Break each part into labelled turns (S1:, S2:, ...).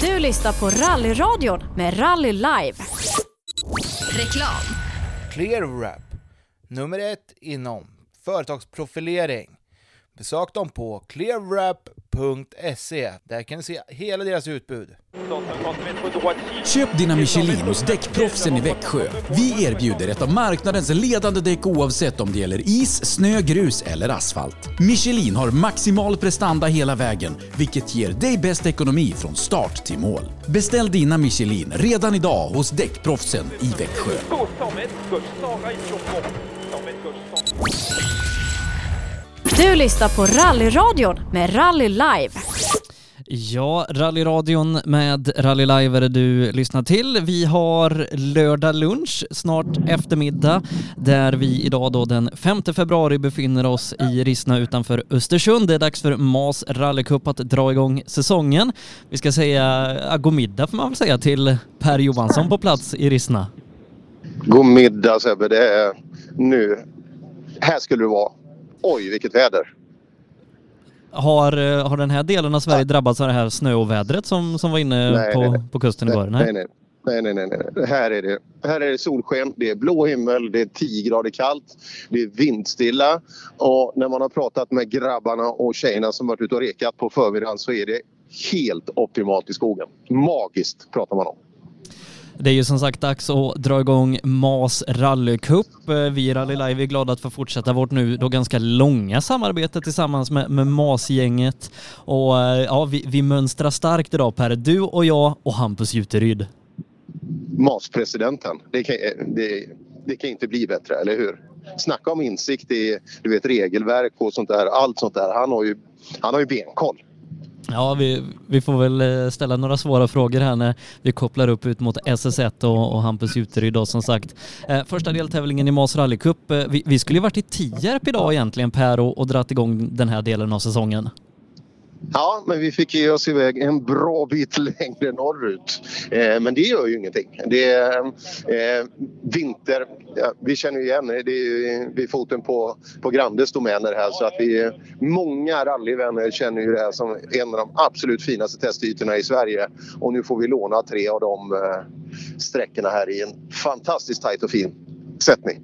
S1: Du lyssnar på Rallyradion med Rally Live.
S2: Reklam.
S3: ClearWrap. Nummer ett inom företagsprofilering. Besök dem på clearwrap.se. Där kan du se hela deras utbud.
S4: Köp dina Michelin hos Däckproffsen i Växjö. Vi erbjuder ett av marknadens ledande däck oavsett om det gäller is, snö, grus eller asfalt. Michelin har maximal prestanda hela vägen, vilket ger dig bäst ekonomi från start till mål. Beställ dina Michelin redan idag hos Däckproffsen i Växjö.
S1: Du lyssnar på Rallyradion med Rally Live.
S5: Ja, rallyradion med Rally Live är det du lyssnar till. Vi har lördag lunch, snart eftermiddag, där vi idag då den 5 februari befinner oss i Rissna utanför Östersund. Det är dags för MAS rallycup att dra igång säsongen. Vi ska säga ja, god middag får man väl säga till Per Johansson på plats i Rissna.
S6: God middag Sebbe, det är nu. Här skulle du vara. Oj, vilket väder.
S5: Har, eh, har den här delen av Sverige drabbats av det här snöovädret som, som var inne
S6: Nej, nej,
S5: på,
S6: nej.
S5: på kusten igår?
S6: nej, nej. Nej, nej, nej, nej. Här är det, här är det solsken, det är blå himmel, det är 10 grader kallt, det är vindstilla och när man har pratat med grabbarna och tjejerna som varit ute och rekat på förmiddagen så är det helt optimalt i skogen. Magiskt pratar man om.
S5: Det är ju som sagt dags att dra igång MAS rallycup. Eh, Vi i Rally Live är glada att få fortsätta vårt nu då ganska långa samarbete tillsammans med, med MAS-gänget. Och eh, ja, vi, vi mönstrar starkt idag Per. Du och jag och Hampus Juteryd.
S6: MAS-presidenten, det kan, eh, det, det kan inte bli bättre, eller hur? Snacka om insikt i du vet, regelverk och sånt där, allt sånt där. Han har ju, han har ju benkoll.
S5: Ja, vi, vi får väl eh, ställa några svåra frågor här när vi kopplar upp ut mot SS1 och, och Hampus Juteryd då som sagt. Eh, första deltävlingen i MAS rallycup. Eh, vi, vi skulle ju varit i Tierp idag egentligen Per och, och dratt igång den här delen av säsongen.
S6: Ja, men vi fick ge oss iväg en bra bit längre norrut. Eh, men det gör ju ingenting. Det är eh, vinter. Ja, vi känner ju igen det. det är ju vid foten på, på Grandes domäner här. Så att vi, många rallyvänner känner ju det här som en av de absolut finaste testytorna i Sverige. Och nu får vi låna tre av de eh, sträckorna här i en fantastiskt tajt och fin sättning.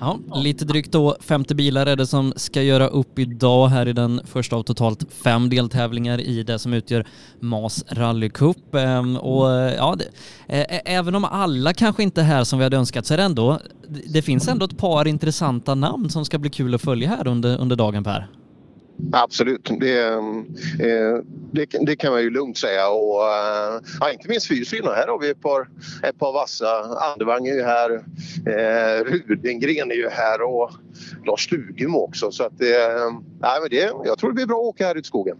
S5: Ja, lite drygt då 50 bilar är det som ska göra upp idag här i den första av totalt fem deltävlingar i det som utgör MAS rallycup. Ehm, Och eh, ja, det, eh, även om alla kanske inte är här som vi hade önskat så är det ändå, det- det finns ändå ett par intressanta namn som ska bli kul att följa här under, under dagen Per.
S6: Absolut, det, eh, det, det kan man ju lugnt säga. Och, eh, ja, inte minst fyrcylindrar. Här har vi ett par, ett par vassa. Andevang är ju här, eh, Rudengren är ju här och Lars Stugum också. Så att, eh, nej, men det, jag tror det blir bra att åka här ute i skogen.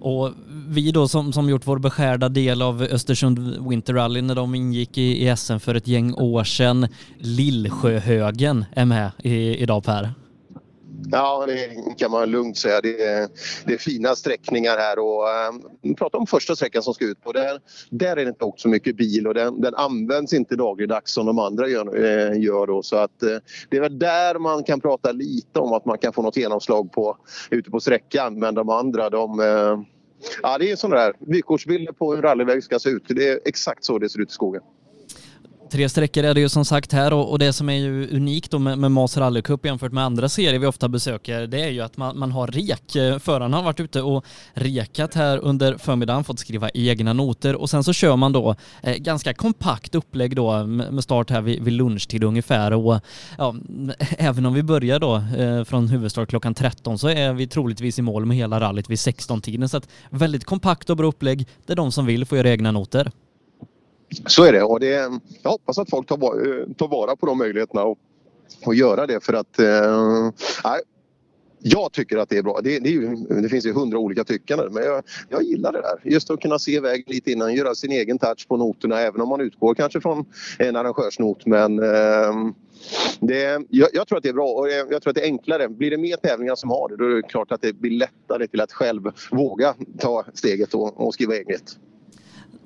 S5: Och vi då som, som gjort vår beskärda del av Östersund Winter Rally när de ingick i, i SM för ett gäng år sedan, Lillsjöhögen är med i, idag Per.
S6: Ja, det kan man lugnt säga. Det är, det är fina sträckningar här. Och, eh, vi pratar om första sträckan som ska ut på. Där, där är det inte åkt så mycket bil och den, den används inte dagligdags som de andra gör. Eh, gör då. Så att, eh, det är väl där man kan prata lite om att man kan få något genomslag på, ute på sträckan. Men de andra, de... Eh, ja, det är sådana där vykortsbilder på hur rallyväg ska se ut. Det är exakt så det ser ut i skogen.
S5: Tre sträckor är det ju som sagt här och, och det som är ju unikt då med, med Mas rallycup jämfört med andra serier vi ofta besöker det är ju att man, man har rek. Eh, Förarna har varit ute och rekat här under förmiddagen, fått skriva egna noter och sen så kör man då eh, ganska kompakt upplägg då med, med start här vid, vid lunchtid ungefär och ja, även om vi börjar då eh, från huvudstart klockan 13 så är vi troligtvis i mål med hela rallyt vid 16-tiden så att väldigt kompakt och bra upplägg där de som vill får göra egna noter.
S6: Så är det. Och det jag hoppas att folk tar, va- eh, tar vara på de möjligheterna och, och göra det. För att, eh, nej, jag tycker att det är bra. Det, det, är ju, det finns ju hundra olika tyckanden. Men jag, jag gillar det där. Just att kunna se vägen lite innan. Göra sin egen touch på noterna. Även om man utgår kanske från en arrangörsnot. Men eh, det, jag, jag tror att det är bra. Och eh, jag, jag tror att det är enklare. Blir det mer tävlingar som har det. Då är det klart att det blir lättare till att själv våga ta steget och, och skriva eget.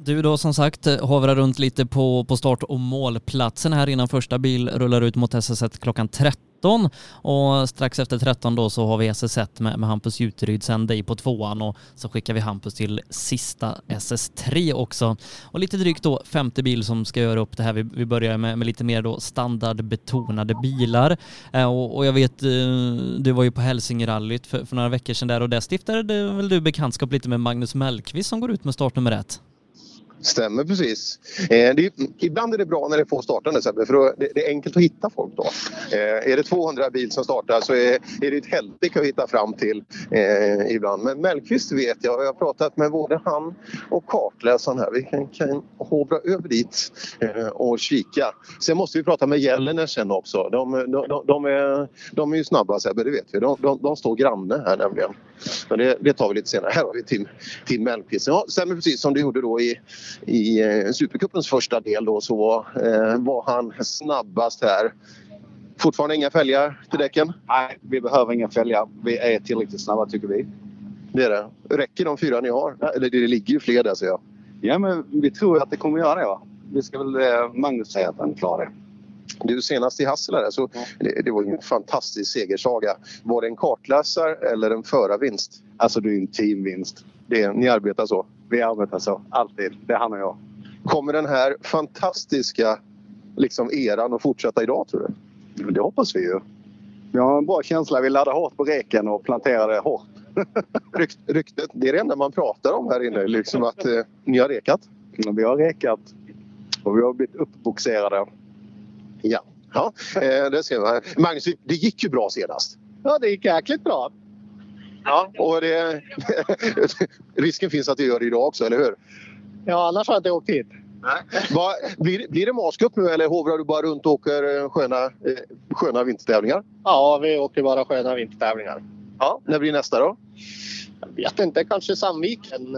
S5: Du då som sagt eh, hovrar runt lite på, på start och målplatsen här innan första bil rullar ut mot SS1 klockan 13 och strax efter 13 då så har vi SS1 med, med Hampus Juteryd sen dig på tvåan och så skickar vi Hampus till sista SS3 också. Och lite drygt då femte bil som ska göra upp det här. Vi, vi börjar med, med lite mer då standardbetonade bilar eh, och, och jag vet eh, du var ju på Hälsingerallyt för, för några veckor sedan där och där stiftade du- väl du bekantskap lite med Magnus Mellqvist som går ut med startnummer ett.
S6: Stämmer precis. Eh, det, ibland är det bra när det är få startande Sebbe, för då, det, det är enkelt att hitta folk då. Eh, är det 200 bil som startar så är, är det ett helsike att hitta fram till eh, ibland. Men Mellqvist vet jag, och jag har pratat med både han och kartläsaren här. Vi kan, kan hovra över dit eh, och kika. Sen måste vi prata med Gällner sen också. De, de, de, de, är, de är ju snabba Sebbe, det vet vi. De, de, de står granne här nämligen. Men det, det tar vi lite senare. Här har vi Tim, Tim Mellqvist. Ja, stämmer precis som du gjorde då i, i eh, Supercupens första del då så var, eh, var han snabbast här. Fortfarande inga fälgar till däcken?
S7: Nej, vi behöver inga fälgar. Vi är tillräckligt snabba tycker vi.
S6: Det är det. Räcker de fyra ni har? Nej, Eller det ligger ju fler där ser jag.
S7: Ja, men vi tror att det kommer göra det. Va? Vi ska väl eh, Magnus säga att han klarar det.
S6: Du senast i Hassela där, så det, det var ju en fantastisk segersaga. Var det en kartläsar eller en förarvinst?
S7: Alltså det är ju en teamvinst.
S6: Det, ni arbetar så.
S7: Vi arbetar så, alltid. Det är han och jag.
S6: Kommer den här fantastiska liksom, eran att fortsätta idag tror du?
S7: Men Det hoppas vi ju. Vi har en bra känsla. Vi laddar hårt på reken och planterade hårt.
S6: Rykt, ryktet, det är det enda man pratar om här inne, liksom att eh, ni har rekat.
S7: Men Vi har rekat och vi har blivit uppboxerade.
S6: Ja, ja eh, det ser man. Magnus, det gick ju bra senast.
S7: Ja, det gick jäkligt bra.
S6: Ja. Och det, risken finns att det gör det idag också, eller hur?
S7: Ja, annars har jag inte åkt hit.
S6: Va, blir, det- blir det mascup nu eller hovrar du bara runt och åker eh, sköna, eh, sköna vintertävlingar?
S7: Ja, vi åker bara sköna vintertävlingar.
S6: Ja. När blir nästa då?
S7: Jag vet inte, kanske Sandviken.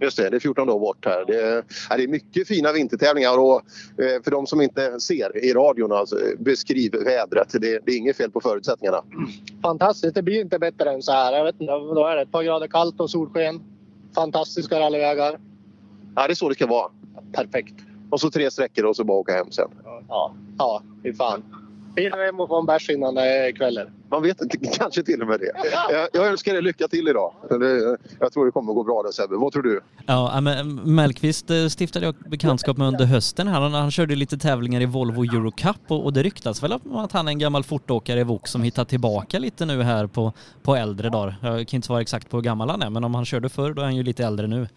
S6: Just det, det är 14 dagar bort här. Det, ja, det är mycket fina vintertävlingar och eh, för de som inte ser i radion, alltså, eh, beskriv vädret. Det, det är inget fel på förutsättningarna.
S7: Fantastiskt, det blir inte bättre än så här. Jag vet inte, då är det ett par grader kallt och solsken. Fantastiska rallyvägar.
S6: Ja, det är så det ska vara.
S7: Perfekt.
S6: Och så tre sträckor och så bara åka hem sen.
S7: Ja, ja, fy fan. Hinner hem och få en bärs innan det är kvällen.
S6: Man vet inte, kanske till och med det. Jag, jag önskar dig lycka till idag. Det, jag tror det kommer att gå bra där Sebbe. Vad tror du?
S5: Ja, ja, men Mellqvist eh, stiftade jag bekantskap med under hösten här. Han, han körde ju lite tävlingar i Volvo Eurocup och, och det ryktas väl om att han är en gammal fortåkare i Vok som hittar tillbaka lite nu här på, på äldre dagar. Jag kan inte svara exakt på hur gammal han är, men om han körde förr då är han ju lite äldre nu.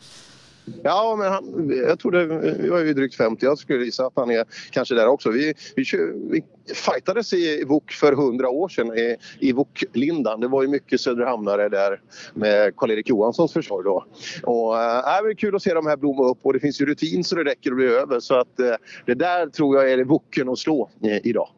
S6: Ja, men han, jag tror det. Jag är ju drygt 50. Jag skulle gissa att han är kanske där också. Vi, vi, kö- vi fightades i VOK för 100 år sedan i, i VOK-lindan. Det var ju mycket söderhamnare där med Karl-Erik Johanssons försorg då. Och, äh, det är kul att se de här blomma upp och det finns ju rutin så det räcker att bli över. Så att, eh, det där tror jag är VOKen att slå eh, idag.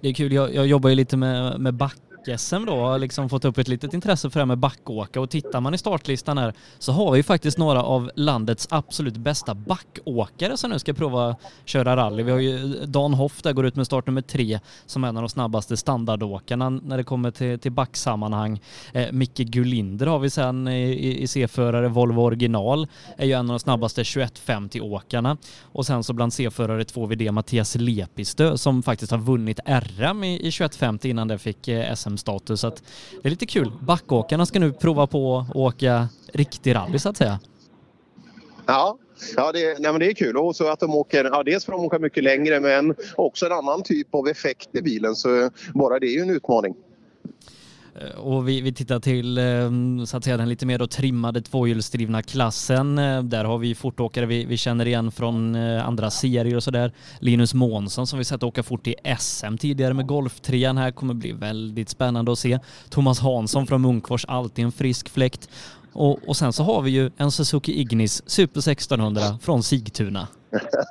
S5: Det är kul, jag, jag jobbar ju lite med, med back-SM då och har liksom fått upp ett litet intresse för det här med backåka och tittar man i startlistan här så har vi ju faktiskt några av landets absolut bästa backåkare som nu ska prova köra rally. Vi har ju eh, Dan Hoff där går ut med startnummer tre som är en av de snabbaste standardåkarna när det kommer till, till backsammanhang. Eh, Micke Gulinder har vi sen i, i, i C-förare, Volvo original, är ju en av de snabbaste 2150-åkarna. Och sen så bland C-förare 2VD Mattias Lepistö som faktiskt har vunnit RM i, i 2150 innan det fick eh, SM-status. Så att det är lite kul. Backåkarna ska nu prova på att åka riktig rally så att säga.
S6: Ja, ja det, nej men det är kul. Och så att de åker, ja, dels för att de åker mycket längre men också en annan typ av effekt i bilen. Så eh, bara det är ju en utmaning.
S5: Eh, Och vi, vi tittar till eh, så att säga, den lite mer då trimmade tvåhjulsdrivna klassen. Eh, Där har vi fortåkare vi, vi känner igen från eh, andra serier och sådär. Linus Månsson som vi sett åka fort i SM tidigare med Golftrean här kommer bli väldigt spännande att se. Thomas Hansson från Munkfors, alltid en frisk fläkt. Och, och sen så har vi ju en Suzuki Ignis Super 1600 från Sigtuna.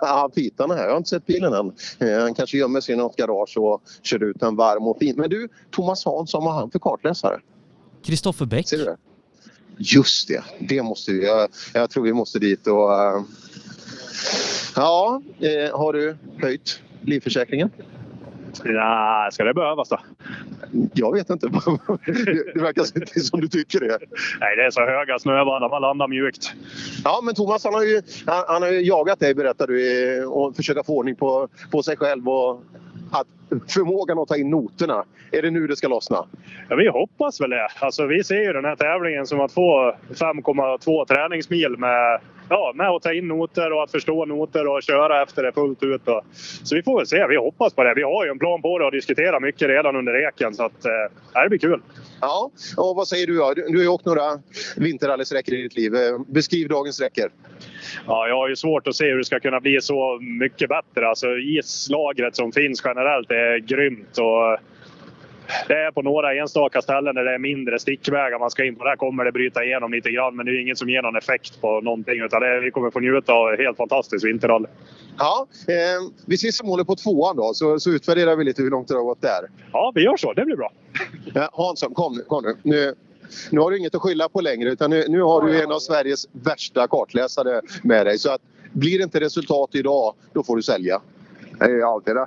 S6: Ja, pitarna här. Jag har inte sett bilen än. Eh, Han kanske gömmer sig i något garage och kör ut den varm och fin. Men du, Thomas Hansson, vad har han för kartläsare?
S5: Kristoffer Bäck.
S6: Ser du det? Just det, det måste vi. Jag, jag tror vi måste dit och... eh, Ja, eh, har du höjt livförsäkringen?
S8: Ja, ska det behövas då?
S6: Jag vet inte. det verkar inte som du tycker det.
S8: Nej, det är så höga snövallar. Man landar mjukt.
S6: Ja, men Thomas han har ju, han, han har ju jagat dig berättar du och försöka få ordning på, på sig själv och att förmågan att ta in noterna. Är det nu det ska lossna?
S8: Ja, vi hoppas väl det. Alltså, vi ser ju den här tävlingen som att få 5,2 träningsmil med, ja, med att ta in noter och att förstå noter och köra efter det fullt ut. Då. Så vi får väl se. Vi hoppas på det. Vi har ju en plan på det och diskuterar mycket redan under reken så att, eh, det blir kul.
S6: Ja, och vad säger du? Då? Du, du har ju åkt några vinterrallysträckor i ditt liv. Eh, Beskriv dagens sträckor.
S8: Ja, jag har ju svårt att se hur det ska kunna bli så mycket bättre. Alltså, islagret som finns generellt är grymt. Och det är på några enstaka ställen där det är mindre stickvägar man ska in på. Där kommer det bryta igenom lite grann, men det är inget som ger någon effekt på någonting. Utan det, vi kommer få njuta av helt fantastiskt vinterrally.
S6: Ja, eh, vi ses som målet på tvåan då, så, så utvärderar vi lite hur långt det har gått där.
S8: Ja, vi gör så. Det blir bra.
S6: Eh, Hansson, kom nu. Kom nu. nu. Nu har du inget att skylla på längre utan nu, nu har du en av Sveriges värsta kartläsare med dig. Så att, blir det inte resultat idag, då får du sälja.
S9: Det är alltid det.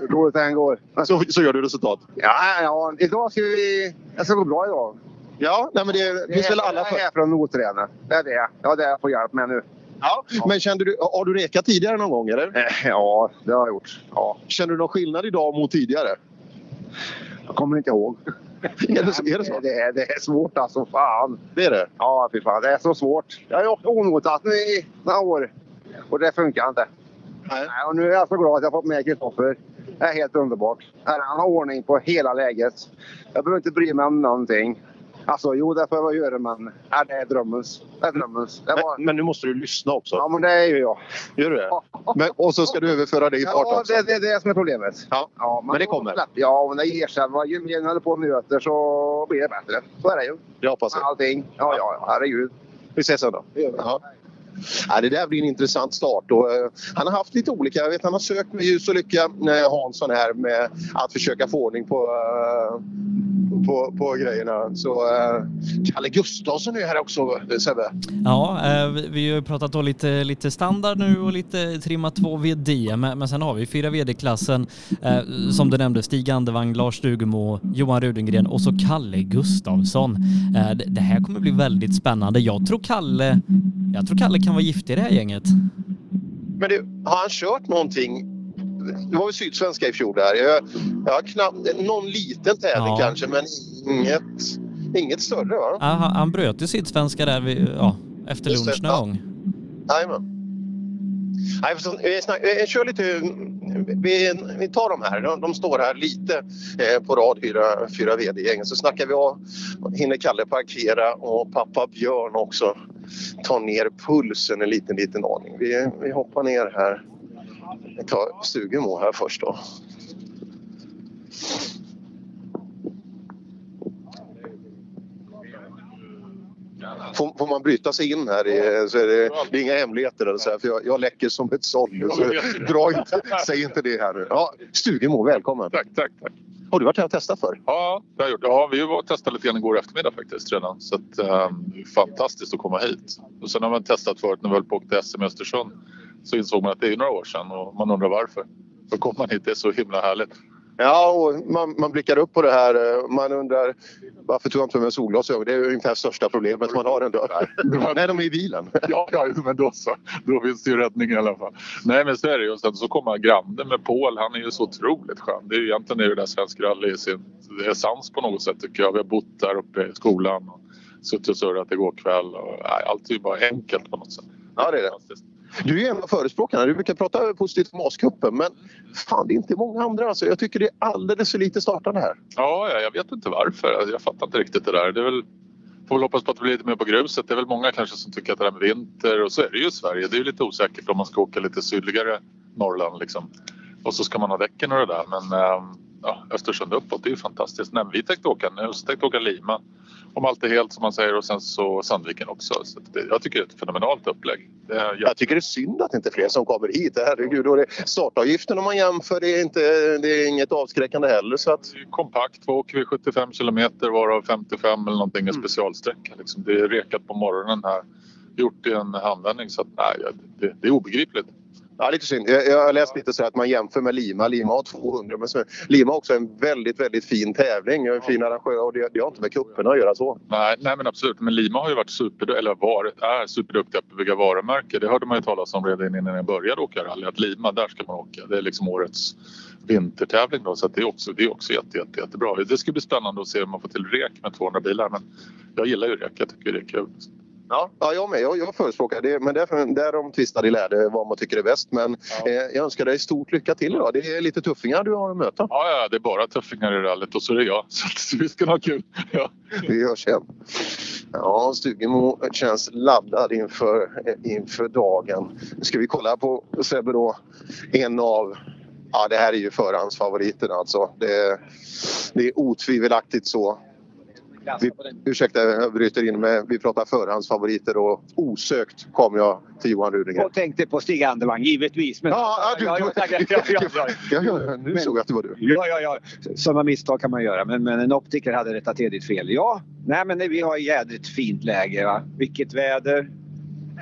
S9: Hur dåligt det än går.
S6: Så, så gör du resultat?
S9: Ja, ja, idag ska vi... Det ska gå bra idag.
S6: Ja, nej, men det, det finns väl alla
S9: för. Jag är från Noträna. Det är det. Ja, det är jag får hjälp med nu.
S6: Ja, men kände du, har du rekat tidigare någon gång? Eller?
S9: Eh, Ja, det har jag gjort. Ja.
S6: Känner du någon skillnad idag mot tidigare?
S9: Jag kommer inte ihåg.
S6: Är det, så, är det så?
S9: Det är, det är svårt alltså. Fan.
S6: Det är det?
S9: Ja, fy fan. Det är så svårt. Jag har ju åkt onotat nu i några år och det funkar inte.
S6: Nej.
S9: Nej, och nu är jag så glad att jag fått med Kristoffer. Det är helt underbart. Nej, Han har ordning på hela läget. Jag behöver inte bry mig om någonting. Alltså, jo, det får jag väl göra, men nej, det är drömmens. Det är drömmens. Det var...
S6: Men, men nu måste du lyssna också.
S9: Ja, men det är ju jag.
S6: Gör du det? Men, och så ska du överföra det i fart
S9: Ja,
S6: också.
S9: det, det är det som är problemet.
S6: Ja,
S9: Ja, man
S6: men det
S9: får
S6: kommer.
S9: släppa- Ja, men det ger sig. Vad- Ju mer man håller på och möter så blir det bättre. Så är det ju.
S6: Jag hoppas det.
S9: Allting. Ja, ja, ja. herregud.
S6: Vi ses sen då. Ja. Ja, det där blir en intressant start. Och, eh, han har haft lite olika. Jag vet, han har sökt med ljus och lycka, eh, Hansson, här med att försöka få ordning på, eh, på, på grejerna. Så, eh, Kalle Gustafsson är här också, eh, Sebbe.
S5: Ja, eh, vi- vi har ju pratat då lite, lite standard nu och lite trimma 2 VD, men, men sen har vi ju fyra VD-klassen eh, som du nämnde, Stig Andevang, Lars Stugemo, Johan Rudengren och så Kalle Gustavsson. Eh, det, det här kommer bli väldigt spännande. Jag tror Kalle, jag tror Kalle kan vara giftig i det här gänget.
S6: Men du, har han kört någonting? Det var väl Sydsvenska i fjol där. Jag, jag har knappt, någon liten tävling
S5: Ja.
S6: kanske, men inget, inget större va?
S5: Ah, han, han bröt ju Sydsvenska där vid, ja, efter
S6: Just det,
S5: lunch någon
S6: ja.
S5: gång.
S6: Jajamän. Nej, för så- vi, snack, vi kör lite... Vi, vi tar de här. De, de står här lite eh, på rad, fyra, fyra vd-gängen. Så snackar vi av. Hinner Kalle parkera och pappa Björn också tar ner pulsen en liten, liten aning. Vi, vi hoppar ner här. Vi tar Stugemo här först då. Får, får man bryta sig in här i, så är det, det är inga hemligheter eller så här, för jag, jag läcker som ett såll. Så dra inte, säg inte det här nu. Ja, Stugemo, välkommen.
S10: Tack, tack, tack.
S6: Har du varit här och testat för?
S10: Ja, det har jag gjort. Ja, vi var och testade lite grann igår eftermiddag faktiskt redan. Så att, ehm, det är fantastiskt att komma hit. Och sen har man testat förut när vi höll på och åkte SM i Östersund. Så insåg man att det är ju några år sedan och man undrar varför. Då kom man hit, det är så himla härligt.
S6: Ja, och man, man blickar upp på det här. eh, Man undrar varför tog jag inte med mig solglasögon? Det är ju ungefär största problemet man har ändå. Nej, de är i bilen.
S10: Ja, ja, jo, men då så. Då finns det ju räddning i alla fall. Nej, men så är det ju. Och sen så kommer grannen med Paul. Han är ju så otroligt skön. Det är ju egentligen är det där Svensk rally i sin essens på något sätt tycker jag. Vi har bott där uppe i skolan och suttit och surrat igår kväll. Och, nej, allt är ju bara enkelt på något sätt.
S6: Ja, det är det.
S10: Fantastiskt.
S6: Du är en av förespråkarna. Du brukar prata positivt om AS-cupen, men fan, det är inte många andra. Alltså, jag tycker det är alldeles för lite startande här.
S10: Ja, ja, jag vet inte varför. Alltså, Jag fattar inte riktigt det där. Det är väl, får väl hoppas på att det blir lite mer på gruset. Det är väl många kanske som tycker att det där med vinter och så är det ju i Sverige. Det är ju lite osäkert om man ska åka lite sydligare Norrland liksom. Och så ska man ha däcken och det där. Men ehm, ja, Östersund uppåt, det är ju fantastiskt. Nej, men vi tänkte åka nu, så tänkte åka Lima. Om allt är helt som man säger och sen så Sandviken också. Så att det, jag tycker det är ett fenomenalt upplägg. Det är jätte-
S6: Jag tycker det är synd att inte fler som kommer hit. Herregud, och det, startavgiften om man jämför, det är, inte, det är inget avskräckande heller. Så att,
S10: Det är ju kompakt. Vad åker vi? 75 kilometer varav 55 eller någonting är
S6: Mm.
S10: specialsträcka. Liksom. Det är rekat på morgonen här. Gjort i en handvändning. Så att, nej, det, det är obegripligt.
S6: Ja, lite synd. Jag, jag har läst lite så här att man jämför med Lima. Lima har 200. Men så- Lima har också en väldigt, väldigt fin tävling. och En fin arrangör. Och det, det har inte med cuperna att göra så.
S10: Nej, nej men absolut. Men Lima har ju varit super, eller varit, är superduktiga på att bygga varumärke. Det hörde man ju talas om redan innan jag började åka rally. Att Lima, där ska man åka. Det är liksom årets vintertävling då. Så att det är också, det är också jätte, jätte, jättebra. Det ska bli spännande att se om man får till rek med 200 bilar. Men jag gillar ju rek. Jag tycker det är kul.
S6: Ja, ja jag med. Jag, jag förespråkar det. Men därför, därom tvistar de lärde vad man tycker är bäst. Men eh, jag önskar dig stort lycka till idag. Det är lite tuffingar du har att möta.
S10: Ja, ja, det är bara tuffingar i rallyt och så är det jag. Så att vi ska ha kul. Ja.
S6: Vi hörs sen. Ja, Stugemo känns laddad inför, eh, inför dagen. Nu ska vi kolla på Sebbe då. En av... Ja, det här är ju förhandsfavoriten alltså. Det, det är otvivelaktigt så. Vi, ursäkta, jag bryter in med... Vi pratar förhandsfavoriter och osökt kom jag till Johan Rudinger.
S11: Jag tänkte på Stig Andervang, givetvis. Men...
S6: Ja, ja, du-
S11: ja, ja, tack. ja, ja, ja.
S6: Ja, ja, nu såg jag att det var du.
S11: Ja, ja, ja. Sådana misstag kan man göra. Men, men en optiker hade rättat till ditt fel. Ja, nej, men vi har jädrigt fint läge. Va? Vilket väder.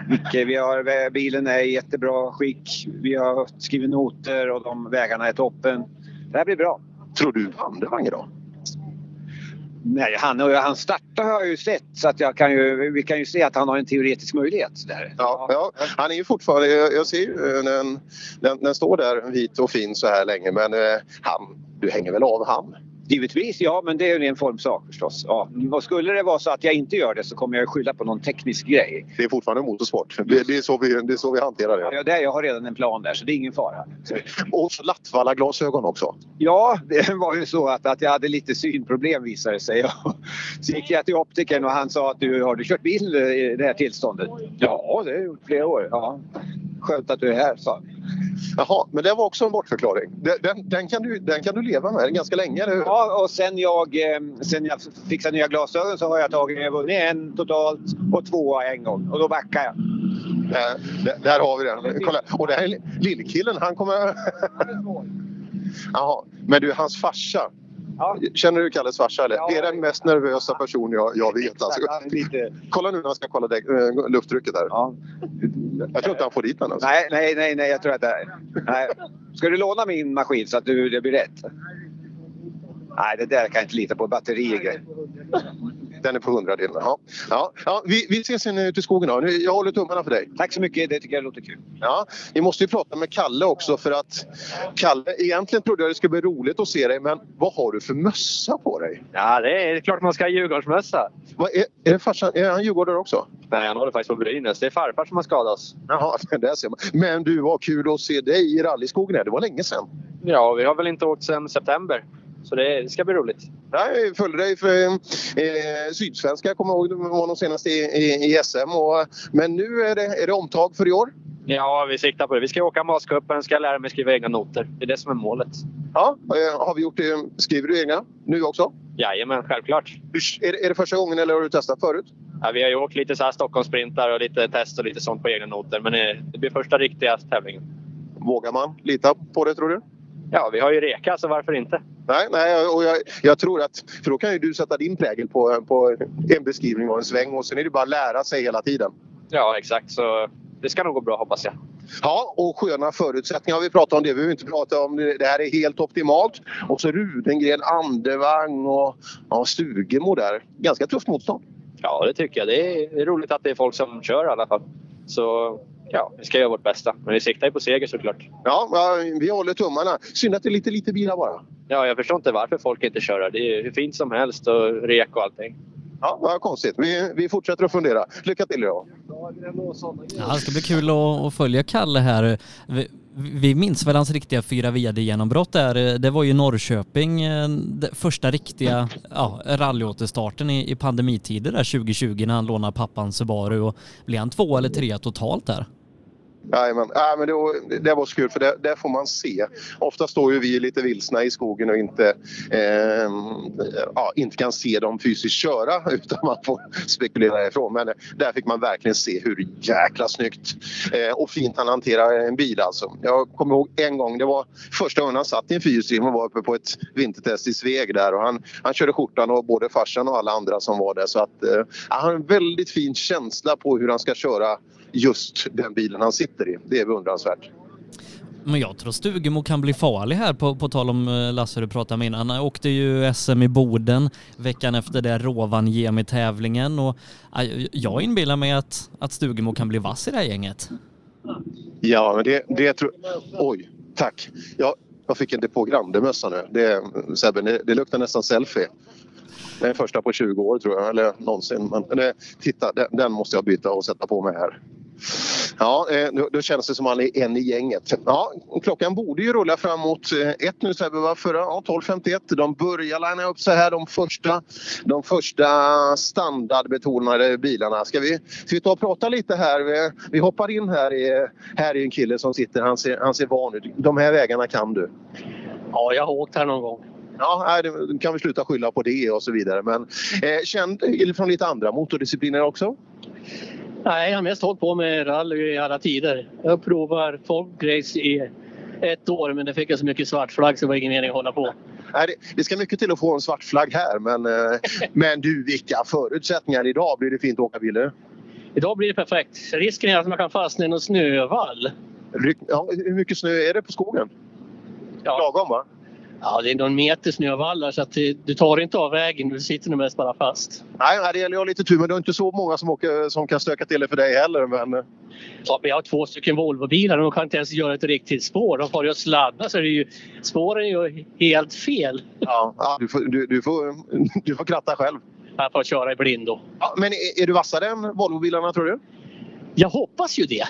S11: Vilket, vi har, vä- bilen är i jättebra skick. Vi har skrivit noter och de vägarna är toppen. Det här blir bra.
S6: Tror du Andervang idag?
S11: Nej, han, och han startar har jag ju sett så att jag kan ju, vi kan ju se att han har en teoretisk möjlighet. Där.
S6: Ja, ja, han är ju fortfarande... Jag, jag ser ju eh, den, den, den står där vit och fin så här länge men eh, han, du hänger väl av han?
S11: Givetvis, ja, men det är ju en formsak förstås. Ja. Och skulle det vara så att jag inte gör det så kommer jag ju skylla på någon teknisk grej.
S6: Det är fortfarande motorsport. Det, det, är, så vi, det är så vi hanterar det.
S11: Ja, där, jag har redan en plan där så det är ingen fara.
S6: Och så Lattvalla glasögon också.
S11: Ja, det var ju så att, att jag hade lite synproblem visade det sig. Så gick jag till optikern och han sa att du har du kört bil i det här tillståndet? Ja, det har jag gjort flera år. Ja. Skönt att du är här, sa han.
S6: Jaha, men det var också en bortförklaring. Den, den, den, kan, du, den kan du leva med ganska länge, eller hur?
S11: Ja, och sen jag, eh, sen jag fixade nya glasögon så har jag tagit vunnit en totalt och två en gång. Och då backar jag.
S6: Där, där- där har vi den. Kolla. Och den här li- lillkillen, han kommer... Jaha, men du, hans farsa. Känner du Kalles farsa? Eller?
S11: Ja,
S6: det är den mest nervösa person jag, jag vet. Alltså.
S11: Han är lite-
S6: Kolla nu när han ska kolla däck, eh, lufttrycket där. Jag tror inte han får dit den. Alltså.
S11: Nej, nej, nej, nej, jag tror att det är. Nej. Ska du låna min maskin så att du, det blir rätt? Nej, det där kan jag inte lita på. Batterier och grejer.
S6: Den är på hundradelen. Ja. Ja, ja, vi, vi ses sen eh, ute i skogen. Då. Nu- Jag håller tummarna för dig.
S11: Tack så mycket. Det tycker jag låter kul.
S6: Ja, vi måste ju prata med Kalle också för att Kalle, egentligen trodde jag det skulle bli roligt att se dig men vad har du för mössa på dig?
S12: Ja, det är klart man ska ha Djurgårdsmössa.
S6: Vad är, är, det farsan, är han djurgårdare också?
S12: Nej, han håller faktiskt på Brynäs. Det är farfar som har skadats.
S6: Jaha, det där ser man. Men du, vad kul att se dig i rallyskogen. här. Det var länge sedan.
S12: Ja, vi har väl inte åkt sedan september. Så det, det ska bli roligt.
S6: Nej, jag följde dig för eh, Sydsvenska, jag kommer ihåg, du var de senaste i, i, i SM. Och, men nu är det, är det omtag för i år.
S12: Ja, vi siktar på det. Vi ska åka Mascupen, ska lära mig skriva egna noter. Det är det som är målet.
S6: Ja, eh, har vi gjort det, skriver du egna nu också?
S12: Jajamän, självklart.
S6: Är det, är det första gången eller har du testat förut?
S12: Ja, vi har ju åkt lite så här Stockholmssprintar och lite test och lite sånt på egna noter. Men eh, det blir första riktiga tävlingen.
S6: Vågar man lita på det tror du?
S12: Ja, vi har ju reka, så varför inte?
S6: Nej, nej och jag, jag tror att, för då kan ju du sätta din prägel på, på en beskrivning och en sväng och sen är det bara att lära sig hela tiden.
S12: Ja, exakt. Så det ska nog gå bra, hoppas jag.
S6: Ja, och sköna förutsättningar har vi pratat om. Det behöver vi inte prata om. Det det här är helt optimalt. Och så Rudengren, Andevang och ja, Stugemo där. Ganska tufft motstånd.
S12: Ja, det tycker jag. Det är, det är roligt att det är folk som kör i alla fall. Så ja, vi ska göra vårt bästa. Men vi siktar ju på seger såklart.
S6: Ja, ja, vi håller tummarna. Synd att det är lite lite bilar bara.
S12: Ja, jag förstår inte varför folk inte kör här. Det är ju hur fint som helst och rek och allting.
S6: Ja, vad konstigt. Vi, vi fortsätter att fundera. Lycka till idag.
S5: Ja, det ska bli kul att, att följa Kalle här. Vi, vi minns väl hans riktiga fyra vd-genombrott där. Det var ju Norrköping, eh, det första riktiga ja, rallyåterstarten i, i pandemitider där 2020 när han lånade pappan Subaru och blev han två eller tre totalt där?
S6: Jajamän. Ja, men det, var- det var så kul, för det, det får man se. Ofta står ju vi lite vilsna i skogen och inte, eh, ja, inte kan se dem fysiskt köra utan man får spekulera ifrån. Men eh, där fick man verkligen se hur jäkla snyggt eh, och fint han hanterar en bil. Alltså. Jag kommer ihåg en gång, det var första gången han satt i en fyrhjulsdriven och var uppe på ett vintertest i Sveg där och han, han körde skjortan och både farsan och alla andra som var där. Så att, eh, han har en väldigt fin känsla på hur han ska köra just den bilen han sitter i. Det är beundransvärt.
S5: Men jag tror Stugemo kan bli farlig här på, på tal om eh, Lasse du pratade om innan. Han åkte ju SM i Boden veckan efter det Rovaniemi-tävlingen och aj, jag inbillar mig att, att Stugemo kan bli vass i det här gänget.
S6: Ja, men det, det tror... Oj, tack. Jag, jag fick en depå Grande-mössa nu. Det, Sebbe, det, det luktar nästan selfie. Det är den första på 20 år tror jag, eller någonsin. Men det, titta, den, den måste jag byta och sätta på mig här. Ja, eh, då, då känns det som han är en i gänget. Ja, klockan borde ju rulla framåt eh, ett nu Sebbe, va? Förra, ja, 12.51. De börjar linea upp sig här, de första, de första standardbetonade bilarna. Ska vi, ska vi ta och prata lite här? Vi, vi hoppar in här. I, här är en kille som sitter, han ser, han ser van ut. De här vägarna kan du.
S13: Ja, jag har åkt här någon gång.
S6: Ja, nej, det- då kan vi sluta skylla på det och så vidare. Men eh, känd från lite andra motordiscipliner också?
S13: Nej, jag har mest hållit på med rally i alla tider. Jag provar folkrace i ett år men det fick jag så mycket svart flagg så det var ingen mening att hålla på.
S6: Nej, det, det ska mycket till att få en svart flagg här. Men, eh, men du, vilka förutsättningar. Idag blir det fint att åka Wille.
S13: Idag blir det perfekt. Risken är att man kan fastna i någon snövall.
S6: Ja, hur mycket snö är det på skogen?
S13: Ja.
S6: Lagom va?
S13: Ja, det är någon meter snövallar så att det, du tar inte av vägen. Du sitter nog mest bara fast.
S6: Nej, nej, det gäller att ha lite tur. Men det är inte så många som, åker, som kan stöka till det för dig heller. Men, eh,
S13: Ja, men jag har två stycken Volvobilar och de kan inte ens göra ett riktigt spår. De far ju och sladdar så det är ju, spåren är ju helt fel.
S6: Ja, ja, du, får, du, du, får, du får kratta själv.
S13: Jag får köra i blindo.
S6: ja, men är, är du vassare än Volvobilarna tror du?
S13: Jag hoppas ju det.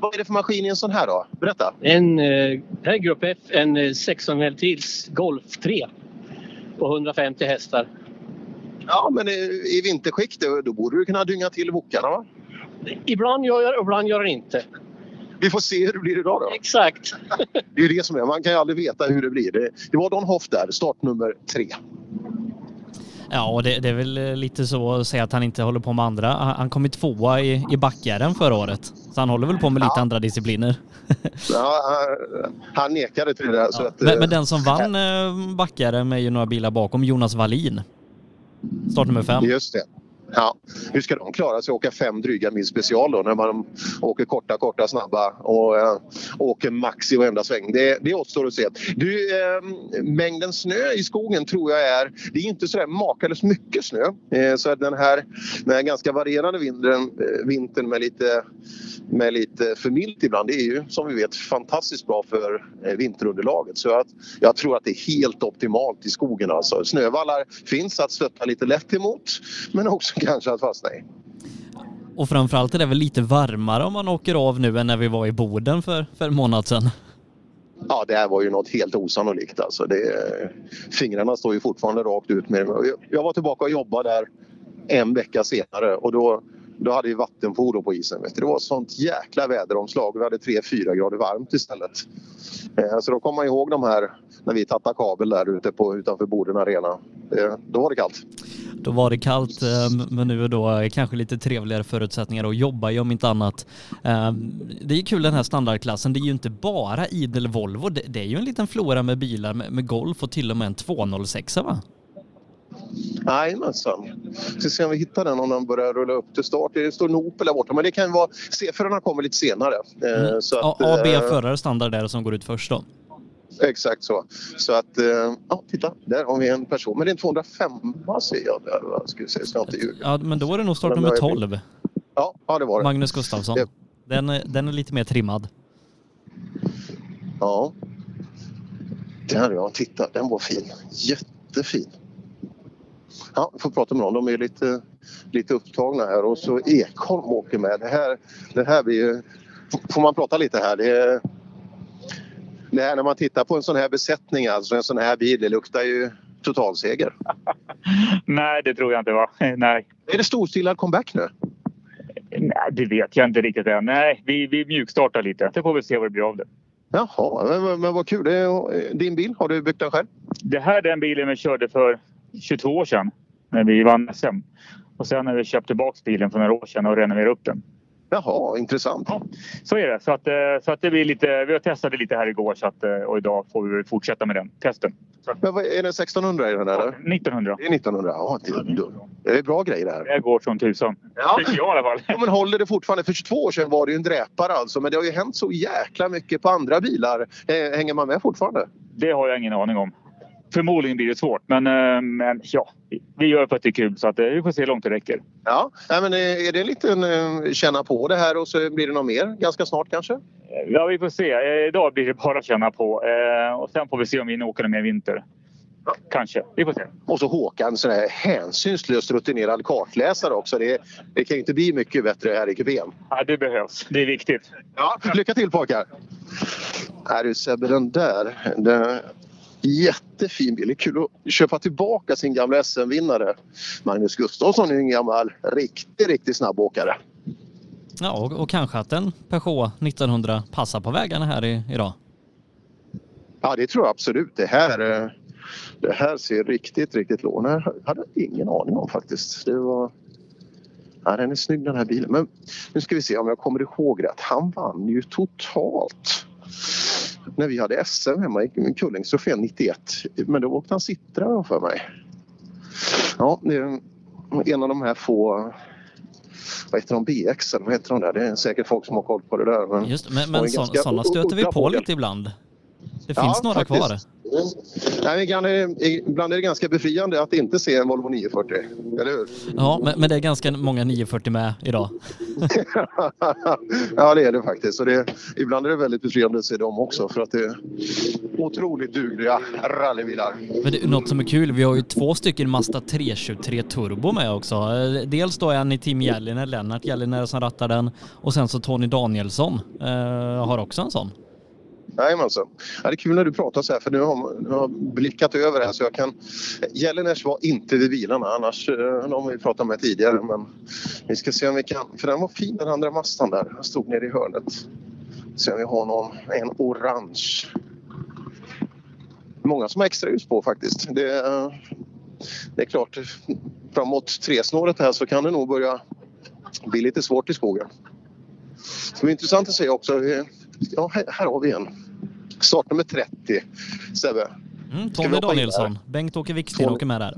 S6: Vad är det för maskin i en sån här då? Berätta.
S13: En, eh, här är Grupp F, en eh, 16 ventil's Golf 3 på 150 hästar.
S6: Ja, men eh, i vinterskick då, då borde du kunna dynga till wokarna va?
S13: Ibland gör jag det, ibland gör jag det inte.
S6: Vi får se hur det blir idag då.
S13: Exakt.
S6: Det är ju det som är, man kan ju aldrig veta hur det blir. Det, det var Don Hoff där, startnummer tre.
S5: Ja, och det, det är väl eh, lite så att säga att han inte håller på med andra. Han, han kom ju tvåa i, i backjärn förra året, så han håller väl på med lite andra discipliner.
S6: Ja, han, han nekade till det där. Så att, eh,
S5: Men, men den som vann eh, backjärn är ju några bilar bakom, Jonas Wallin. Startnummer fem.
S6: Just det. Ja. Hur ska de klara sig att åka fem dryga mil special då när man åker korta, korta, snabba och eh, åker max i varenda sväng? Det, det återstår att se. Du, eh, mängden snö i skogen tror jag är... Det är inte så där makalöst mycket snö. Eh, så att den här, den här ganska varierande vintern, eh, vintern med lite, med lite för milt ibland det är ju som vi vet fantastiskt bra för eh, vinterunderlaget. Så att jag tror att det är helt optimalt i skogen. Alltså. Snövallar finns att stötta lite lätt emot men också kanske att fastna i.
S5: Och framförallt är det väl lite varmare om man åker av nu än när vi var i Boden för, för en månad sedan.
S6: Ja, det här var ju något helt osannolikt. Alltså. Det, fingrarna står ju fortfarande rakt ut. Med, jag, jag var tillbaka och jobbade där en vecka senare och då, då hade vi vattenfordon på isen. Vet du. Det var sånt jäkla väderomslag. Vi hade 3-4 grader varmt istället. Eh, så då kommer man ihåg de här när vi tattade kabel där ute på, utanför Boden Arena. Eh, då var det kallt.
S5: Då var det kallt, eh, men nu är då eh, kanske lite trevligare förutsättningar att jobba i om inte annat. Eh, Det är ju kul den här standardklassen. Det är ju inte bara idel Volvo. Det det är ju en liten flora med bilar med med Golf och till och med en 206 va?
S6: Jajamensan. Ska se om vi hittar den om den börjar rulla upp till start. Det står en Opel där borta men det kan ju vara... C4 kommer lite senare. Eh,
S5: Mm.
S6: så att,
S5: A- AB
S6: eh,
S5: förare standard där som går ut först då.
S6: Exakt så. Så att, eh, ja titta, där har vi en person. Men det är en 205 ser jag där. va? Ska vi se, ska jag inte ljuga.
S5: Ja, men då är det nog startnummer 12.
S6: Ja, ja, det var det.
S5: Magnus Gustafsson. Den är, den är lite mer trimmad.
S6: Ja. Där ja, titta, den var fin. Jättefin. Ja, vi får prata med dem. De är lite, lite upptagna här. Och så Ekholm åker med. Det här, det här blir ju... F- Får man prata lite här? Det, är- det här när man tittar på en sån här besättning, alltså en sån här bil, det luktar ju totalseger.
S14: Nej, det tror jag inte. Va? Nej.
S6: Är det storstilad comeback nu?
S14: Nej, det vet jag inte riktigt än. Nej, vi, vi mjukstartar lite. Så får vi se vad det blir av det.
S6: Jaha, men, men, men vad kul. Det är, din bil, har du byggt den själv?
S14: Det här är den bilen vi körde för 22 år sedan när vi vann SM. Och sen har vi köpt tillbaka bilen för några år sedan och renoverat upp den.
S6: Jaha, intressant.
S14: Ja, så är det. Så, att, eh, så att det blir lite, vi har testat det lite här igår så att, eh, och idag får vi fortsätta med den testen. Så.
S6: Men vad, är det 1600 i den där?
S14: 1900.
S6: Det är 1900, ja. Det, det, det är bra grejer det här.
S14: Det går som tusan.
S6: Ja.
S14: Tycker jag i alla fall.
S6: Ja, men håller det fortfarande? För 22 år sedan var det ju en dräpare alltså. Men det har ju hänt så jäkla mycket på andra bilar. Eh, Hänger man med fortfarande?
S14: Det har jag ingen aning om. Förmodligen blir det svårt, men, eh, men ja, vi gör det för att det är kul så att, eh, vi får se hur långt det räcker.
S6: Ja, Nej, men eh, är det en liten eh, känna på det här och så blir det något mer ganska snart kanske?
S14: Ja, vi får se. Eh, Idag blir det bara att känna på eh, och sen får vi se om vi hinner åka någon mer vinter. Kanske. Vi får se.
S6: Och så Håkan, sån här hänsynslöst rutinerad kartläsare också. Det, det kan ju inte bli mycket bättre här i kupén.
S14: Ja, det behövs. Det är viktigt.
S6: Ja, lycka till pojkar! Är du Sebbe, den där. Den, jättefin bil. Det är kul att köpa tillbaka sin gamla SM-vinnare. Magnus Gustafsson är ju en gammal riktigt, riktigt snabbåkare.
S5: Ja, och, och kanske att en Peugeot 1900 passar på vägarna här i, idag.
S6: Ja, det tror jag absolut. Det här, eh, det här ser riktigt, riktigt lån. Det här hade jag ingen aning om faktiskt. Det var... Ja, den är snygg den här bilen. Men nu ska vi se om jag kommer ihåg rätt. Han vann ju totalt när vi hade SM hemma i Kullingstrofén 91. Men då åkte han Citra har jag för mig. Ja, det är en av de här få... Vad heter de? BX eller vad heter de där? Det är säkert folk som har koll på det där. Men,
S5: Just,
S6: och
S5: men
S6: en
S5: men så,
S6: ganska
S5: sådana stöter vi
S6: udda
S5: på
S6: fågel.
S5: lite ibland. Det
S6: Ja,
S5: finns några
S6: faktiskt. Mm.
S5: kvar.
S6: Nej, men ibland, är det, ibland är det ganska befriande att inte se en Volvo 940, eller hur?
S5: Ja, men, men det är ganska många 940 med idag.
S6: ja, det är det faktiskt. Och det, ibland är det väldigt befriande att se dem också för att det är otroligt dugliga rallybilar.
S5: Men det, är något som är kul, vi har ju två stycken Mazda 323 Turbo med också. Eh, Dels då en i Team Gällinen, Lennart Gällinen som rattar den. Och sen så Tony Danielsson eh, har också en sån.
S6: Jajamensan. Ja, det är kul när du pratar så här för nu har, nu har jag blickat över det här så jag kan... Jelliners var inte vid bilarna annars, eh, de har vi pratat med tidigare men vi ska se om vi kan, för den var fin den andra mastan där, den stod nere i hörnet. Se om vi har någon, en orange. Många som har extra ljus på faktiskt. Det, eh, det är klart, framåt tresnåret här så kan det nog börja bli lite svårt i skogen. Det är intressant att se också, eh, ja här, här har vi en. Startnummer 30, Sebbe.
S5: Mm,
S6: Ska vi
S5: Tony
S6: hoppa in
S5: Danielsson,
S6: där?
S5: Bengt-Åke Wicksten
S6: Tony.
S5: åker med där.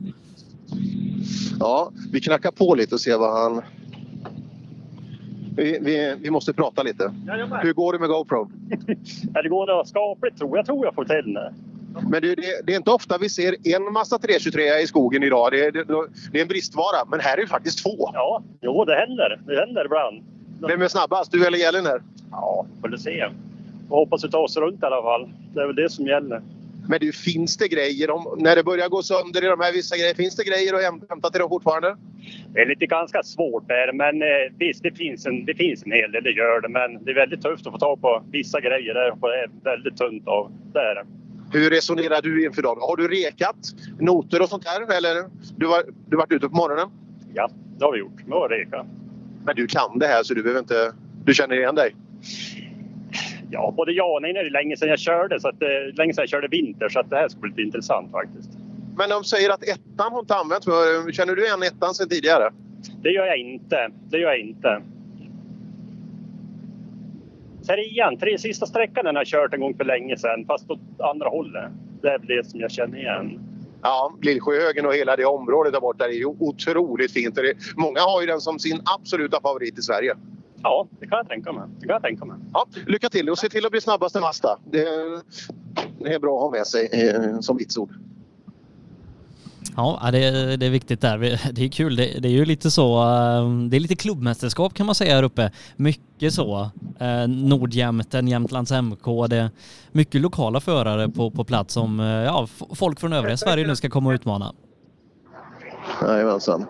S6: Ja, vi knackar på lite och ser vad han... Vi, vi, vi måste prata lite. Hur går det med GoPro?
S15: Ja, det går skapligt tror jag. Jag tror jag får till det.
S6: Men du, det, det är inte ofta vi ser en massa 323 i skogen idag. Det, det, det är en bristvara, men här är det faktiskt två.
S15: Ja, jo det händer. Det händer ibland.
S6: Vem är snabbast? Du eller Gällner?
S15: Ja, får se. Jag hoppas vi tar oss runt i alla fall. Det är väl det som gäller.
S6: Men du, finns det grejer om, när det börjar gå sönder i de här vissa grejer? Finns det grejer att häm- hämta till dem fortfarande?
S15: Det är lite ganska svårt där, men eh, visst det finns, en, det finns en hel del, det gör det. Men det är väldigt tufft att få tag på vissa grejer där. och Det är väldigt tunt av. Det är det.
S6: Hur resonerar du inför dem? Har du rekat noter och sånt där? Eller du har du varit ute på morgonen?
S15: Ja, det har vi gjort. Vi har rekat.
S6: Men du kan det här så du behöver inte... Du känner igen dig?
S15: Ja, både ja och nej. Det är länge sedan jag körde, så att, eh, länge sedan jag körde vinter. Så att det här ska bli lite intressant faktiskt.
S6: Men de säger att ettan har inte använts. för- Känner du igen ettan sen tidigare?
S15: Det gör jag inte. Det gör jag inte. Trean, tre sista sträckan den har jag kört en gång för länge sedan, fast åt andra hållet. Det är väl det som jag känner igen.
S6: Ja, Lillsjöhögen och hela det området där borta är ju otroligt fint. Och det, många har ju den som sin absoluta favorit i Sverige.
S15: Ja, det kan jag tänka mig. Det kan jag tänka mig.
S6: Ja, lycka till och se till att bli snabbast i Mazda. Det, det är bra att ha med sig eh, som vitsord.
S5: Ja, ja, det, det är viktigt där. Vi- Det är kul. Det, det är ju lite så, eh, det är lite klubbmästerskap kan man säga här uppe. Mycket så. eh, Nordjämten, Jämtlands MK. Det är mycket lokala förare på, på plats som eh, ja, f- folk från övriga Sverige nu ska komma och utmana.
S6: Jajamensan.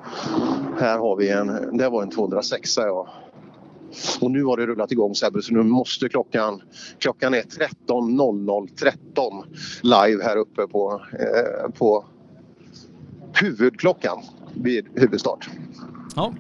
S6: Här har vi en. Det var en 206 ja. Och nu har det rullat igång Sebbe så nu måste klockan... Klockan är 13.00 13 live här uppe på, eh, på huvudklockan vid huvudstart.
S5: Ja,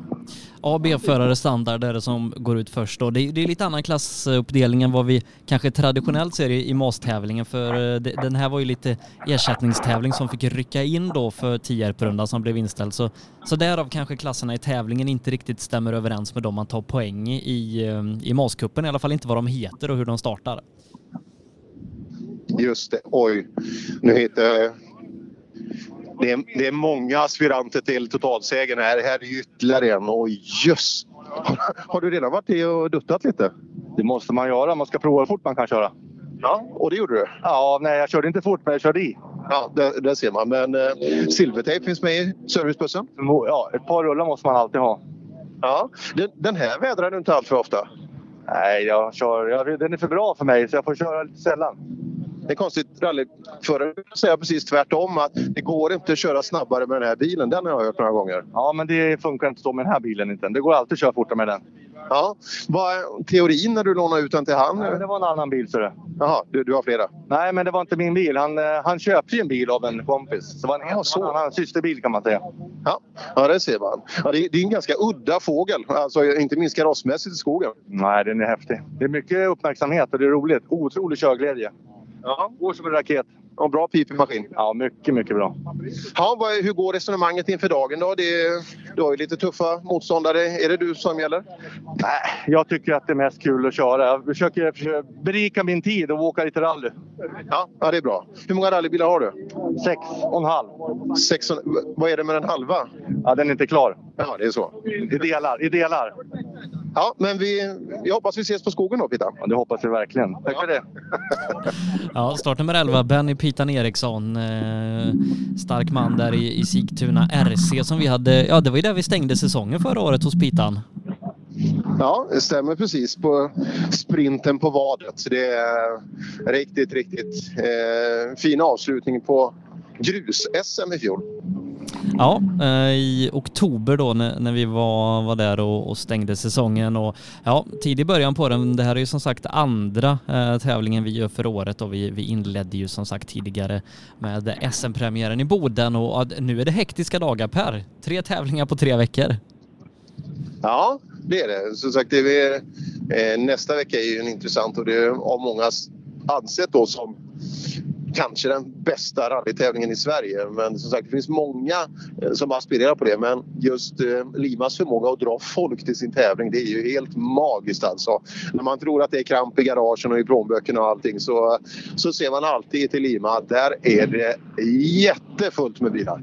S5: A och B-förare standard är det som går ut först då. Det är, det är lite annan klassuppdelning än vad vi kanske traditionellt ser i, i MAS-tävlingen för eh, de- den här var ju lite ersättningstävling som fick rycka in då för Tierp-rundan som blev inställd. Så, så därav kanske klasserna i tävlingen inte riktigt stämmer överens med de man tar poäng i i, eh, i MAS-cupen, i alla fall inte vad de heter och hur de startar.
S6: Just det, oj. Nu hittar jag det är, det är många aspiranter till totalsegern här. Här är ju ytterligare en. Oj, just. Har du redan varit i och duttat lite?
S16: Det måste man göra. Man ska prova hur fort man kan köra.
S6: Ja, och det gjorde du?
S16: Ja, nej, jag körde inte fort, men jag körde i.
S6: Ja, där, där ser man. Men eh, silvertejp finns med i servicebussen?
S16: Ja, ett par rullar måste man alltid ha.
S6: Ja, den, den här vädrar du inte allt för ofta.
S16: Nej, jag kör, jag, den är för bra för mig, så jag får köra lite sällan.
S6: Det är konstigt, rallyförare säger precis tvärtom. att Det går inte att köra snabbare med den här bilen. Den har jag hört några gånger.
S16: Ja, men det funkar inte så med den här bilen inte. Det går alltid att köra fortare med den.
S6: Ja, vad är teorin när du lånade ut den till han?
S16: Nej, men det var en annan bil, så det.
S6: Jaha, du, du har flera?
S16: Nej, men det var inte min bil. Han, eh, han köpte ju en bil av en kompis. Så det var en, helt en annan systerbil kan man säga.
S6: Ja, ja det ser man. Ja, det, det är en ganska udda fågel, alltså, inte minst karossmässigt i skogen.
S16: Nej,
S17: er
S16: den är häftig. Det är mycket uppmärksamhet och det är roligt. Otrolig körglädje. Ja. Går som en raket.
S6: Och bra pipig maskin.
S16: Ja, mycket, mycket bra.
S6: Ja, vad, hur går resonemanget inför dagen? Då? Det, du har ju lite tuffa motståndare. Är det du som gäller?
S16: Nej, jag tycker att det är mest kul att köra. Jag försöker, försöker berika min tid och åka lite rally.
S6: Ja, ja, det är bra. Hur många rallybilar har du?
S16: Sex och en halv.
S6: Sex och, vad är det med den halva?
S16: Ja, den är inte klar.
S6: Ja, det är så.
S16: I delar. I delar.
S6: Ja, men vi, jag hoppas vi ses på skogen då, Pita.
S16: Ja, det hoppas vi verkligen. Tack för det.
S5: Ja, startnummer 11, Benny Pitan Eriksson. Eh, stark man där i, i Sigtuna RC som vi hade. Ja, det var ju där vi stängde säsongen förra året hos Pitan.
S6: Ja, det stämmer precis på sprinten på vadet. Så det är riktigt, riktigt eh, fin avslutning på grus-SM i fjol.
S5: Ja, eh, i oktober då när, när vi var, var där och, och stängde säsongen och ja, tidig början på den. Det här är ju som sagt andra eh, tävlingen vi gör för året och vi, vi inledde ju som sagt tidigare med SM-premiären i Boden och ja, nu är det hektiska dagar Per. Tre tävlingar på tre veckor.
S6: Ja, det är det. Som sagt, det är, eh, nästa vecka är ju en intressant och det är av många s- ansett då som kanske den bästa rallytävlingen i Sverige. Men som sagt, det finns många eh, som aspirerar på det. Men just eh, Limas förmåga att dra folk till sin tävling, det är ju helt magiskt alltså. När man tror att det är kramp i garagen och i plånböckerna och allting så, så ser man alltid till Lima att där är det jättefullt med bilar.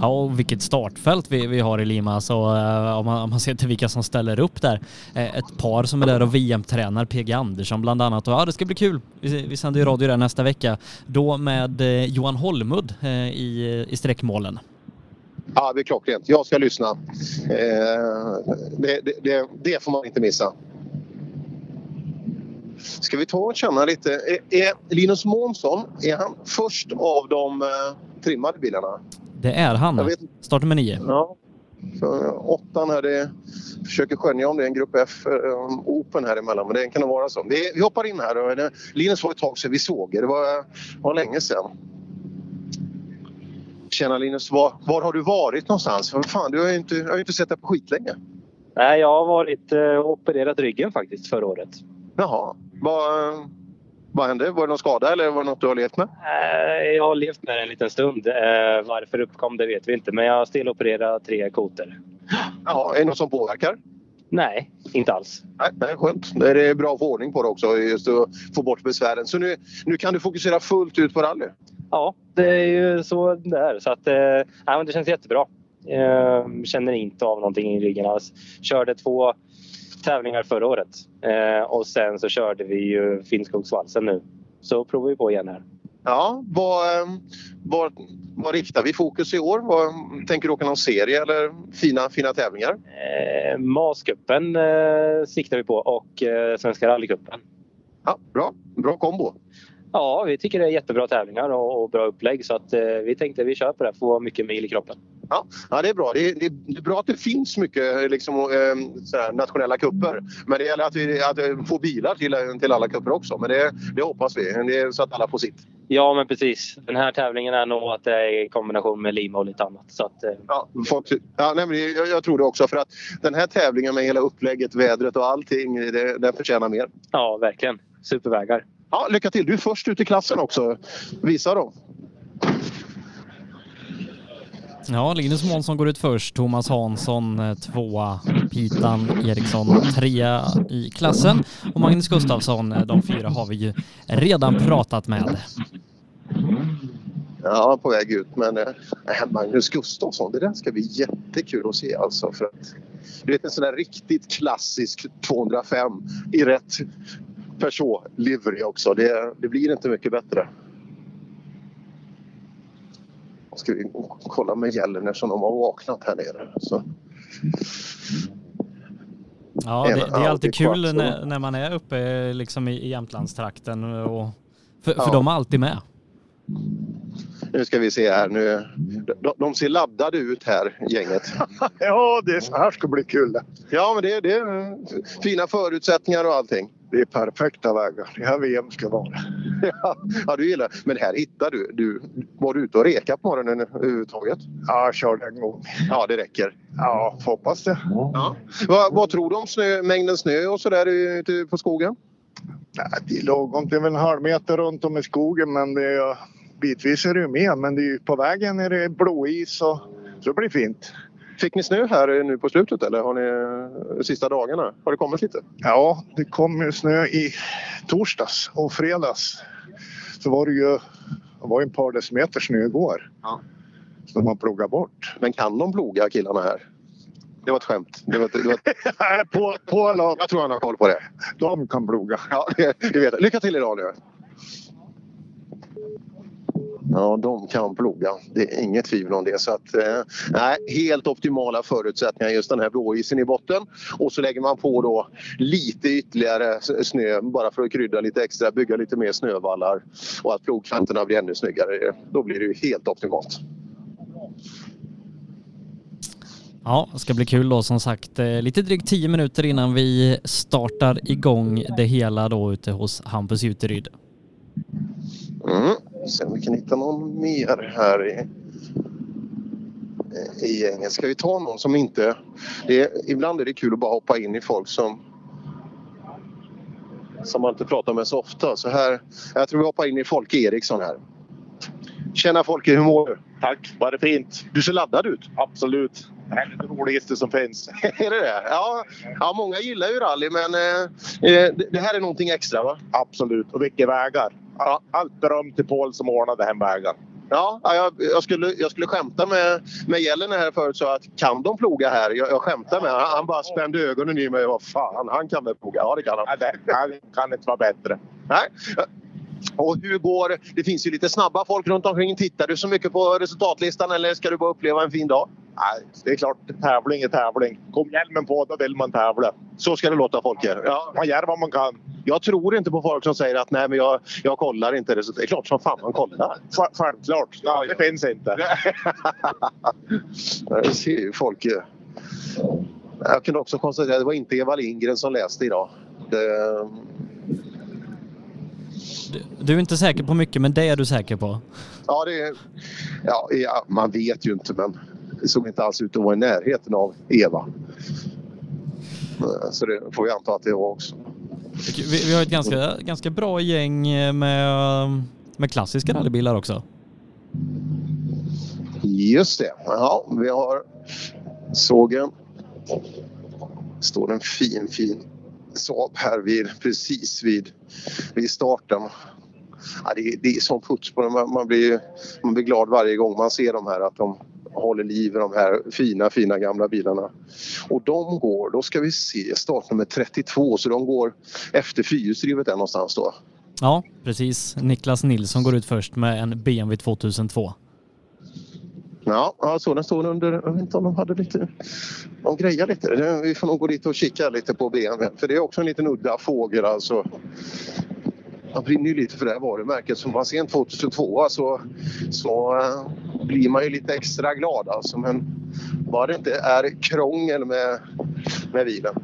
S5: Ja, och vilket startfält vi, vi har i Lima. Så, eh, om, man, om man ser till vilka som ställer upp där. Eh, ett par som är där och VM-tränar, PG Andersson bland annat. Och, ja, det ska bli kul. Vi, vi sänder ju radio där nästa vecka. Då med eh, Johan Holmud eh, i, i sträckmålen.
S6: Ja, det är klockrent. Jag ska lyssna. Eh, det, det, det, det får man inte missa. Ska vi ta och känna lite. Är, är Linus Månsson, är han först av de eh, trimmade bilarna?
S5: Det är han. Startnummer nio.
S6: Ja. Så, eh, åttan här, det försöker skönja om det är en Grupp F eh, Open här emellan, men det kan nog vara så. Vi, vi hoppar in här. Och, eh, Linus var ett tag sedan vi såg er. Det var, var länge sedan. Tjena Linus, var, var har du varit någonstans? Vad fan, du har ju inte, jag har ju inte sett dig på skitlänge.
S12: Nej, jag har varit eh, och opererat ryggen faktiskt förra året.
S6: Jaha. Vad, vad hände? Var det någon skada eller var det något du har levt med?
S12: Eh, jag har levt med det en liten stund. Eh, varför det uppkom det vet vi inte, men jag har stelopererat tre koter.
S6: Ja, är det något som påverkar?
S12: Nej, inte alls.
S6: Nej, det är skönt. Det är bra att få ordning på det också, just att få bort besvären. Så nu, nu kan du fokusera fullt ut på rally?
S12: Ja, det är ju så det är. Så att, eh, nej, men det känns jättebra. Eh, känner inte av någonting i ryggen alls. Körde två tävlingar förra året eh, och sen så körde vi ju Finnskogsvalsen nu. Så provar vi på igen här.
S6: Ja, vad, eh, vad, vad riktar vi fokus i år? Vad, tänker du åka någon serie eller fina, fina tävlingar?
S12: Eh, Mascupen eh, siktar vi på och eh, Svenska rallycupen.
S6: Ja, bra. Bra kombo.
S12: Ja, vi tycker det är jättebra tävlingar och, och bra upplägg så att eh, vi tänkte vi kör på det, få mycket mil i kroppen.
S6: Ja, ja, det är bra. Det är, det är- det är bra att det finns mycket liksom, eh, så här, nationella kupper. Men det gäller att, vi, att eh, få bilar till, till alla kupper också. Men det, det hoppas vi, det är så att alla får sitt.
S12: Ja, men precis. Den här tävlingen är nog att det är i kombination med Lima och lite annat. Så att, eh,
S6: Ja, folk, ja, nej, men jag, jag tror det också. För att den här tävlingen med hela upplägget, vädret och allting, det, den förtjänar mer.
S12: ja, verkligen. Supervägar.
S6: Ja, lycka till! Du är först ut i klassen också. Visa då.
S5: Ja, Linus Månsson går ut först, Thomas Hansson eh, tvåa, Pitan Eriksson trea i klassen och Magnus Gustafsson, eh, de fyra har vi ju redan pratat med.
S6: Ja, på väg ut. Men eh, Magnus Gustafsson, det där ska bli jättekul att se alltså. För att, du vet en sån där riktigt klassisk 205 i rätt Peugeot-livery också. Det, det blir inte mycket bättre. Ska vi kolla med Gällner som de har vaknat här nere. Så.
S5: Ja, det, det är alltid kul när, när man är uppe eh, liksom i, i Jämtlandstrakten och för, för
S6: Ja.
S5: de är alltid med.
S6: Nu ska vi se här. Nu,
S16: Mm.
S6: de, de ser laddade ut här, gänget.
S16: Ja, det är så här ska bli kul.
S6: Ja, men det, det är fina förutsättningar och allting.
S16: Det är perfekta vägar. Det här VM ska vara.
S6: Ja, ja, du gillar Men här hittar du, du. Var du ute och reka på morgonen överhuvudtaget?
S16: Ja, jag körde en gång.
S6: Ja, det räcker.
S16: Ja, får hoppas det.
S6: Ja. Vad, vad tror du om snö, mängden snö och sådär ute på skogen?
S16: Nej, det är lagom. Det är väl en halv meter runt om i skogen, men det är, bitvis är det ju med. Men det är ju, på vägen är det blåis och så blir det fint.
S6: Fick ni snö här nu på slutet eller har ni eh, sista dagarna? Har det kommit lite?
S16: Ja, det kom ju snö i torsdags och fredags. Så var det ju det var ju en par decimeter snö igår.
S6: Ja.
S16: Så de har plogat bort.
S6: Men kan de ploga killarna här? Det var ett skämt. Det var, ett- det var ett...
S16: på, på lag.
S6: Jag tror han har koll på det.
S16: De kan ploga.
S6: Ja, det, det vet jag. Lycka till idag nu! Ja, de kan ploga. Det är inget tvivel om det. Så att, eh, nej, helt optimala förutsättningar just den här blåisen i botten. Och så lägger man på då lite ytterligare s- snö bara för att krydda lite extra, bygga lite mer snövallar och att plogkanterna blir ännu snyggare. Då blir det ju helt optimalt.
S5: Ja, det ska bli kul då som sagt. Eh, Lite drygt 10 minuter innan vi startar igång det hela då ute hos Hampus Juteryd.
S6: Mm. Se om vi kan hitta någon mer här i, i gänget. Ska vi ta någon som inte... Det är, ibland är det kul att bara hoppa in i folk som som man inte pratar med så ofta. Så här, jag tror vi hoppar in i Folke Eriksson här. Tjena Folke, hur mår du?
S18: Tack, var det fint?
S6: Du ser laddad ut.
S18: Absolut. Det här är det roligaste som finns.
S6: är det det? Ja, ja, många gillar ju rally men eh, eh, det, det här är någonting extra va?
S18: Absolut, och vilka vägar. Ja, Allt beröm till Paul som ordnade hem vägar.
S6: Ja, ja, jag, jag, skulle, jag skulle skämta med, med Gällner här förut så att kan de ploga här? Jag, jag skämtar med honom. Han, han bara spände ögonen i mig. Vad fan, han kan väl ploga? Ja, det kan han.
S18: Det kan inte vara bättre.
S6: Nej. Och hur går... Det finns ju lite snabba folk runt omkring. Tittar du så mycket på resultatlistan eller ska du bara uppleva en fin dag?
S18: Nej, det är klart, tävling är tävling. Kom hjälmen på, då vill man tävla.
S6: Så ska det låta Folke. Ja.
S18: Man gör vad man kan.
S6: Jag tror inte på folk som säger att nej, men jag, jag kollar inte resultat. Det är klart som fan man kollar.
S18: Sj- Självklart. Ja, det finns inte.
S6: Jag ser ju Folke. Jag kunde också konstatera att det var inte Eva Lindgren som läste idag. Det,
S5: Du är inte säker på mycket, men det är du säker på.
S6: Ja, det, ja, ja, man vet ju inte, men det såg inte alls ut att vara i närheten av Eva. Eh, Så det får vi anta att det var också.
S5: Vi, vi har ett ganska, ganska bra gäng eh, med, med klassiska rallybilar också.
S6: Just det. Ja, vi har sågen. står en fin, fin Saab här vid, precis vid, vid starten. Ja, det, är- det är som puts på dem. Man, man, blir, man blir glad varje gång man ser de här. Att de håller liv i de här fina, fina gamla bilarna. Och de går, då ska vi se, startnummer 32. Så de går efter fyrhjulsdrivet där någonstans då.
S5: Ja, precis. Niklas Nilsson går ut först med en BMW 2002.
S6: Ja, ja så den står under. Jag vet inte om de hade lite... De grejer lite. Det- Vi får nog gå dit och kika lite på BMW. För det är också en liten udda fågel alltså. Man brinner ju lite för det här varumärket. Så man ser en 2002 så, så eh, blir man ju lite extra glad alltså. Men bara det inte är krångel med, med bilen.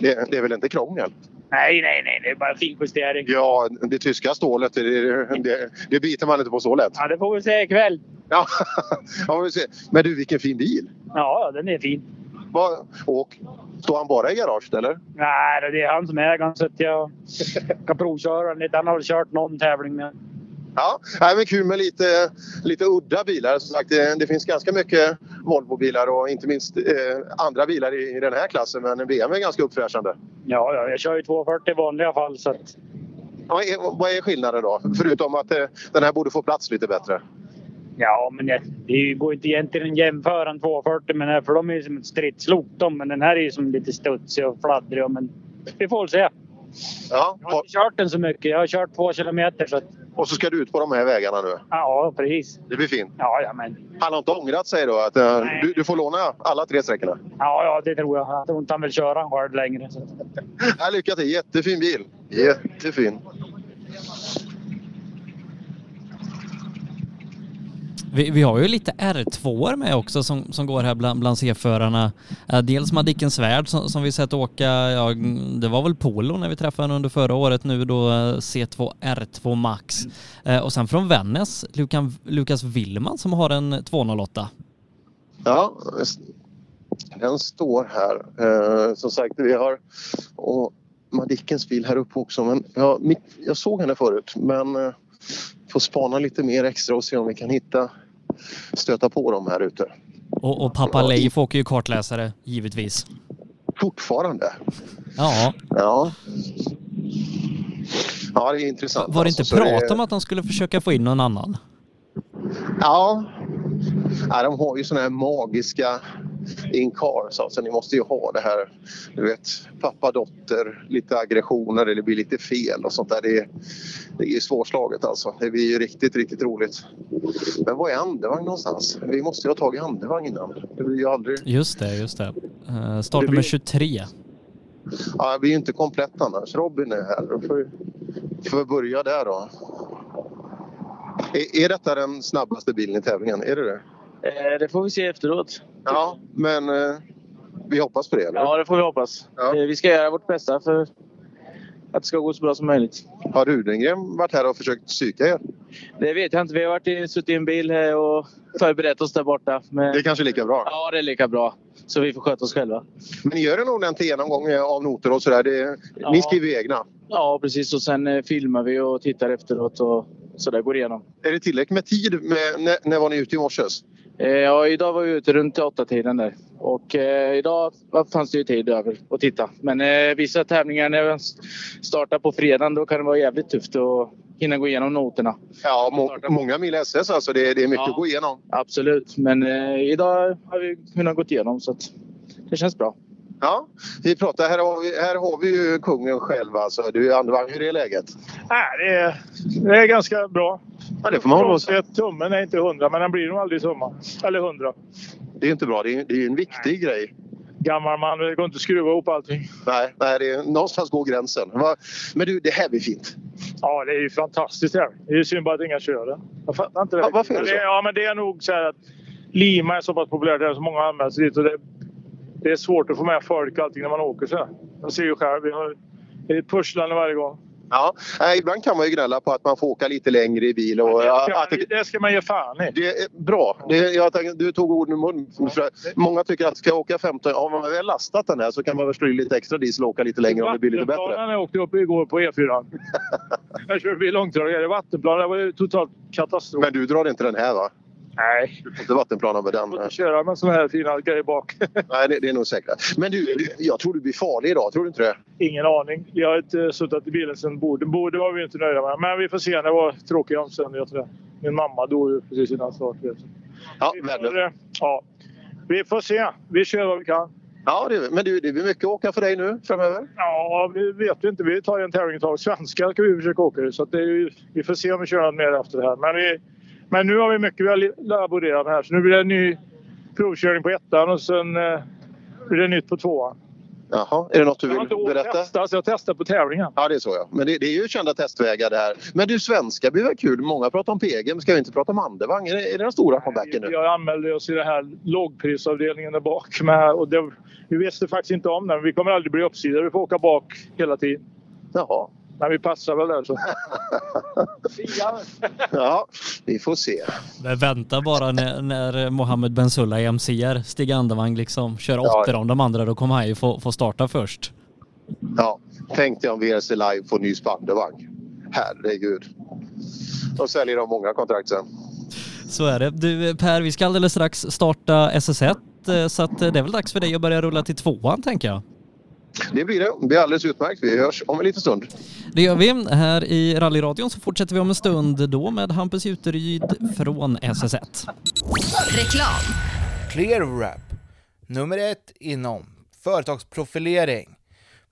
S6: Det, det är väl inte krångel?
S19: Nej, nej, nej, det är bara finjustering.
S6: Ja, det tyska stålet, det, det, det biter man inte på så lätt.
S19: Ja, det får vi se ikväll.
S6: Ja, ja, men, se. men du, vilken fin bil!
S19: Ja, den är fin.
S6: Va, och står han bara i garaget eller?
S19: Nej, då, det är han som äger den så att jag kan provköra den lite. Han har väl kört någon tävling med.
S6: Ja, nej, men kul med lite, lite udda bilar. Som sagt, det, det finns ganska mycket Volvo-bilar och inte minst eh, andra bilar i, i den här klassen. Men en BMW är ganska uppfräschande.
S19: Ja, ja, jag kör ju 240 i vanliga fall så att...
S6: Ja, vad är- vad är skillnaden då? Förutom att eh, den här borde få plats lite bättre.
S19: Ja, men det, det går inte egentligen att jämföra en 240 med den här för de är ju som ett stridslok de. Men den här är ju som lite studsig och fladdrig. och- Men vi får väl se.
S6: Ja,
S19: jag har inte kört den så mycket. Jag har kört två kilometer. Så att,
S6: Och så ska du ut på de här vägarna nu.
S19: ja, precis.
S6: Det blir fint.
S19: Ja, ja, men,
S6: Han har inte ångrat sig då? Att, eh, du, du får låna alla tre sträckorna.
S19: ja, ja, det tror jag. Jag tror inte han vill köra den själv längre. Så. att-
S6: Ja, lycka till, jättefin bil. Jättefin.
S5: Vi, vi har ju lite R2 med också som, som går här bland, bland C-förarna. Eh, Dels Madicken Svärd som, som vi sett åka, ja, mm, det var väl Polo när vi träffade henne under förra året nu då eh, C2 R2 Max. Eh, Och sen från Vännäs, Lukan, Lukas Willman som har en 208.
S6: Ja, den står här. Eh, som sagt, vi har och Madickens bil här uppe också. Men jag, mitt, jag såg henne förut, men eh, får spana lite mer extra och se om vi kan hitta stöta på dem här ute.
S5: Och, och pappa Leif åker ju kartläsare, givetvis.
S6: Fortfarande.
S5: Ja.
S6: Ja. Ja, det är intressant.
S5: Var det inte
S6: alltså. Så
S5: prat om att de skulle försöka få in någon annan?
S6: Ja. ja, de har ju såna här magiska in cars. Alltså, ni måste ju ha det här, du vet, pappa, dotter, lite aggressioner eller blir lite fel och sånt där. Det är, det är ju svårslaget alltså. Det blir ju riktigt, riktigt roligt. Men var är andevagn någonstans? Vi måste ju ha tag i andevagn innan. Det blir ju aldrig...
S5: Just det, just det. Eh, Startnummer 23.
S6: Ja, det blir ju inte komplett annars. Robin är här. Då får vi- får vi börja där då. Är, är detta den snabbaste bilen i tävlingen? Är det det?
S20: Eh, Det får vi se efteråt.
S6: Ja, men eh, vi hoppas på det. Eller?
S20: Ja, det får vi hoppas. Eh, Vi ska göra vårt bästa för att det ska gå så bra som möjligt.
S6: Har Rudengren varit här och försökt psyka er?
S20: Det vet jag inte. Vi har varit i, suttit i en bil här och förberett oss där borta. Men...
S6: Det är kanske är lika bra.
S20: Ja, det är lika bra. Så vi får sköta oss själva.
S6: Men ni gör en ordentlig genomgång eh, av noter och sådär. Det- Ni
S20: Ja.
S6: skriver ju egna.
S20: Ja, precis. Och sen eh, filmar vi och tittar efteråt och så där går det igenom.
S6: Är det tillräckligt med tid? Med, när, när var ni ute i morse?
S20: Eh, Ja, idag var vi ute runt åtta tiden där. Och eh, idag fanns det ju tid över att titta. Men eh, vissa tävlingar när jag s- startar på fredagen då kan det vara jävligt tufft att hinna gå igenom noterna.
S6: Ja, må, många mil SS alltså. Det, det är mycket att gå igenom.
S20: Absolut, men eh, idag har vi kunnat gå igenom så att det känns bra.
S6: Ja, vi pratar. Här har vi, här har vi ju kungen själv alltså. Du andevagn, hur är läget?
S17: Nej, det är, det är ganska bra.
S6: Ja, det får man väl
S17: säga. Tummen är inte hundra, men den blir nog aldrig tumma. Eller hundra.
S6: Det är inte bra. Det är, det är ju en viktig grej.
S17: Gammal man, det går inte att skruva ihop allting.
S6: Nej, nej det är, någonstans går gränsen. Va? Men du, det här blir fint.
S17: Ja, det är ju fantastiskt här. Det är ju synd bara att inga kör den. Jag fattar inte det.
S6: Va- varför är det
S17: Men
S6: så?
S17: Ja, men det är nog så här att Lima är så pass populärt här så många anmäler sig dit. Och det, det är svårt att få med folk och allting när man åker så här. Jag ser ju själv. Vi har, det är ett pusslande varje gång.
S6: Ja, nej, ibland kan man ju gnälla på att man får åka lite längre i bil. Och, eh,
S17: ska-
S6: att det,
S17: det ska man ge fan i.
S6: Det är bra. Det, jag, tänkte- du tog orden i munnen. För Många tycker att ska jag åka 15, ja, om man väl lastat den här så kan man väl slå i lite extra diesel och åka lite längre om det blir lite bättre.
S17: Vattenplanen jag åkte upp igår på E4. jag körde bil långtradare i vattenplan. Det var ju totalt katastrof.
S6: Men du drar inte den här va?
S17: Nej.
S6: Du får inte vattenplana med den.
S17: att köra med sådana här fina grejer bak.
S6: Nej, det, det är nog säkert. Men du, du, jag tror du blir farlig idag. Tror du inte det?
S17: Ingen aning. Jag har inte suttit i bilen sedan Boden. Boden var vi inte nöjda med. Men vi får se. Det var tråkiga omständigheter. där. Min mamma dog ju precis innan start.
S6: Ja,
S17: vi, får, ja. vi får se. Vi kör vad vi kan.
S6: Ja, det, men du, det blir mycket att åka för dig nu framöver?
S17: Ja, vi vet ju inte. Vi tar ju en tävling i taget. Svenskar ska vi försöka åka i, så att det är ju, Vi får se om vi kör något mer efter det här. Men, vi, men nu har vi mycket vi har li- laborerat med här. Så nu blir det en ny provkörning på ettan och sen eh, blir det nytt på tvåan.
S6: Jaha, är det något du
S17: Jag har
S6: vill
S17: inte åkt
S6: berätta?
S17: hästar, så jag testar på tävlingen.
S6: Ja, det är så ja. Men det, det är ju kända testvägar det här. Men du, svenska blir väl kul? Många pratar om PG, men ska vi inte prata om Andevang? Är det, är det den stora comebacken nu?
S17: Jag anmälde oss i den här lågprisavdelningen där bak. Med, och det, vi visste faktiskt inte om den. Vi kommer aldrig bli uppsida. Vi får åka bak hela tiden.
S6: Jaha.
S17: Men vi passar väl där så.
S6: Ja, vi får se.
S5: Men vänta bara när, när Mohammed Bensulla är MCR, Stig Andevang liksom kör
S6: Ja.
S5: åttor om de andra, då kommer han ju få, få starta först.
S6: Ja, tänk dig om VRC Live får ny Spandevang. Herregud. Då säljer de många kontrakt sen.
S5: Så är det. Du eh, Per, vi ska alldeles strax starta SS1, eh, så att eh, det är väl dags för dig att börja rulla till tvåan tänker jag.
S6: Det blir det. Det blir alldeles utmärkt. Vi hörs om en liten stund.
S5: Det gör vi. Här i rallyradion så fortsätter vi om en stund då med Hampus Juteryd från SS1.
S2: Reklam.
S3: ClearWrap, nummer ett inom företagsprofilering.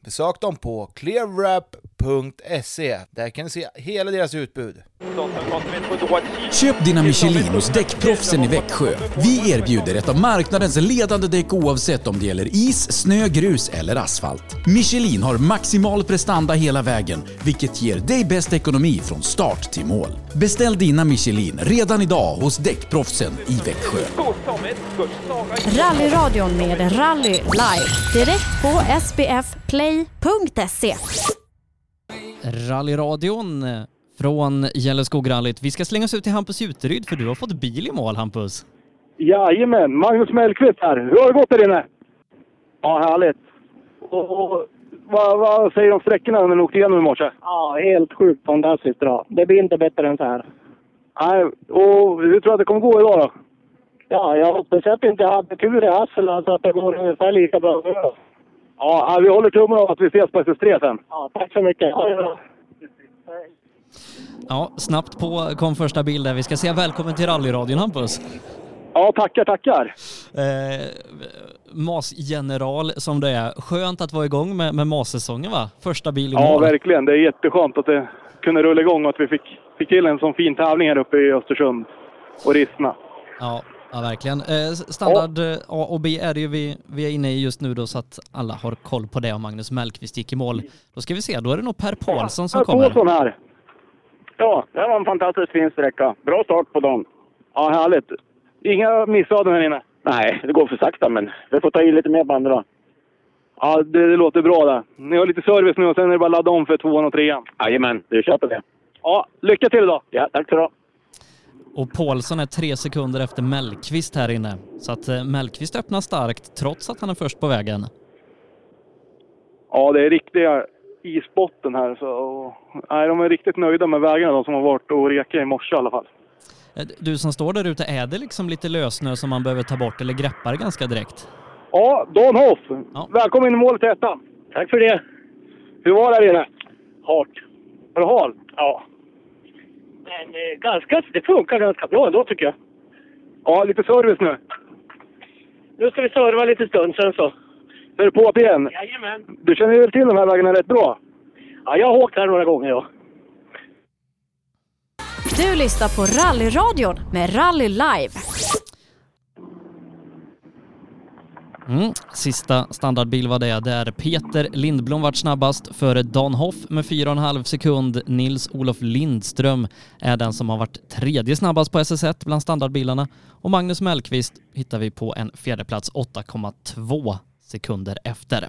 S3: Besök dem på clearwrap.se. Där kan du se hela deras utbud.
S4: Köp dina Michelin hos Däckproffsen i Växjö. Vi erbjuder ett av marknadens ledande däck oavsett om det gäller is, snö, grus eller asfalt. Michelin har maximal prestanda hela vägen, vilket ger dig bäst ekonomi från start till mål. Beställ dina Michelin redan idag hos Däckproffsen i Växjö.
S1: Rallyradion med Rally Live. Direkt på sbfplay.se.
S5: Rallyradion eh, från Gällesskograllyt. Vi ska slänga oss ut till Hampus Juteryd för du har fått bil i mål Hampus.
S21: Jajamän, Magnus Mellqvist här. Hur har det gått där inne? Ja, härligt. Och, och, vad, vad säger du om sträckorna när ni åkte igenom i morse?
S22: Ja, helt sjukt fantastiskt bra. Det blir inte bättre än så här.
S21: Nej, och hur tror du att det kommer gå idag då?
S22: Ja, jag hoppas att jag inte hade tur i Hassela så att det går ungefär lika bra.
S21: Ja, nej, vi håller tummarna att vi ses på SS3 sen.
S22: Ja, tack så mycket. Ha det bra.
S5: Ja, snabbt på kom första bild där. Vi ska säga välkommen till rallyradion Hampus.
S21: Ja, tackar, tackar.
S5: Eh, masgeneral som det är. Skönt att vara igång med, med massäsongen va? Första bil i
S21: Ja,
S5: mål.
S21: verkligen. Det är jätteskönt att det kunde rulla igång och att vi fick, fick till en sån fin tävling här uppe i Östersund och Rissna.
S5: Ja, ja verkligen. Eh, s- standard eh, A och B är det ju vi, vi är inne i just nu då så att alla har koll på det och Magnus Mellqvist gick i mål. Då ska vi se, då är det nog Per Paulsson som
S21: Per
S5: kommer.
S21: Paulsson här. Ja, det var en fantastiskt fin sträcka. Bra start på dagen. Ja, härligt. Inga missöden här inne? Nej, det går för sakta, men vi får ta i lite mer på andra. Ja, det, det låter bra det. Ni har lite service nu och sen är det bara att ladda om för tvåan och trean. Jajamän, vi köper det. Ja, lycka till idag! Ja, tack så du
S5: Och Paulsson är tre sekunder efter Mellqvist här inne. Så att eh, Mellqvist öppnar starkt trots att han är först på vägen.
S21: Ja, det är riktiga isbotten här. Så, och, nej, de är riktigt nöjda med vägarna, de som har varit och rekat i morse i alla fall.
S5: Eh, d- Du som står där ute, är det liksom lite lössnö som man behöver ta bort eller greppar ganska direkt?
S21: Ja, Dan Hoff. Välkommen in i målet till ettan. Tack för det. Hur var det här inne? Hårt. Var det halt? Ja.
S22: Men eh, ganska, det funkar ganska bra ändå tycker jag.
S21: Ja, lite service nu.
S22: Nu ska vi serva lite stund sen så.
S21: Nu är du på upp igen.
S22: Jajamän.
S21: Du känner väl till de här vägarna rätt bra?
S22: Ja, jag har åkt här några gånger ja.
S1: Du lyssnar på Rallyradion med Rally Live.
S5: Mm. Sista standardbil var det där Peter Lindblom vart snabbast före Dan Hoff med 4,5 sekund. Nils-Olof Lindström är den som har varit tredje snabbast på SS1 bland standardbilarna och Magnus Mellqvist hittar vi på en fjärdeplats 8,2 sekunder efter.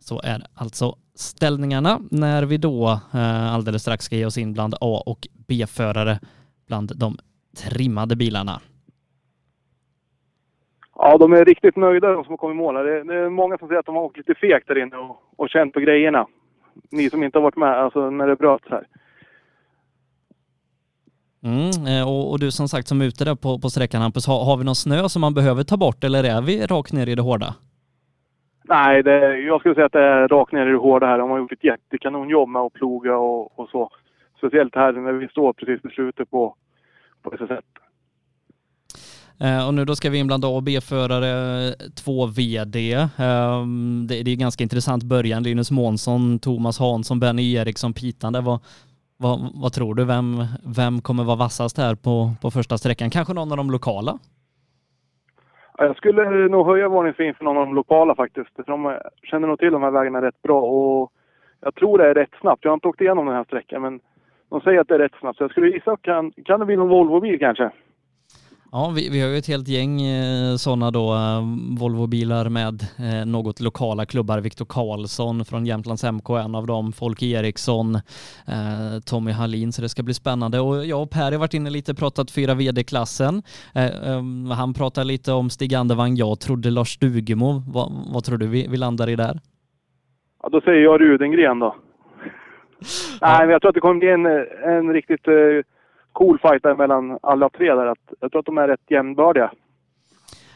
S5: Så är alltså ställningarna när vi då eh, alldeles strax ska ge oss in bland A och B-förare bland de trimmade bilarna.
S21: Ja, de är riktigt nöjda de som har kommit i mål. här. Det, det är många som säger att de har åkt lite fegt där inne och, och känt på grejerna. Ni som inte har varit med, alltså när det bröts här.
S5: Mm, eh, och, och du som sagt som är ute där på, på sträckan Hampus, har, har vi någon snö som man behöver ta bort eller är vi rakt ner i det hårda?
S21: Nej, det, jag skulle säga att det är rakt ner i det hårda här. De har gjort ett jättekanonjobb med att ploga och, och så. Speciellt här när vi står precis i slutet på, på SS1.
S5: Eh, och nu då ska vi in bland A och B-förare, två VD. Ehm, det, det är ganska intressant början, Linus Månsson, Thomas Hansson, Benny Eriksson, Pitan där. Vad, vad, vad tror du, vem, vem kommer vara vassast här på, på första sträckan? Kanske någon av de lokala?
S12: Ja, Jag skulle nog höja varningen för inför någon av de lokala faktiskt. För de känner nog till de här vägarna rätt bra och jag tror det är rätt snabbt. Jag har inte åkt igenom den här sträckan men de säger att det är rätt snabbt. Så jag skulle gissa, kan, kan det bli någon Volvobil kanske?
S5: Ja, vi, vi har ju ett helt gäng eh, sådana då eh, Volvobilar med eh, något lokala klubbar. Viktor Karlsson från Jämtlands MK är en av dem, Folke Eriksson, eh, Tommy Hallin, så det ska bli spännande. Och jag och Per har varit inne lite och pratat fyra vd-klassen. Eh, eh, han pratar lite om Stig Andervang, jag trodde Lars Stugemo. Vad, vad tror du vi, vi landar i där?
S12: Ja, då säger jag Rudengren då. Nej, men jag tror att det kommer bli en, en riktigt eh, cool fight där mellan alla tre där. Att, jag tror att de är rätt jämnbördiga.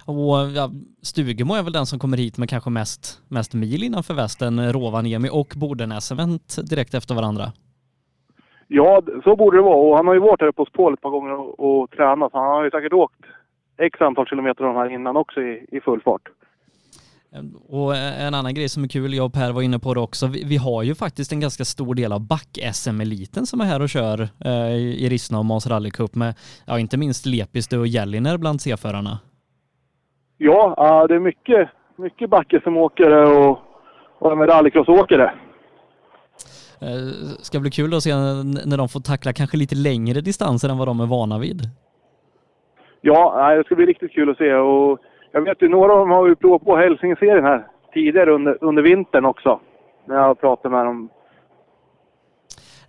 S5: Och ja, Stugemo är väl den som kommer hit med kanske mest, mest mil innanför västen, Rovaniemi och Bodenäs event direkt efter varandra.
S12: Ja, d- så borde det vara. Och han har ju varit här uppe hos Paul ett par gånger och, och tränat. Så han har ju säkert åkt x antal kilometer av de här innan också i, i full fart.
S5: Och en annan grej som är kul, jag och Per var inne på det också, vi, vi har ju faktiskt en ganska stor del av back-SM-eliten som är här och kör eh, i Rissne och Måns rallycup med, ja inte minst Lepistö och Gälliner bland C-förarna.
S12: Ja, ja, det är mycket, mycket backe som åkare och, och även rallycrossåkare.
S5: Eh, ska bli kul att se n- när de får tackla kanske lite längre distanser än vad de är vana vid.
S12: Ja, nej, det ska bli riktigt kul att se. Och jag vet ju, några av dem har ju provat på Hälsingeserien här tidigare under, under vintern också. När jag pratade med dem.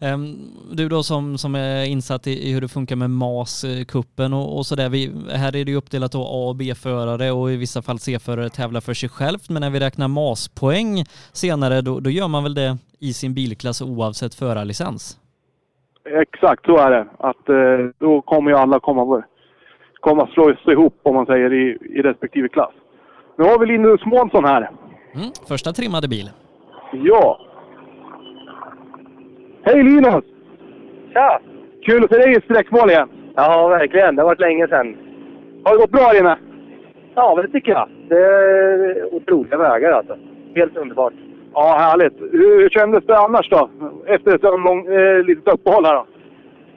S5: Ehm, Du då som, som är insatt i, i hur det funkar med MAS-kuppen och, och sådär. Vi- Här är det ju uppdelat då A och B-förare och i vissa fall C-förare tävlar för sig självt. Men när vi räknar MAS-poäng senare då, då gör man väl det i sin bilklass oavsett förarlicens?
S12: Exakt, så är det. Att, eh, då kommer ju alla komma, komma slås ihop, om man säger, i, i respektive klass. Nu har vi Linus Månsson här.
S5: Mm, första trimmade bil.
S12: Ja. Hej Linus!
S18: Tja!
S12: Kul att se dig i sträckmål igen.
S18: Ja, verkligen. Det har varit länge sedan.
S12: Har det gått bra här inne?
S18: Ja, men det tycker jag. Det är otroliga vägar alltså. Helt underbart.
S12: Ja, härligt. Hur kändes det annars då? Efter ett lång, eh, litet uppehåll här då?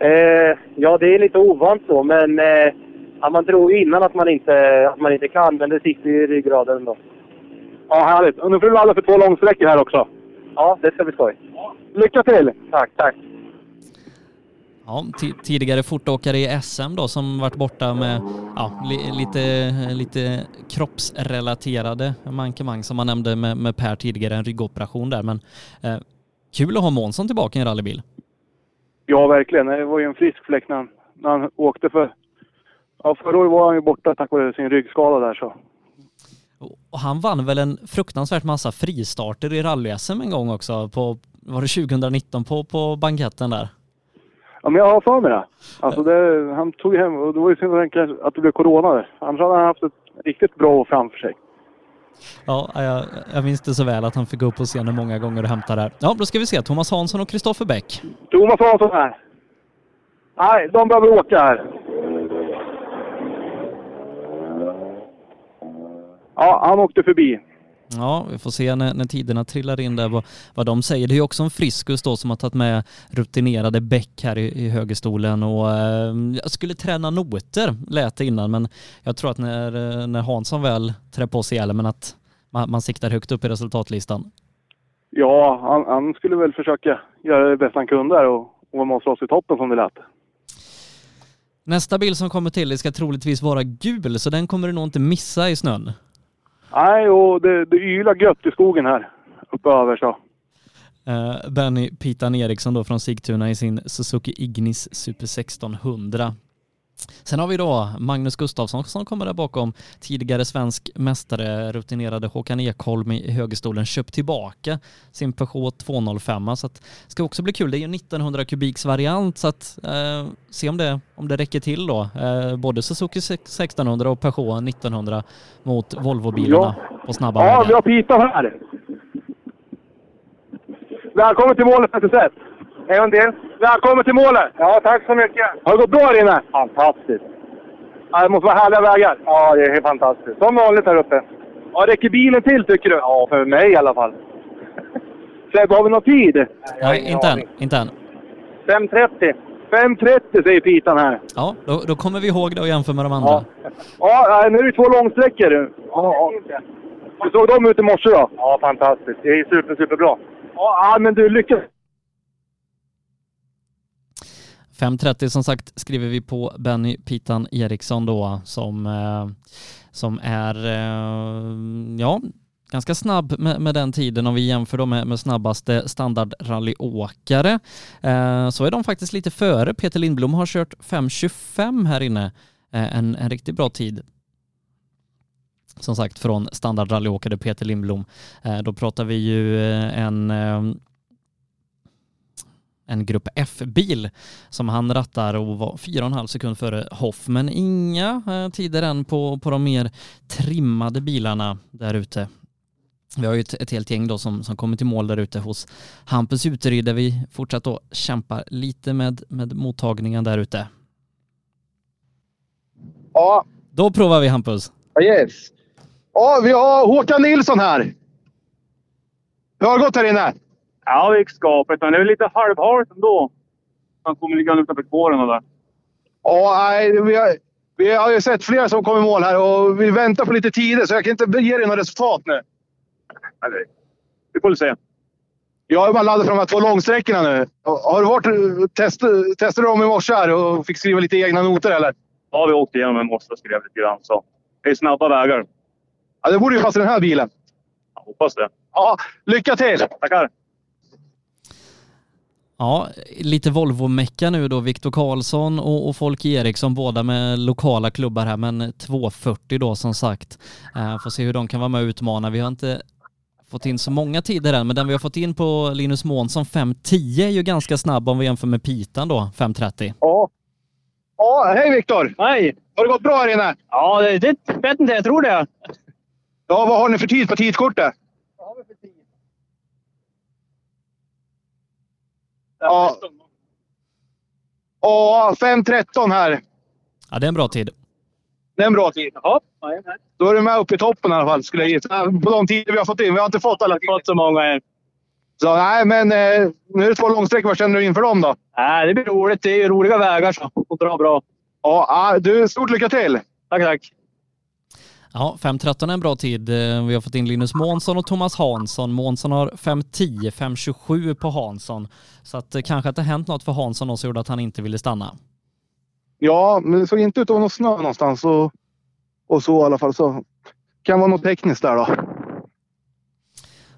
S18: Eh, ja, det är lite ovant så, men eh, ja, man tror ju innan att man, inte, att man inte kan, men det sitter ju i ryggraden ändå.
S12: Ja, härligt. Och nu får du ladda för två långsträckor här också.
S18: Ja, det ska bli skoj.
S12: Lycka till!
S18: Tack, tack.
S5: Ja, ti- tidigare fortåkare i SM då som varit borta med ja, li, lite, lite kroppsrelaterade mankemang som man nämnde med, med Per tidigare, en ryggoperation där. Men eh, kul att ha Månsson tillbaka i en rallybil.
S12: Ja, verkligen. Det var ju en frisk fläck när han, när han åkte för... Ja, förra året var han ju borta tack vare sin ryggskada där så.
S5: Och han vann väl en fruktansvärt massa fristarter i rally-SM en gång också, på, var det 2019 på, på banketten där?
S12: Ja, men jag har för mig det. Alltså det, han tog hem... Och det var ju synd att han kanske- att det blev corona där. Annars hade han haft ett riktigt bra år framför sig.
S5: Ja, jag, jag minns det så väl att han fick gå upp på scenen många gånger och hämta där. Ja, då ska vi se, Thomas Hansson och Kristoffer Bäck.
S12: Thomas Hansson här. Nej, de behöver åka här. Ja, han åkte förbi.
S5: Ja, vi får se när, när tiderna trillar in där vad, vad de säger. Det är ju också en Friskus då som har tagit med rutinerade Bäck här i, i högerstolen och eh, jag skulle träna noter lät det innan men jag tror att när, eh, när Hansson väl trär på sig hjälmen att man, man siktar högt upp i resultatlistan.
S12: Ja, han, han skulle väl försöka göra det bästa han kunde där och, och vara med och slåss i toppen som det lät.
S5: Nästa bil som kommer till det ska troligtvis vara gul så den kommer du nog inte missa i snön.
S12: Nej, och det, det ylar gött i skogen här uppe över så.
S5: Eh, Benny Pitan Eriksson då från Sigtuna i sin Suzuki Ignis Super 1600. Sen har vi då Magnus Gustafsson som kommer där bakom. Tidigare svensk mästare, rutinerade Håkan Ekholm i högerstolen, köpt tillbaka sin Peugeot 205. Så att, det ska också bli kul. Det är ju en 1900 kubiks variant så att eh, se om det, om det räcker till då. Eh, både Suzuki 1600 och Peugeot 1900 mot Volvo-bilarna på snabba
S12: Ja,
S5: vägar.
S12: vi har Pitan här. Välkommen till målet 36. En gång till. Välkommen till målet! Ja, tack så mycket. Har det gått bra här inne? Fantastiskt. Ja, det måste vara härliga vägar. Ja, det är fantastiskt. Som vanligt här uppe. Ja, räcker bilen till tycker du? Ja, för mig i alla fall. Sebbe, har vi någon tid?
S5: Nej, inte än. Inte än.
S12: 5.30.
S7: 5.30 säger Pitan här.
S5: Ja, då, då kommer vi ihåg det och jämför med de andra.
S7: Ja, nu är det två långsträckor. Ja, ja. Hur såg de ut i morse då? Ja, fantastiskt. Det är super, superbra. Ja, men du, lycka
S5: 5.30 som sagt skriver vi på Benny Pitan Eriksson då som, eh, som är, eh, ja, ganska snabb med, med den tiden om vi jämför dem med, med snabbaste standardrallyåkare. Eh, så är de faktiskt lite före. Peter Lindblom har kört 5.25 här inne. Eh, en, en riktigt bra tid som sagt från standardrallyåkare Peter Lindblom. Eh, då pratar vi ju eh, en eh, en grupp F-bil som han rattar och var fyra och en halv sekund före Hoff. Men inga eh, tider än på, på de mer trimmade bilarna där ute. Vi har ju ett, ett helt gäng då som, som kommit i mål där ute hos Hampus Uteryd där vi fortsatt då kämpar lite med, med mottagningen där ute.
S9: Ja.
S5: Då provar vi Hampus.
S9: Ja, Yes. Ja, vi har Håkan Nilsson här. Hur har det gått här inne?
S10: Ja, det gick skapligt, men det är lite halvhalt ändå. Man kommer ligga utanför spåren och där.
S9: Ja, nej, vi, har, vi har ju sett flera som kom i mål här och vi väntar på lite tider så jag kan inte ge dig något resultat nu.
S10: Eller, vi får väl se.
S9: Jag har ju bara laddat för de här två långsträckorna nu. Har du varit, test, testade du dem i morse här och fick skriva lite egna noter eller?
S10: Ja, vi åkte igenom en morse och skrev lite grann, så det är snabba vägar.
S9: Ja, det borde ju passa den här bilen.
S10: Jag hoppas det.
S9: Ja, lycka till!
S10: Tackar!
S5: Ja, lite Volvo-mecka nu då. Viktor Karlsson och, och Folke Eriksson, båda med lokala klubbar här, men 2.40 då som sagt. Eh, får se hur de kan vara med och utmana. Vi har inte fått in så många tider än, men den vi har fått in på Linus Månsson 5.10 är ju ganska snabb om vi jämför med Pitan då, 5.30.
S9: Ja. Ja, hej Viktor!
S23: Hej!
S9: Har det gått bra här inne?
S23: Ja, det, det vet inte. Jag tror det.
S9: Ja, vad har ni för tid på tidkortet? Ja. Ja, 5.13 här.
S5: Ja, det är en bra tid.
S9: Det är en bra tid. Ja. Då är du med uppe i toppen i alla fall, skulle jag gissa. På de tider vi har fått in. Vi har inte fått alla fått så många än. Så nej, men eh, nu är det två långsträckor. Vad känner du inför dem då?
S23: Nej, det blir roligt. Det är ju roliga vägar så. Och bra, bra.
S9: Ja, ah, du, stort lycka till!
S23: Tack, tack.
S5: Ja, 5.13 är en bra tid. Eh, Vi har fått in Linus Månsson och Thomas Hansson. Månsson har 5.10, 5.27 på Hansson. Så att eh, kanske att det hänt något för Hansson då som gjorde att han inte ville stanna.
S9: Ja, men det såg inte ut att vara någon snö någonstans och, och så i alla fall. Så kan vara något tekniskt där då.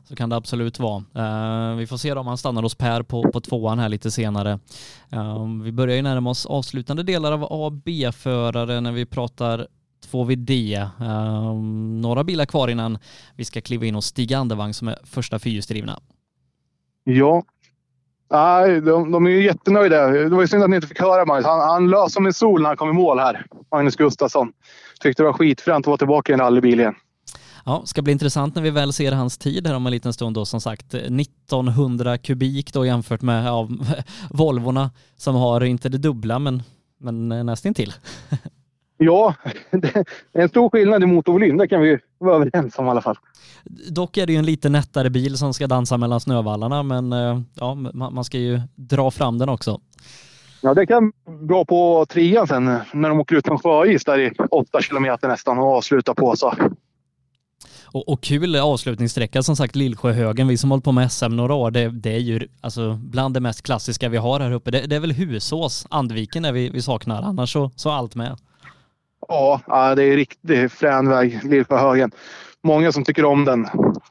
S5: Så kan det absolut vara. Eh, vi får se då om han stannar hos Per på, på tvåan här lite senare. Eh, vi börjar ju närma oss avslutande delar av A och B-förare när vi pratar 2VD. Eh, några bilar kvar innan vi ska kliva in och Stig Andevang som är första fyrhjulsdrivna.
S9: Ja. Nej, de, de är ju jättenöjda. Det var ju synd att ni inte fick höra Magnus. Han, han lös som en sol när han kom i mål här. Magnus Gustafsson. Tyckte det var skitfränt att vara tillbaka i en rallybil igen.
S5: Ja, ska bli intressant när vi väl ser hans tid här om en liten stund då som sagt 1900 kubik då jämfört med ja, Volvorna som har inte det dubbla men, men eh, nästintill.
S9: Ja, det är en stor skillnad i motorvolym. Det kan vi ju vara överens om i alla fall.
S5: Dock är det ju en lite nättare bil som ska dansa mellan snövallarna men eh, ja, man, man ska ju dra fram den också.
S9: Ja, det kan bra på trean sen när de åker ut från sjöis där i åtta kilometer nästan och avslutar på så.
S5: Och, och kul avslutningssträcka som sagt Lillsjöhögen, vi som hållit på med SM några år, det, det är ju alltså, bland det mest klassiska vi har här uppe. Det, det är väl Husås, Andviken där vi, vi saknar, annars så, så allt med.
S9: Ja, ja, det är riktigt frän väg, Lillsjöhögen. Många som tycker om den.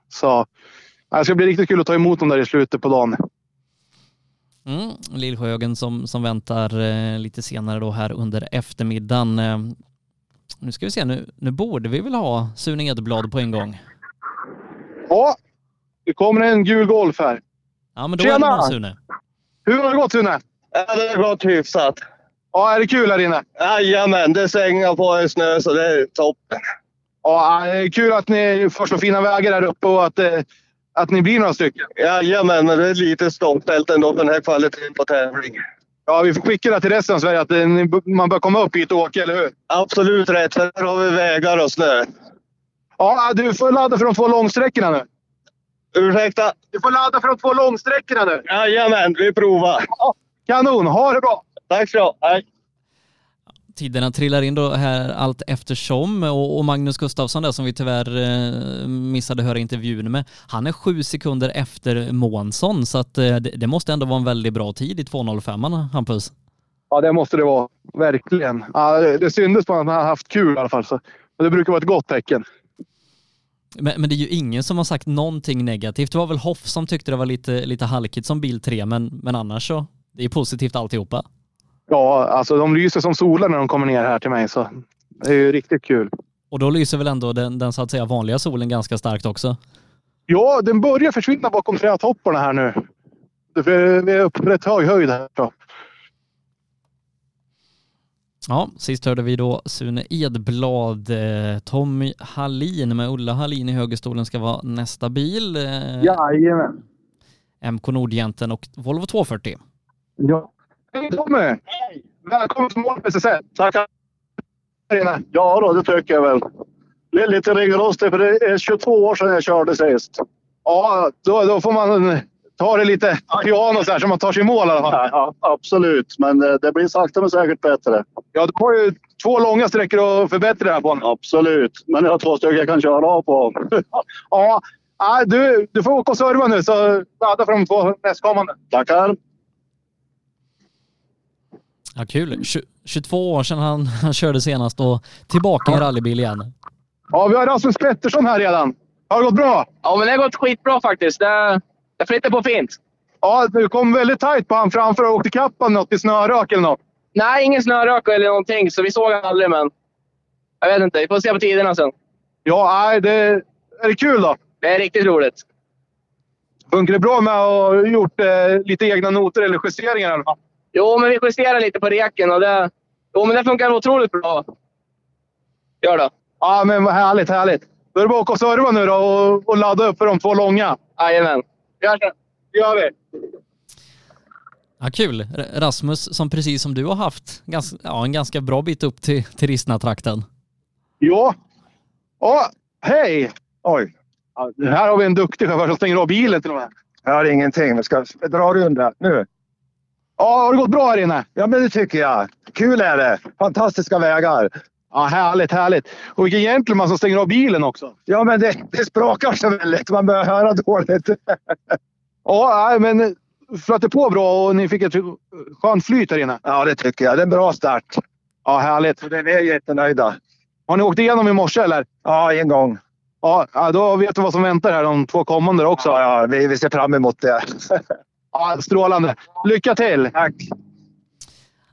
S9: Så ja, det ska bli riktigt kul att ta emot dem där i slutet på dagen.
S5: Mm, Lillsjöhögen som, som väntar eh, lite senare då här under eftermiddagen. Eh, nu ska vi se, nu, nu borde vi väl ha Sune Edblad på en gång.
S9: Ja, det kommer en gul Golf här.
S5: Ja, men då är det någon Sune.
S9: Hur har det gått Sune?
S24: Ja, det har gått hyfsat.
S9: Ja, är det kul här inne?
S24: Jajamän, det svänger på i snö så det är toppen.
S9: Ja, det är kul att ni får så fina vägar här uppe och att, eh, att ni blir några stycken.
S24: Jajamän, men det är lite stoltfält ändå för den här kvaliteten på tävling.
S9: Ja, vi får skicka det till resten av Sverige att eh, ni, man bör komma upp hit och åka, eller hur?
S24: Absolut rätt, för här har vi vägar och snö.
S9: Ja, du får ladda för de två långsträckorna nu.
S24: Ursäkta?
S9: Du får ladda för de två långsträckorna nu.
S24: Jajamän, vi provar.
S9: Kanon, ha det bra!
S11: Tack så. Hej.
S5: Tiderna trillar in då här allt eftersom och, och Magnus Gustafsson där som vi tyvärr eh, missade höra intervjun med, han är sju sekunder efter Månsson så att eh, det, det måste ändå vara en väldigt bra tid i 2.05 Hampus.
S9: Ja, det måste det vara. Verkligen. Ja, det det syndes på att han har haft kul i alla fall. Så. Och det brukar vara ett gott tecken.
S5: Men, men det är ju ingen som har sagt någonting negativt. Det var väl Hoff som tyckte det var lite, lite halkigt som bil 3, men, men annars så, det är positivt alltihopa.
S9: Ja, alltså de lyser som solen när de kommer ner här till mig. Så det är ju riktigt kul.
S5: Och då lyser väl ändå den, den så att säga vanliga solen ganska starkt också?
S9: Ja, den börjar försvinna bakom trädtopparna här nu. För Vi är uppe på rätt hög höjd här. Så.
S5: Ja, sist hörde vi då Sune Edblad. Eh, Tommy Hallin med Ulla Hallin i högerstolen ska vara nästa bil. Eh,
S9: Jajamän.
S5: MK Nordjänten och Volvo 240.
S9: Ja. Hej Tommy! Hej! Välkommen till målet SSL! Tackar!
S13: Ja då, det tycker jag väl. Det är lite ringrostig för det är 22 år sedan jag körde sist.
S9: Ja, då, då får man ta det lite piano så här så man tar sig i mål i alla fall.
S13: Ja, absolut, men eh, det blir sakta men säkert bättre.
S9: Ja, du har ju två långa sträckor att förbättra här på.
S13: Absolut, men jag har två stycken jag kan köra av på.
S9: Ja, ja, du, du får åka och serva nu så ladda för de två nästkommande.
S13: Tackar!
S5: Ja, kul. Tju- 22 år sedan han, han körde senast och tillbaka i rallybil igen.
S9: Ja, vi har Rasmus Pettersson här redan. Har det gått bra?
S14: Ja, men det har gått skitbra faktiskt. Det, det flyter på fint.
S9: Ja, du kom väldigt tajt på han framför och åkte ikapp han något i snörök eller något.
S14: Nej, ingen snörök eller någonting, så vi såg han aldrig, men... Jag vet inte. Vi får se på alltså. tiderna sen.
S9: Ja, nej, det är det kul då.
S14: Det är riktigt roligt.
S9: Funkar det bra med att ha gjort eh, lite egna noter eller justeringar i alla fall?
S14: Jo, men vi justerar lite på reken och det... Jo, men det funkar otroligt bra. Gör det.
S9: Ja, men vad härligt, härligt. Då är det bara att åka och serva nu då och, och ladda upp för de två långa.
S14: Jajamän. Vi hörs sen.
S9: Det gör vi.
S5: Ja, kul. R- Rasmus, som precis som du har haft gans, ja, en ganska bra bit upp till, till Ristna-trakten.
S9: Ja. Ja, hej! Oj. Ja, det här har vi en duktig chaufför som stänger av bilen till och med.
S15: Jag har ingenting. Vi ska dra runda nu.
S9: Ja, har det gått bra här inne?
S15: Ja, men det tycker jag. Kul är det. Fantastiska vägar.
S9: Ja, härligt, härligt. Och vilken gentleman som stänger av bilen också.
S15: Ja, men det, det sprakar så väldigt. Man börjar höra dåligt.
S9: Ja, nej, men flöt på bra och ni fick ett skönt flyt här inne.
S15: Ja, det tycker jag. Det är en bra start.
S9: Ja, härligt.
S15: Så den är jättenöjda.
S9: Har ni åkt igenom i morse eller?
S15: Ja, en gång.
S9: Ja, ja, då vet du vad som väntar här de två kommande också.
S15: Ja, ja, vi, vi ser fram emot det.
S9: Ja, strålande. Lycka till!
S15: Tack!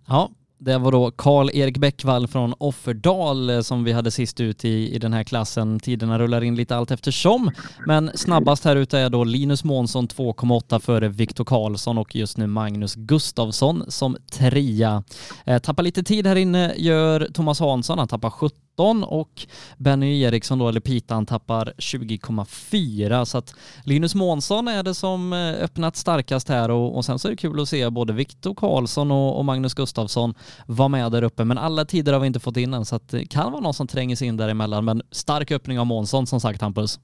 S5: Ja, det var då Karl-Erik Bäckvall från Offerdal eh, som vi hade sist ut i, i den här klassen. Tiderna rullar in lite allt eftersom, men snabbast här ute är då Linus Månsson 2,8 före Viktor Karlsson och just nu Magnus Gustafsson som trea. Eh, tappar lite tid här inne gör Thomas Hansson, han tappar 17 och Benny Eriksson då, eller Pitan, tappar 20,4 så att Linus Månsson är det som eh, öppnat starkast här och, och sen så är det kul att se både Viktor Karlsson och, och Magnus Gustafsson vara med där uppe men alla tider har vi inte fått in än så att det kan vara någon som tränger sig in däremellan men stark öppning av Månsson som sagt Hampus.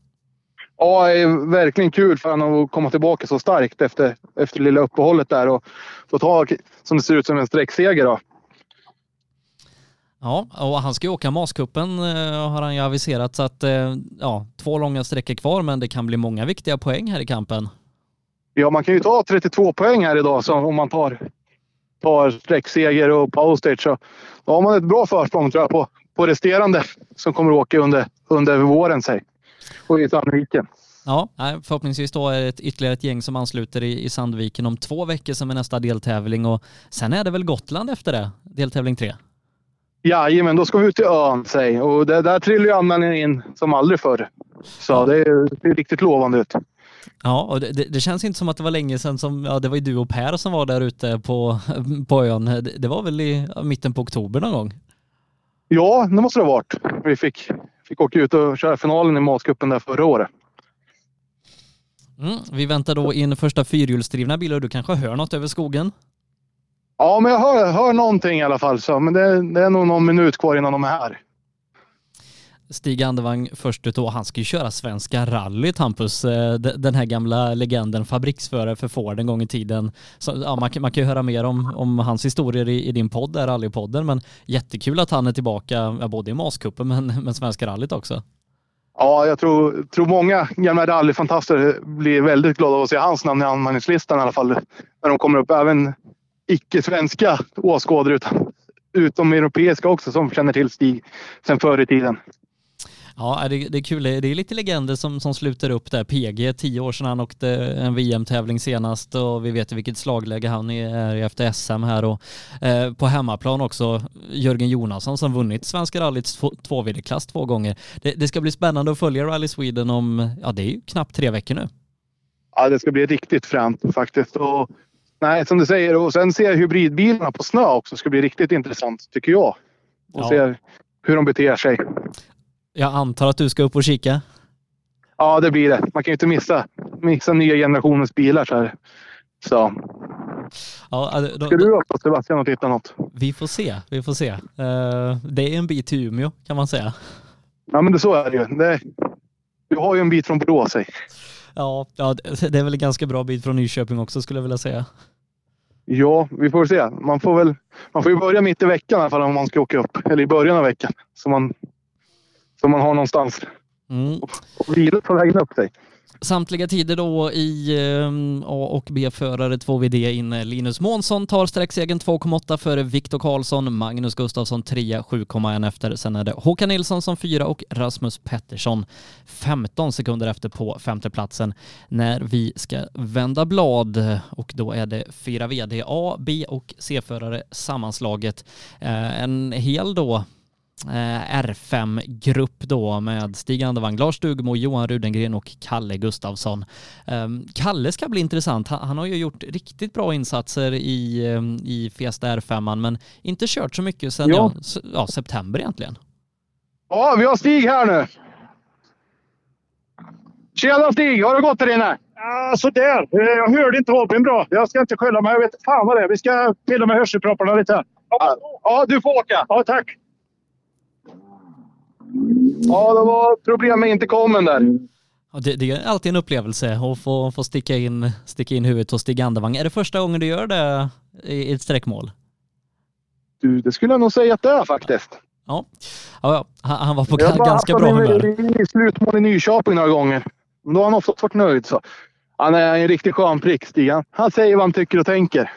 S9: Ja, det är verkligen kul för honom att komma tillbaka så starkt efter, efter det lilla uppehållet där och få ta, som det ser ut, som en sträckseger. Då.
S5: Ja, och han ska ju åka Maskuppen eh, har han ju aviserat så att eh, ja, två långa sträckor kvar men det kan bli många viktiga poäng här i kampen.
S9: Ja, man kan ju ta 32 poäng här idag så om man tar, tar sträckseger och postage. Så då har man ett bra försprång tror jag på, på resterande som kommer att åka under, under våren sig. och i Sandviken.
S5: Ja, nej, förhoppningsvis då är det ett, ytterligare ett gäng som ansluter i, i Sandviken om två veckor som är nästa deltävling och sen är det väl Gotland efter det, deltävling tre.
S9: Jajamän, då ska vi ut till ön sig. Och det, där trillar ju anmälningen in som aldrig förr. Så det ser riktigt lovande ut.
S5: Ja, och det, det, det känns inte som att det var länge sedan som, ja det var ju du och Per som var där ute på, på ön. Det, det var väl i ja, mitten på oktober någon gång?
S9: Ja, det måste det ha varit. Vi fick, fick åka ut och köra finalen i Mascupen där förra året.
S5: Mm, vi väntar då in första fyrhjulsdrivna bilar och du kanske hör något över skogen?
S9: Ja, men jag hör, hör någonting i alla fall. Så, men det, det är nog någon minut kvar innan de är här.
S5: Stig Andevang först ut och han ska ju köra Svenska rallyt Hampus. Eh, d- Den här gamla legenden, fabriksförare för Ford en gång i tiden. Så, ja, man, kan, man kan ju höra mer om, om hans historier i, i din podd, där, Rallypodden, men jättekul att han är tillbaka, ja, både i MAS-cupen men, men Svenska rallyt också.
S9: Ja, jag tror, tror många gamla rallyfantaster blir väldigt glada av att se hans namn i anmälningslistan i alla fall. När de kommer upp. Även icke-svenska åskådare utan, utom europeiska också som känner till Stig sedan förr i tiden.
S5: Ja, det, det är kul. Det är lite legender som, som sluter upp där. PG, tio år sedan han åkte en VM-tävling senast och vi vet i vilket slagläge han är i efter SM här och eh, på hemmaplan också Jörgen Jonasson som vunnit Svenska rallyts två- tvåvideklass två gånger. Det, det ska bli spännande att följa Rally Sweden om, ja det är ju knappt tre veckor nu.
S9: Ja, det ska bli riktigt fränt faktiskt. Och, nej, som du säger, och sen ser jag hybridbilarna på snö också. Det ska bli riktigt intressant tycker jag. Och
S5: Ja.
S9: se hur de beter sig.
S5: Jag antar att du ska upp och kika?
S9: Ja, det blir det. Man kan ju inte missa, missa nya generationens bilar så här. Så.
S5: Ja, då,
S9: Ska du upp då, Sebastian och titta något?
S5: Vi får se, vi får se. Eh, det är en bit till Umeå kan man säga.
S9: Ja, men det, så är det ju. Det, du har ju en bit från Borås. säg.
S5: Ja, ja, det det är väl en ganska bra bit från Nyköping också skulle jag vilja säga.
S9: Ja, vi får se. Man får väl man får ju börja mitt i veckan i alla fall om man ska åka upp. Eller i början av veckan. Så man, så man har någonstans
S5: Mm.
S9: att vila på vägen upp sig.
S5: Samtliga tider då i ehm, A och B-förare 2VD in. Linus Månsson tar sträcksegern 2,8 före Viktor Karlsson, Magnus Gustafsson 3, 7,1 efter. Sen är det Håkan Nilsson som 4 och Rasmus Pettersson 15 sekunder efter på femteplatsen när vi ska vända blad och då är det fyra VD, A, B och C-förare sammanslaget. Eh, En hel då eh, R5-grupp då med Stig Andervang, Lars Stugemo, Johan Rudengren och Kalle Gustafsson. Eh, Kalle ska bli intressant. Han, han har ju gjort riktigt bra insatser i, eh, i Fiesta R5, men inte kört så mycket sedan ja.
S9: Ja.
S5: s- ja, september egentligen.
S9: Ja, vi har Stig här nu. Tjena Stig! Har det gått där inne?
S13: Ja, sådär. Eh, Jag hörde inte Robin bra. Jag ska inte skylla mig. Jag vet fan vad det är. Vi ska pilla med hörselpropparna lite. här. Ja,
S9: ja, du får åka.
S13: Ja, tack.
S9: Ja, det var problem med intercomen där.
S5: Ja, Det, det är alltid en upplevelse att få, få sticka, in, sticka in huvudet hos Stig Andervang. Är det första gången du gör det i i ett sträckmål?
S9: Du, det skulle jag nog säga att det är faktiskt.
S5: Ja, ja, ja. Han, han var på
S9: Jag har bara
S5: ganska
S9: haft
S5: bra
S9: honom i-
S5: humör.
S9: i slutmål i Nyköping några gånger. Men Då har han oftast varit nöjd. Så. Han är en riktigt skön prick, Stig. Han- Han säger vad han tycker och tänker.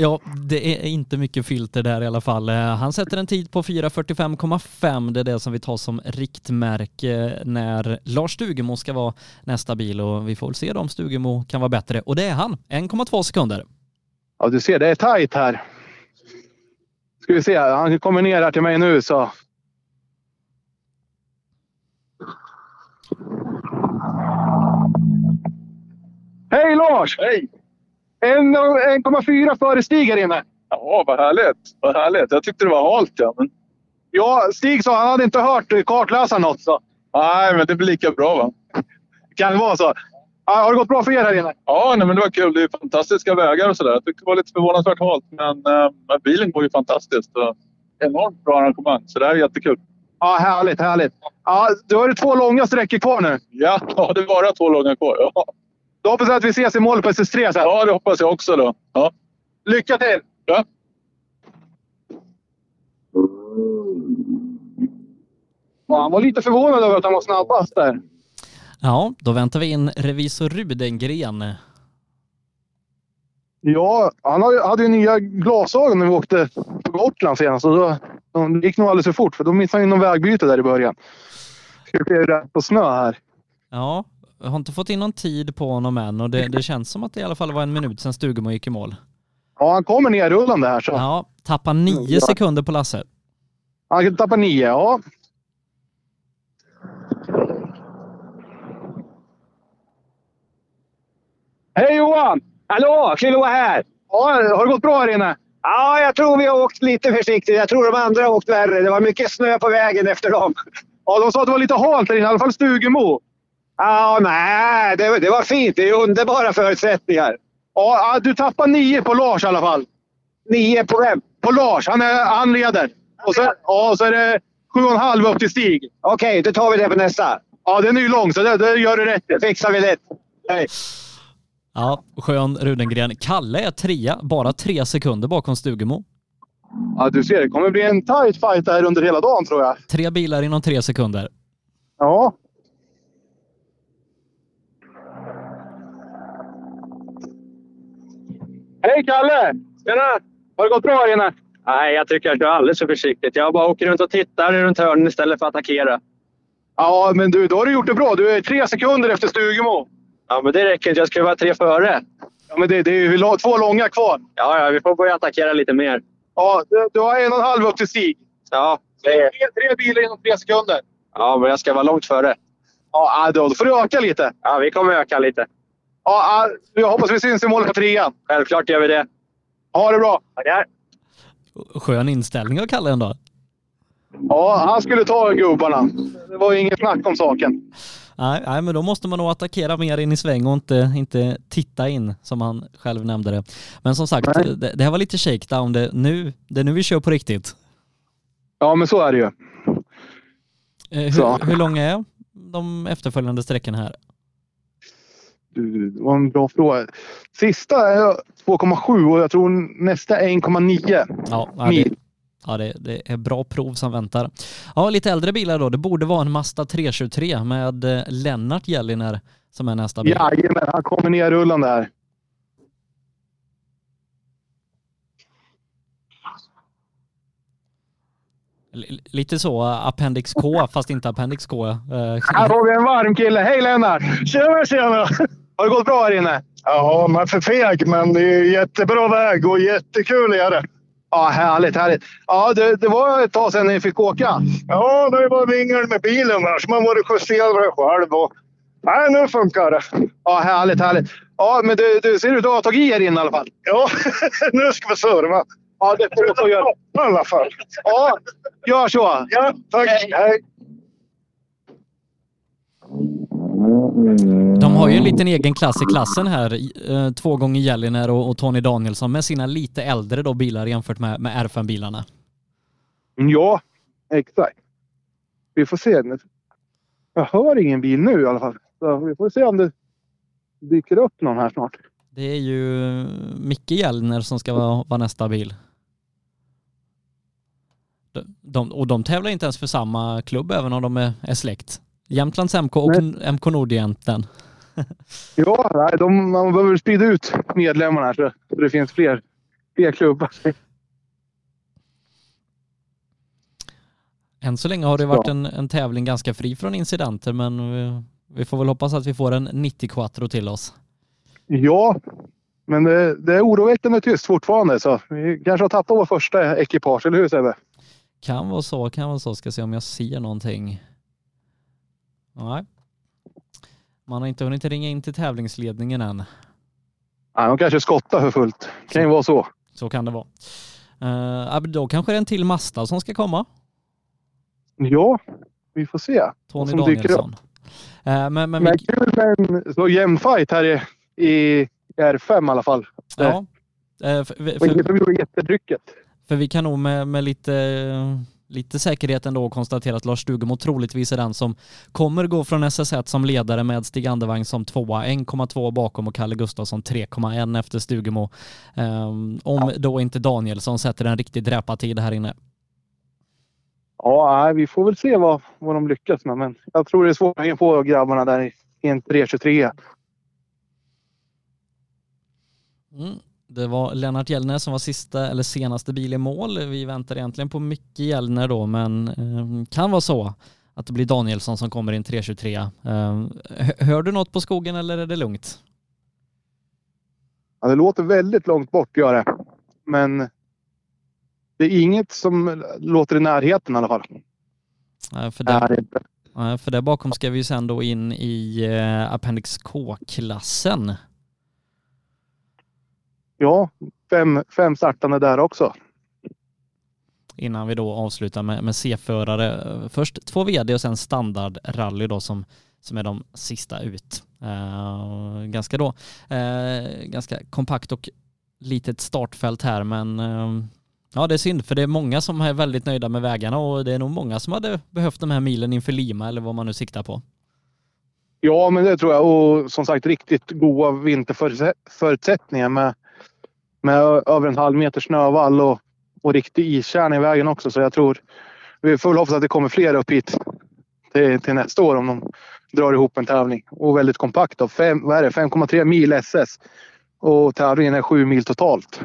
S5: Ja, det är inte mycket filter där i alla fall. Eh, Han sätter en tid på 4.45,5. Det är det som vi tar som riktmärke eh, när Lars Stugemo ska vara nästa bil och vi får väl se då om Stugemo kan vara bättre. Och det är han, 1,2 sekunder.
S9: Ja, du ser, det är tajt här. Ska vi se, han kommer ner här till mig nu så... Hej Lars!
S11: Hej!
S9: 1,4 före Stig här inne.
S11: Ja, vad härligt. Vad härligt. Jag tyckte det var halt. Ja, men...
S9: ja Stig sa han hade inte hört kartläsaren något. Så.
S11: Nej, men det blir lika bra va?
S9: Kan det vara så? Ja, har det gått bra för er här inne?
S11: Ja, nej, men det var kul. Det är ju fantastiska vägar och sådär. Jag tyckte det var lite förvånansvärt halt, men eh, men bilen går ju fantastiskt. Och enormt bra arrangemang, så det här är jättekul.
S9: Ja, härligt, härligt. Ja, då är det två långa sträckor kvar nu.
S11: Ja, ja det är bara två långa kvar. Ja.
S9: Då hoppas jag att vi ses i mål på SS3 sen.
S11: Ja, det hoppas jag också då. Ja.
S9: Lycka till!
S11: Ja.
S9: Ja, han var lite förvånad över att han var snabbast där.
S5: Ja, då väntar vi in revisor Rudengren.
S9: Ja, han har ju- hade ju nya glasögon när vi åkte på Gotland senast. Och då, de gick nog alldeles för fort, för då missade han ju någon vägbyte där i början. Ska vi se hur det är på snö här.
S5: Ja, jag har inte fått in någon tid på honom än och det, det känns som att det i alla fall var en minut sedan Stugemo gick i mål.
S9: Ja, han kommer ner rullande här. Så.
S5: Ja, tappar nio sekunder på Lasse.
S9: Han tappar nio, ja.
S23: Hej Johan! Hallå! Kilo här!
S9: Ja, har det gått bra här inne?
S23: Ja, jag tror vi har åkt lite försiktigt. Jag tror de andra har åkt värre. Det var mycket snö på vägen efter dem.
S9: Ja, de sa att det var lite halt där inne, i alla fall Stugemo.
S23: Ja, nej, det, det var fint. Det är underbara förutsättningar.
S9: Ja, ja, du tappar nio på Lars i alla fall.
S23: Nio på vem?
S9: På Lars. Han, är, han leder. Och så, ja, och så är det Sju och en halv upp till Stig.
S23: Okej, då tar vi det på nästa.
S9: Ja, den är ju lång, så det, det gör du rätt Det
S23: fixar vi lätt. Nej.
S5: Ja, skön Rudengren. Kalle är trea, bara tre sekunder bakom Stugemo.
S9: Ja, du ser, det kommer bli en tight fight här under hela dagen tror jag.
S5: Tre bilar inom tre sekunder.
S9: Ja.
S12: Hej Kalle! Tjena! Har det gått bra här inne? Nej, jag tycker jag kör alldeles för försiktigt. Jag bara åker runt och tittar runt hörnen istället för att attackera.
S9: Ja, men du, då har du gjort det bra. Du är tre sekunder efter Stugemo.
S12: Ja, men det räcker inte. Jag ska vara tre före.
S9: Ja, men det, det är ju la- två långa kvar.
S12: Ja, ja, vi får börja attackera lite mer.
S9: Ja, du, du har en och en halv upp till Stig.
S12: Ja,
S9: det är... tre, tre bilar inom tre sekunder.
S12: Ja, men jag ska vara långt före.
S9: Ja, då får du öka lite.
S12: Ja, vi kommer öka lite.
S9: Ja, ah, jag hoppas vi syns i mål på trean.
S12: Självklart gör vi det.
S9: Ha det bra!
S12: Tackar!
S5: Skön inställning av Kalle ändå.
S9: Ja, han skulle ta gubbarna. Det var ju inget snack om saken.
S5: Nej, nej, men då måste man nog attackera mer in i sväng och inte, inte titta in, som han själv nämnde det. Men som sagt, det, det här var lite shakedown. Det, nu, det är nu vi kör på riktigt.
S9: Ja, men så är det ju.
S5: Eh,
S9: Så.
S5: hur, hur långa är de efterföljande sträckorna här?
S9: Du, det var en bra fråga. Sista är 2,7 och jag tror nästa är 1,9.
S5: Ja, ja, det, ja det, det är bra prov som väntar. Ja, lite äldre bilar då. Det borde vara en Mazda 323 med eh, Lennart Gelliner som är nästa bil.
S9: Jajamän, han kommer ner rullande här.
S5: L- lite så, eh, Appendix K, fast inte Appendix K. eh,
S9: Här har vi en varm kille. Hej Lennart! Tjena, tjena! Har det gått bra här inne?
S23: Ja, man är för feg, men det är jättebra väg och jättekul är det.
S9: Ja, härligt, härligt. Ja, det, det var ett tag sedan ni fick åka.
S23: Ja, det var vingel med bilen. Annars man varit justerad själv. Och... Nej, nu funkar det.
S9: Ja, härligt, härligt. Ja, men du, du ser ut att ha tagit i er in i alla fall.
S23: Ja, nu ska vi serva.
S9: Ja, det får du få göra.
S23: I alla fall.
S9: Ja, gör så.
S23: Ja, tack. Hej.
S5: De har ju en liten egen klass i klassen här. eh, Två gånger Gelliner och och Tony Danielsson med sina lite äldre då bilar jämfört med, med R5-bilarna.
S9: Mm, Ja, exakt. Vi får se. Jag hör ingen bil nu i alla fall. Så vi får se om det dyker upp någon här snart.
S5: Det är ju Micke Gellner som ska vara, vara nästa bil. De- De, och de tävlar inte ens för samma klubb även om de är, är släkt. Jämtlands MK och MK Nordjämten.
S9: Ja, nej, de, man behöver sprida ut medlemmarna här så så det finns fler, fler klubbar.
S5: Än så länge har det varit en, en tävling ganska fri från incidenter men vi, vi får väl hoppas att vi får en 90 quattro till oss.
S9: Ja, men det, det är oroväckande tyst fortfarande så vi kanske har tappat vår första ekipage, eller hur Sebbe?
S5: Kan vara så, kan vara så. Ska se om jag ser någonting. Nej. Man har inte hunnit ringa in till tävlingsledningen än.
S9: Nej, de kanske skottar för fullt. Kan ju vara så.
S5: Så kan det vara. Eh, ja, men då kanske det är en till Masta som ska komma.
S9: Ja, vi får se.
S5: Tony
S9: som dyker upp.
S5: Danielsson. Eh, men, men,
S9: Men kul med en så jämn fight här i, i R5 i alla fall.
S5: ja. Eh, för,
S9: Och inte för
S5: för,
S9: vi var jättetrycket.
S5: för vi kan nog med, med lite, lite säkerhet ändå konstatera att Lars Stugemo troligtvis är den som kommer gå från SS1 som ledare med Stig Andervang som tvåa, 1,2 bakom och Kalle Gustafsson 3,1 efter Stugemo. Eh, om då inte Danielsson sätter en riktig dräpartid här inne.
S9: Ja, nej, vi får väl se vad, vad de lyckas med. Men jag tror det är svårt att hänga på grabbarna där i i en 323.
S5: Mm. Det var Lennart Gällner som var sista eller senaste bil i mål. Vi väntar egentligen på Micke Gällner då, men eh, kan vara så att det blir Danielsson som kommer in 323. Eh, hö- hör du något på skogen eller är det lugnt?
S9: Ja, det låter väldigt långt bort, gör det. Men det är inget som låter i närheten i alla fall.
S5: Eh, för
S9: Nej, det är
S5: där,
S9: inte.
S5: eh, för där bakom ska vi ju sen då in i eh, Appendix K-klassen.
S9: Ja, fem, fem startande där också.
S5: innan vi då avslutar med, med C-förare. Eh, Först två VD och sen standardrally då som, som är de sista ut. Eh, ganska då, eh, ganska kompakt och litet startfält här men eh, Ja, det är synd för det är många som är väldigt nöjda med vägarna och det är nog många som hade behövt de här milen inför Lima eller vad man nu siktar på.
S9: Ja, men det tror jag. Och som sagt, riktigt goda vinterförutsättningar med, med över en halv meter snövall och, och riktig iskärna i vägen också. Så jag tror... Vi får väl hoppas att det kommer fler upp hit till, till nästa år om de drar ihop en tävling. Och väldigt kompakt. Då. Fem, vad är det? 5,3 mil SS och tävlingen är 7 mil totalt.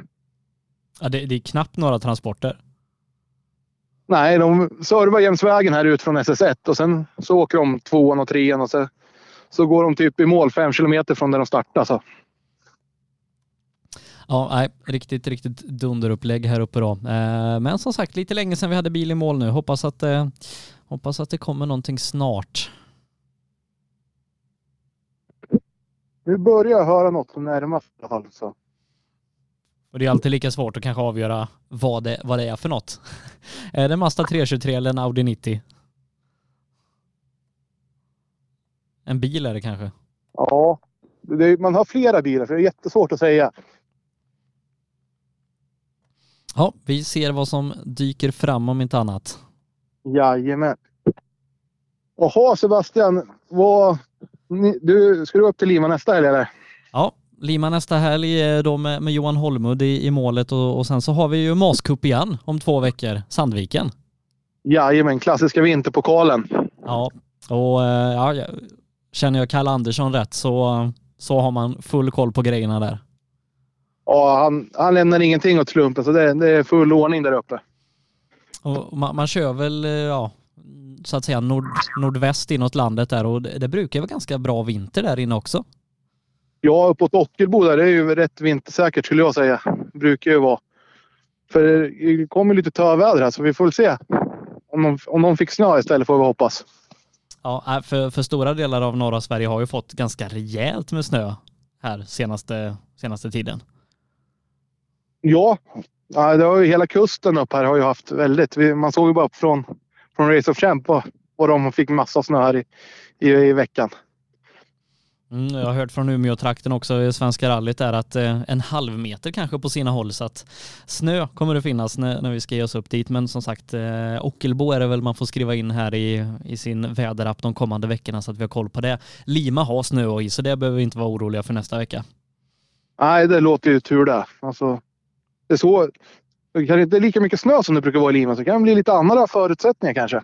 S5: Ja, det, det är knappt några transporter.
S9: Nej, de servar jäms vägen här ut från SS1 och sen så åker de tvåan och trean och så, så går de typ i mål fem kilometer från där de startar. Så.
S5: Ja, nej, riktigt, riktigt dunderupplägg här uppe då. Eh, men som sagt, lite länge sedan vi hade bil i mål nu. Hoppas att, eh, hoppas att det kommer någonting snart.
S9: Nu börjar jag höra något som närmar sig i alla fall. Så.
S5: Och det är alltid lika svårt att kanske avgöra vad det, vad det är för något. är det Mazda 323 eller en Audi 90? En bil är det kanske.
S9: Ja, det, är- man har flera bilar så det är jättesvårt att säga.
S5: Ja, vi ser vad som dyker fram om inte annat.
S9: Jajamän. Jaha Sebastian, vad, ni, du, ska du upp till Lima nästa helg eller?
S5: Ja, Lima nästa helg eh, då med, med Johan Holmud i, i målet och, och sen så har vi ju Mascup igen om två veckor, Sandviken.
S9: Jajamän, klassiska vinterpokalen.
S5: Ja, och eh, ja, jag- känner jag Kalle Andersson rätt så, så har man full koll på grejerna där.
S9: Ja, han, han lämnar ingenting åt slumpen så det, det är full ordning där uppe.
S5: Och man, man kör väl, eh, ja, så att säga nord, nordväst inåt landet där och det, det brukar vara ganska bra vinter där inne också.
S9: Ja, uppåt Ockelboda, det är ju rätt vintersäkert skulle jag säga. Brukar ju vara. För det kommer lite töväder här så vi får väl se. Om de, om de fick snö istället får vi hoppas.
S5: Ja, äh, för, för stora delar av norra Sverige har ju fått ganska rejält med snö här senaste, senaste tiden.
S9: Ja, ja, det har ju hela kusten upp här har ju haft väldigt. Vi- Man såg ju bara från, från Race of Champ vad, vad de fick massa snö här i, i, i veckan.
S5: Mm, jag har hört från Umeå-trakten också i Svenska rallyt där att eh, en halv meter kanske på sina håll så att snö kommer det finnas när, när vi ska ge oss upp dit. Men som sagt, eh, Ockelbo är det väl man får skriva in här i, i sin väderapp de kommande veckorna så att vi har koll på det. Lima har snö och is så det behöver vi inte vara oroliga för nästa vecka.
S9: Nej, det låter ju tur det. Alltså, det är så. Det kanske inte är lika mycket snö som det brukar vara i Lima så det kan bli lite andra förutsättningar kanske.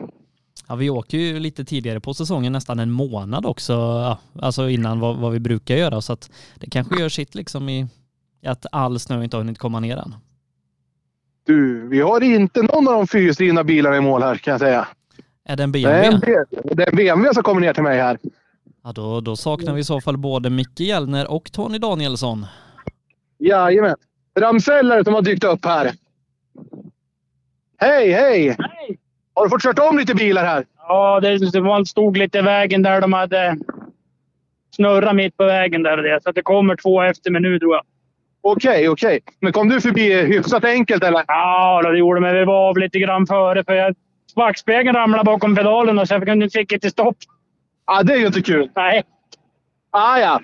S5: Ja, vi åker ju lite tidigare på säsongen, nästan en månad också, ja, alltså innan vad, vad vi brukar göra så att det kanske gör sitt liksom i i att all snö inte har hunnit komma ner än.
S9: Du, vi har inte någon av de fyrhjulsdrivna bilarna i mål här kan jag säga.
S5: Är det en
S9: Det är,
S5: BMW?
S9: en, B- det är en BMW som kommer ner till mig här.
S5: Ja, då, då saknar vi i så fall både Micke Hjellner och Tony Danielsson.
S9: Jajamän. Ramsellare som har dykt upp här. Hej, hej! Har du fått kört om lite bilar här?
S16: Ja, det det var- stod lite i vägen där de hade snurrat mitt på vägen där och det. Så att det kommer två efter mig nu tror jag.
S9: Okej, okej. Men kom du förbi hyfsat enkelt eller?
S16: Ja, då, det gjorde mig. Vi var av lite grann före för jag... Backspegeln ramlade bakom pedalen och så jag kunde- fick inte stopp.
S9: Ja, det är ju inte kul.
S16: Nej.
S9: Ah, ja.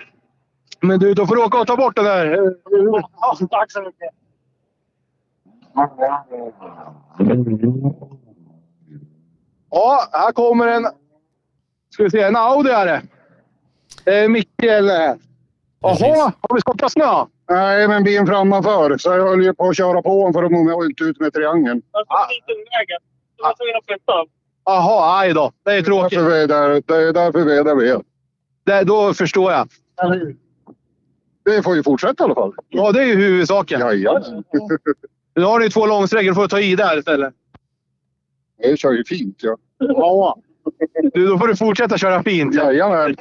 S9: Men du, då får du åka och ta bort den där.
S16: Ja, tack så mycket.
S9: Ja, här kommer en... Ska vi se, en Audi är det. Det är Micke eller här. Jaha, har vi skottat snö?
S18: Nej, men bilen framför. Så jag höll ju på att köra på honom för att jag var inte ut med triangeln.
S16: Jag inte vägen. Jag var tvungen att flytta.
S9: Jaha, aj då. Det är tråkigt.
S18: Det är därför, det är därför vi är där vi är.
S9: Det, då förstår jag.
S18: Det får ju fortsätta i alla fall.
S9: Ja, det är ju huvudsaken.
S18: Jajamän.
S9: Nu har ni ju två långsträckor. får du ta i där istället.
S18: Jag kör ju fint, ja.
S9: Ja. Du, då får du fortsätta köra fint.
S18: Jajamän.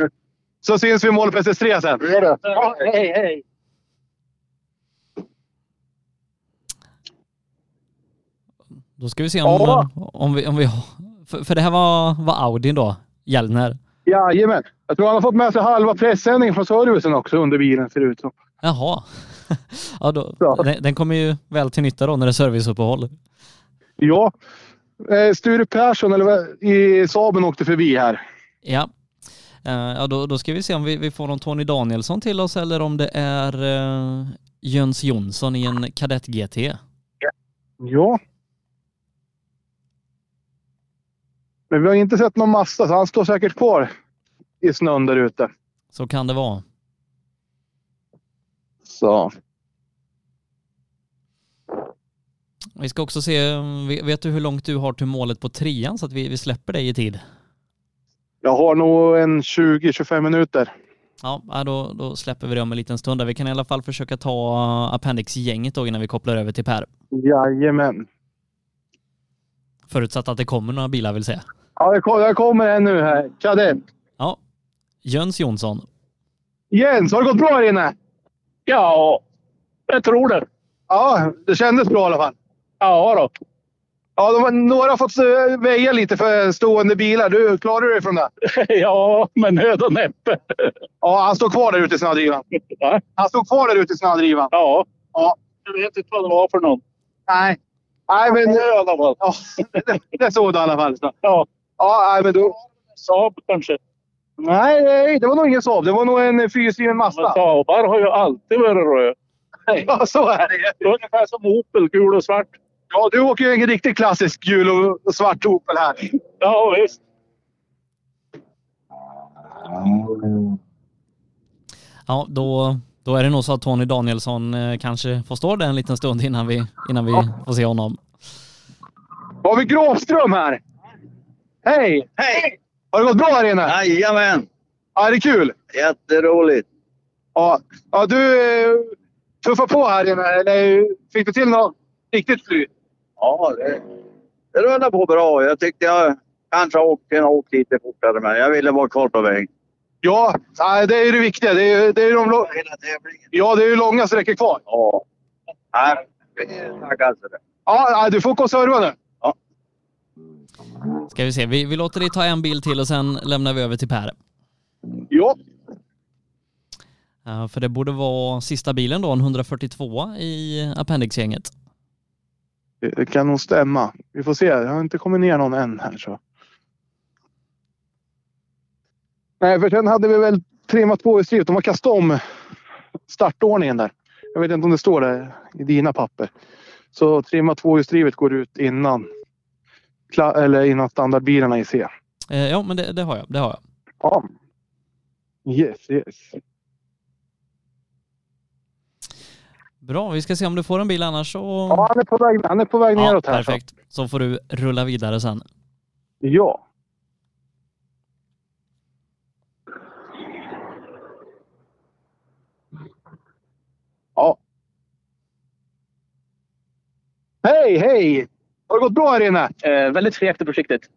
S9: Så syns vi i mål på SS3 sen.
S18: Vi gör det.
S16: Ja, hej, hej.
S5: Då ska vi se om,
S9: Ja.
S5: om, vi, om vi har... För, för det här var, var Audi då, Hjellner.
S9: Jajamän. Jag tror han har fått med sig halva pressändningen från servicen också under bilen ser det ut som.
S5: Jaha. Ja, då, den, den kommer ju väl till nytta då när det är serviceuppehåll.
S9: Ja. Eh, Sture Persson eller vad- i Saben åkte förbi här.
S5: Ja. Eh, Ja, då, då ska vi se om vi, vi får någon Tony Danielsson till oss eller om det är eh, Jöns Jonsson i en kadett GT.
S9: Ja. Men vi har inte sett någon massa, så han står säkert kvar i snön där ute.
S5: Så kan det vara.
S9: Så.
S5: Vi ska också se, mm, ve- vet du hur långt du har till målet på trean så att vi, vi släpper dig i tid?
S9: Jag har nog en 20-25 minuter.
S5: Ja, ja, då, då släpper vi det om en liten stund. Där. Vi kan i alla fall försöka ta eh, Appendix-gänget då innan vi kopplar över till Per.
S9: Jajamän.
S5: Förutsatt att det kommer några bilar vill säga.
S9: Ja, jag kom- jag kommer här nu här. Kadett.
S5: Ja. Jöns Jonsson.
S9: Jens, har det gått bra här inne? Ja, jag tror det. Ja, det kändes bra i alla fall. Ja då. Ja, de, har- några har fått eh, väja lite för stående bilar. Du klarar dig från det? ja, men nöd och näppe. ja, han står kvar där ute i snödrivan. Han står kvar där ute i snödrivan. Ja. ja. Jag vet inte vad det var för någon. Nej. Nej, men... I alla fall. Ja, det, det såg du i alla fall. Så. Ja. Ja, nej, men då... Saab kanske? Nej, nej, det var nog ingen Saab. Det var nog en eh, fyrhjulsdriven Mazda.
S25: Saabar har ju alltid varit röda.
S9: Ja, så är det.
S25: Ungefär som Opel, gul och svart.
S9: Ja, du åker ju en riktigt klassisk gul och svart Opel här.
S25: Ja, visst.
S5: Ja, då, då är det nog så att Tony Danielsson eh, kanske får stå där en liten stund innan vi, innan vi får se honom.
S9: Har vi Gråström här? Hej! Hej! Har det gått bra här inne? Jajamän! Ja, det är kul. Jätteroligt. Ja, ja du eh, tuffar på här inne. Eller fick du till något riktigt flyt?
S11: Ja, det, det rullar på bra. Jag tyckte jag kanske åkte, åkte lite fortare, men jag ville vara kvar på väg.
S9: Ja, nej, det är ju det viktiga. Det är, ju- det är ju de långa... Ja, det är ju långa sträckor kvar. Ja.
S11: Nej, vi tackar för det.
S9: Ja, nej, du får konserva nu.
S5: Ska vi se, vi, vi låter dig ta en bild till och sen lämnar vi över till Per.
S9: Ja.
S5: Eh, För det borde vara sista bilen då, en 142 i Appendix-gänget.
S9: Det- Det Eh, kan nog stämma. Vi får se. Det har inte kommit ner någon än här. Så. Nej, för sen hade vi väl trimmat på i strivet. De har kastat om startordningen där. Jag vet inte om det står där i dina papper. Så trimma tvåhjulsdrivet går ut innan, kla- eller innan standardbilarna i C.
S5: Eh, ja, men det, det har jag. Det har jag.
S9: Ja. Yes, yes.
S5: Bra, vi ska se om du får en bil annars så...
S9: Ja, han är på väg, han är på väg neråt här. så.
S5: perfekt. Så får du rulla vidare sen.
S9: Ja. Ja. Hej, hej! Har det gått bra här inne?
S13: väldigt fegt och försiktigt.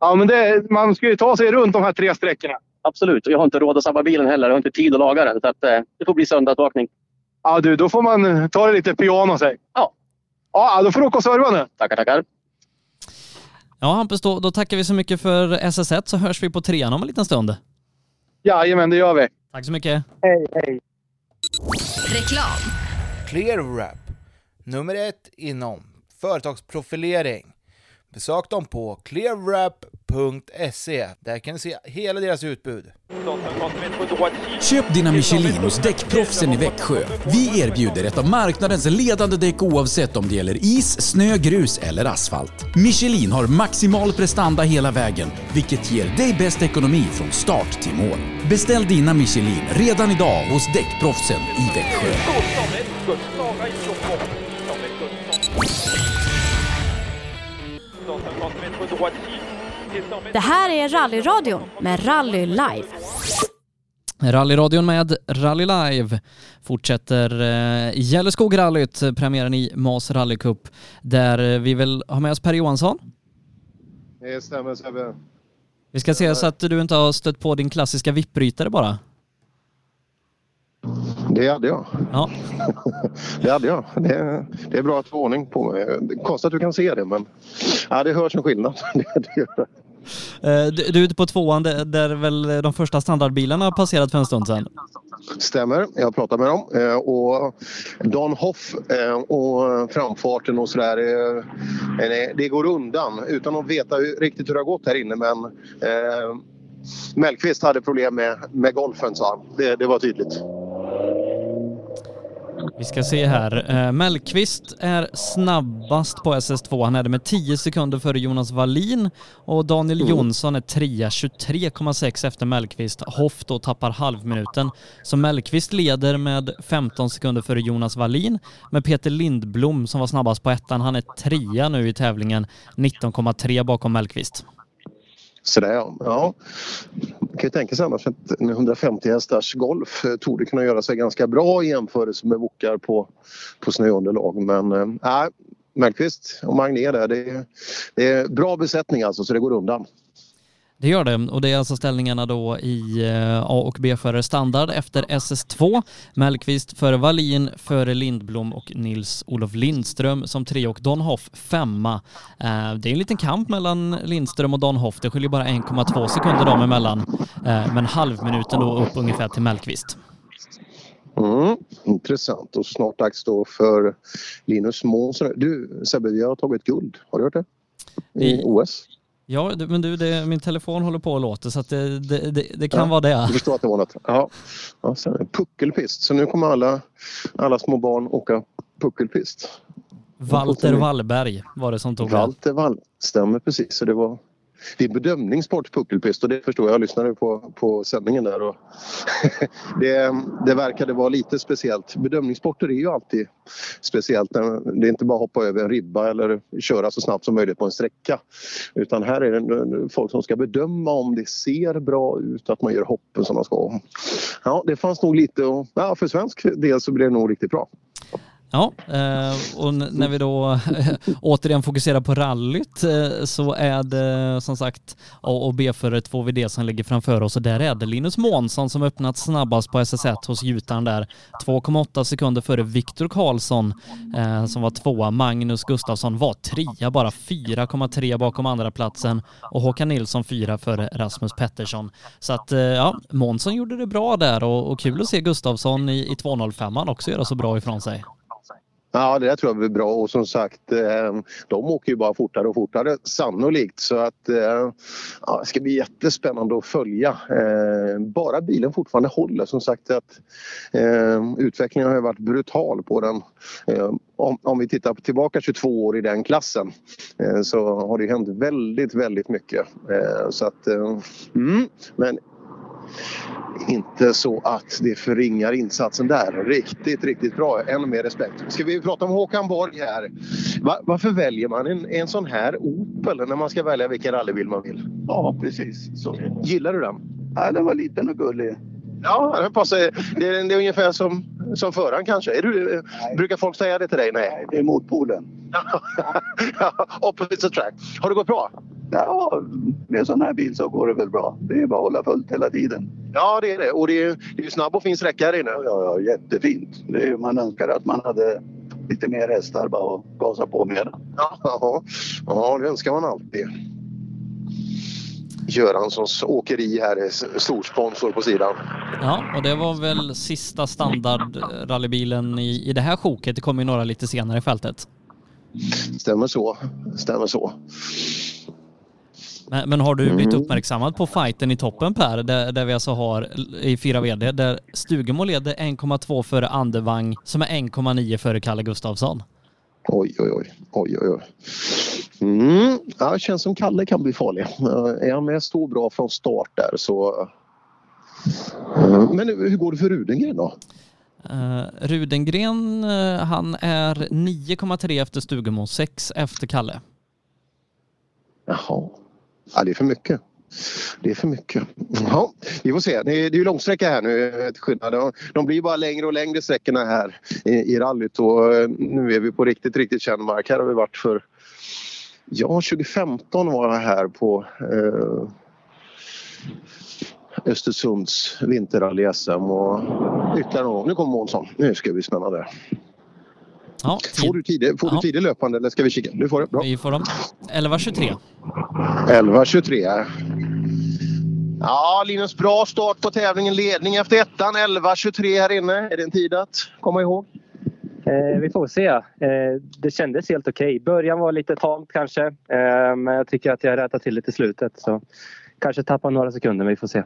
S9: Ja, men det, man ska ju ta sig runt de här tre sträckorna.
S13: Absolut, och jag har inte råd att sabba bilen heller. Jag har inte tid att laga den. Så att, eh, det får bli söndagsvakning.
S9: Ja, du, då får man eh, ta det lite piano sig. Ja. Ja, då får du åka och serva nu.
S13: Tackar, tackar.
S5: Ja, Hampus, då, då tackar vi så mycket för SS1 så hörs vi på trean om en liten stund.
S9: Jajamän, det gör vi.
S5: Tack så mycket.
S9: Hej, hej.
S1: Reklam.
S3: ClearWrap, nummer ett inom företagsprofilering. Besök dem på clearwrap.se. Där kan du se hela deras utbud.
S4: Köp dina Michelin hos Däckproffsen i Växjö. Vi erbjuder ett av marknadens ledande däck oavsett om det gäller is, snö, grus eller asfalt. Michelin har maximal prestanda hela vägen, vilket ger dig bäst ekonomi från start till mål. Beställ dina Michelin redan idag hos Däckproffsen i Växjö.
S23: Det här är Rallyradion med Rally Live.
S5: Rallyradion med Rally Live fortsätter eh, Gälleskog-rallyt, eh, premiären i Mas Rally Cup, där eh, vi vill ha med oss Per Johansson.
S6: Det stämmer Sebbe.
S5: Vi ska se så att du inte har stött på din klassiska vippbrytare bara.
S6: Det hade jag.
S5: Ja.
S6: det hade jag. Det, det är bra att få ordning på mig. Det är Konstigt att du kan se det men ja, det hörs en skillnad. Det, det gör det.
S5: Eh, Du, du är ute på tvåan där, där väl de första standardbilarna har passerat för en stund sedan.
S6: Stämmer, jag pratar med dem. Eh, Och Don Hoff eh, och framfarten och sådär. eh, eh, Det går undan utan att veta hur, riktigt hur det har gått här inne. Men eh, Mellqvist hade problem med, med golfen sa han. Det, det var tydligt.
S5: Vi ska se här. Eh, Mellqvist är snabbast på SS2. Han är det med 10 sekunder före Jonas Wallin och Daniel Jonsson är trea, 23,6 efter Mellqvist. Hoff då tappar halvminuten. Så Mellqvist leder med 15 sekunder före Jonas Wallin. Men Peter Lindblom som var snabbast på ettan, han är trea nu i tävlingen, 19,3 bakom Mellqvist.
S6: Sådär ja. ja. Man kan ju tänka sig annars att en 150 hästars golf eh, torde kunna göra sig ganska bra i jämförelse med wokar på, på snöunderlag. Men nej, äh, Mellqvist och Magné där. Det är, det är bra besättning alltså så det går undan.
S5: Det gör det och det är alltså ställningarna då i eh, A och B-förare standard efter SS2. Mellqvist före Wallin, före Lindblom och Nils-Olof Lindström som tre och Don Hoff femma. Eh, Det är en liten kamp mellan Lindström och Don Hoff. Det skiljer bara 1,2 sekunder dem emellan. Eh, Men halvminuten då upp ungefär till Mellqvist.
S6: Mm, intressant och snart dags då för Linus Månsson. Du Sebbe, vi har tagit guld. Har du hört det? I
S5: Vi-
S6: OS.
S5: Ja, det- men du, det, min telefon håller på och låter så att det, det, det, det kan vara det.
S6: Jag förstår att det var något. Ja. Ja, sen är det puckelpist. Så nu kommer alla, alla små barn åka puckelpist.
S5: Walter Wallberg var det som tog det.
S6: Walter Wall, stämmer precis. Så det var det är bedömningssport puckelpist och det förstår jag. Jag lyssnade på, på sändningen där och det, det verkade vara lite speciellt. Bedömningssporter är ju alltid speciellt. Det är inte bara hoppa över en ribba eller köra så snabbt som möjligt på en sträcka. Utan här är det folk som ska bedöma om det ser bra ut, att man gör hoppen som man ska. Ja, det fanns nog lite och, ja, för svensk del så blev det nog riktigt bra.
S5: Ja, eh, och n- när vi då eh, återigen fokuserar på rallyt eh, så är det som sagt A och B-förare 2VD som ligger framför oss och där är det Linus Månsson som öppnat snabbast på SS1 hos Jutan där. 2,8 sekunder före Viktor Karlsson eh, som var tvåa. Magnus Gustafsson var trea, bara 4,3 bakom andra platsen och Håkan Nilsson fyra före Rasmus Pettersson. Så att eh, ja, Månsson gjorde det bra där och, och kul att se Gustafsson i, i 205 också göra så bra ifrån sig.
S6: Ja, det där tror jag blir bra. Och som sagt, eh, de åker ju bara fortare och fortare sannolikt. Så att, eh, ja, det ska bli jättespännande att följa. Eh, Bara bilen fortfarande håller. Som sagt, att, eh, utvecklingen har ju varit brutal på den. Eh, Om, om vi tittar tillbaka 22 år i den klassen eh, så har det ju hänt väldigt, väldigt mycket. Eh, Så att, eh, mm, men inte så att det förringar insatsen där. Riktigt, riktigt bra. Än mer respekt. Ska vi prata om Håkan Borg här? Va- varför väljer man en, en sån här Opel när man ska välja vilken rallybil man vill? Ja, precis. Gillar du den? Ja, den var liten och gullig. Ja, den passar. Det är, det är ungefär som, som föraren kanske. Är du, brukar folk säga det till dig? Nej, det är motpolen. Opposite attract. Har det gått bra? Ja, med en sån här bil så går det väl bra. Det är bara att hålla fullt hela tiden. Ja, det är det. Och det är, det är ju snabb och fin sträcka här inne. Ja, ja jättefint. man önskar att man hade lite mer hästar bara och gasa på mer. Ja, ja, ja, det önskar man alltid. Göranssons åkeri här är s- storsponsor på sidan.
S5: Ja, och det var väl sista standardrallybilen i, i det här sjoket. Det kommer ju några lite senare i fältet.
S6: Stämmer så. Stämmer så.
S5: Men, men har du blivit
S6: Mm.
S5: uppmärksammad på fighten i toppen Per, där, där vi alltså har l- i fyra VD, där Stugemo leder 1,2 före Andevang som är 1,9 före Kalle Gustafsson.
S6: Oj, oj, oj. oj, oj, oj. Mm. Ja, det känns som Kalle kan bli farlig. Eh, Är han med så bra från start där så... Eh, Men hur hur går det för Rudengren då?
S5: Eh, Rudengren, eh, han är 9,3 efter Stugemo, 6 efter Kalle.
S6: Jaha. Ja, det är för mycket. Det är för mycket. Ja, vi får se. Det är det är ju långsträcka här nu eh, till skillnad. De- De blir bara längre och längre sträckorna här i, i rallyt och eh, nu är vi på riktigt, riktigt känd mark. Här har vi varit för... Ja, 2015 var jag här på eh, Östersunds vinterrally SM och ytterligare någon gång. Nu kommer Månsson. Nu ska vi smälla där. får du tider, får du tider löpande eller ska vi kika? Du får det. Bra.
S5: Vi får dem. 11,23.
S6: 11.23. Ja, Linus, bra start på tävlingen. Ledning efter ettan. 11.23 här inne. Är det en tid att komma ihåg?
S7: Eh, vi får se. Eh, det kändes helt okej. Början var lite tamt kanske. Eh, men jag tycker att jag rättar till lite i slutet. Så kanske tappar några sekunder, men vi får se.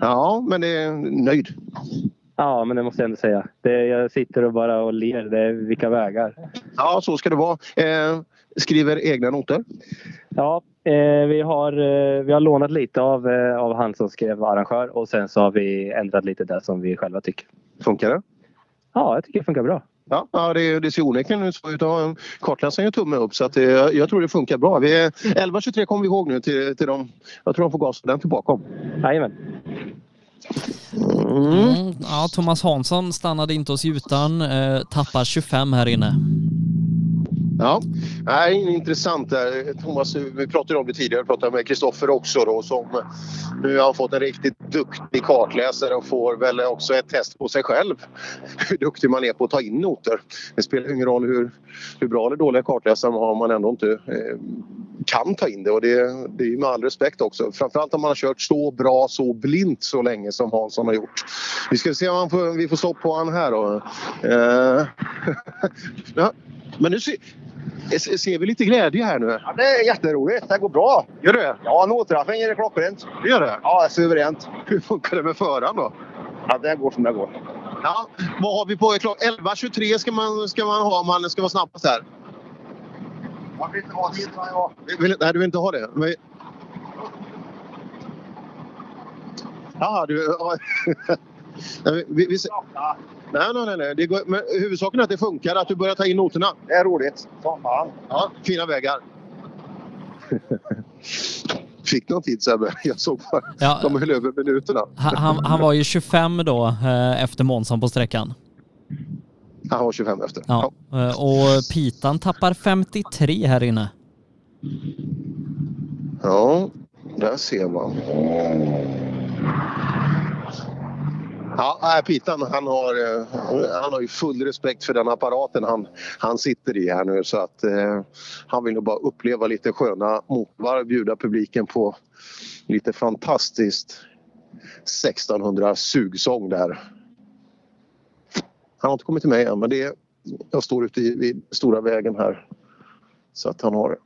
S6: Ja, men det är nöjd.
S7: Ja, men det måste jag ändå säga. Det, jag sitter och bara och ler. Det är, vilka vägar.
S6: Ja, så ska det vara. Eh, skriver egna noter.
S7: Ja, eh, vi, har, eh, vi har lånat lite av, eh, av han som skrev arrangör och sen så har vi ändrat lite där som vi själva tycker.
S6: Funkar det?
S7: Ja, jag tycker det funkar bra.
S6: Ja, ja det, det ser onekligen ut så. ut. Ja, Kartläsaren gör tumme upp så att, eh, jag tror det funkar bra. Vi är- 11.23 kommer vi ihåg nu till, till dem. Jag tror de får gasa den tillbaka.
S7: Jajamän.
S5: Mm. Ja, Thomas Hansson stannade inte hos Jutan, eh, tappar 25 här inne.
S6: Ja, nej, intressant där. Thomas, vi pratade om det tidigare, jag pratade med Kristoffer också då som nu har fått en riktigt duktig kartläsare och får väl också ett test på sig själv. Hur duktig man är på att ta in noter. Det spelar ju ingen roll hur, hur bra eller dåliga kartläsare man har om man ändå inte eh, kan ta in det och det, det är ju med all respekt också. Framförallt om man har kört så bra, så blint så länge som Hansson har gjort. Vi ska se om han får, vi får stopp på han här då. Eh, ja, men nu ser, se- ser vi lite glädje här nu.
S26: Ja, det är jätteroligt. Det går bra.
S6: Gör det?
S26: Ja, noträffen är klockrent.
S6: Det gör det?
S26: Ja, det är suveränt.
S6: Hur funkar det med föraren då?
S26: Ja, det går som det går.
S6: Ja, vad har vi på klockan? 11.23 ska man, ska man ha om man ska vara snabbast här.
S26: Jag vill inte ha dit när jag...
S6: Vill, nej, du vill inte ha det? Men... Ja, du... ja. Nej, vi, vi... Nej, nej, nej. nej. Det går... Men huvudsaken är att det funkar, att du börjar ta in noterna.
S26: Det är roligt. Som fan.
S6: Ja, fina vägar. Fick någon tid Sebbe? Jag såg bara.
S5: Ja.
S6: De höll över minuterna.
S5: Han, han, han var ju 25 då eh, efter Månsson på sträckan.
S6: Han var 25 efter.
S5: Ja. Eh, Och Pitan tappar 53 här inne.
S6: Ja, där ser man. Ja, nej, Pitan han har, eh, han har ju full respekt för den apparaten han, han sitter i här nu. Så att, eh, han vill nog bara uppleva lite sköna motvarv, bjuda publiken på lite fantastiskt 1600 sugsång där. Han har inte kommit till mig än, men det är, jag står ute i, vid stora vägen här. Så att han har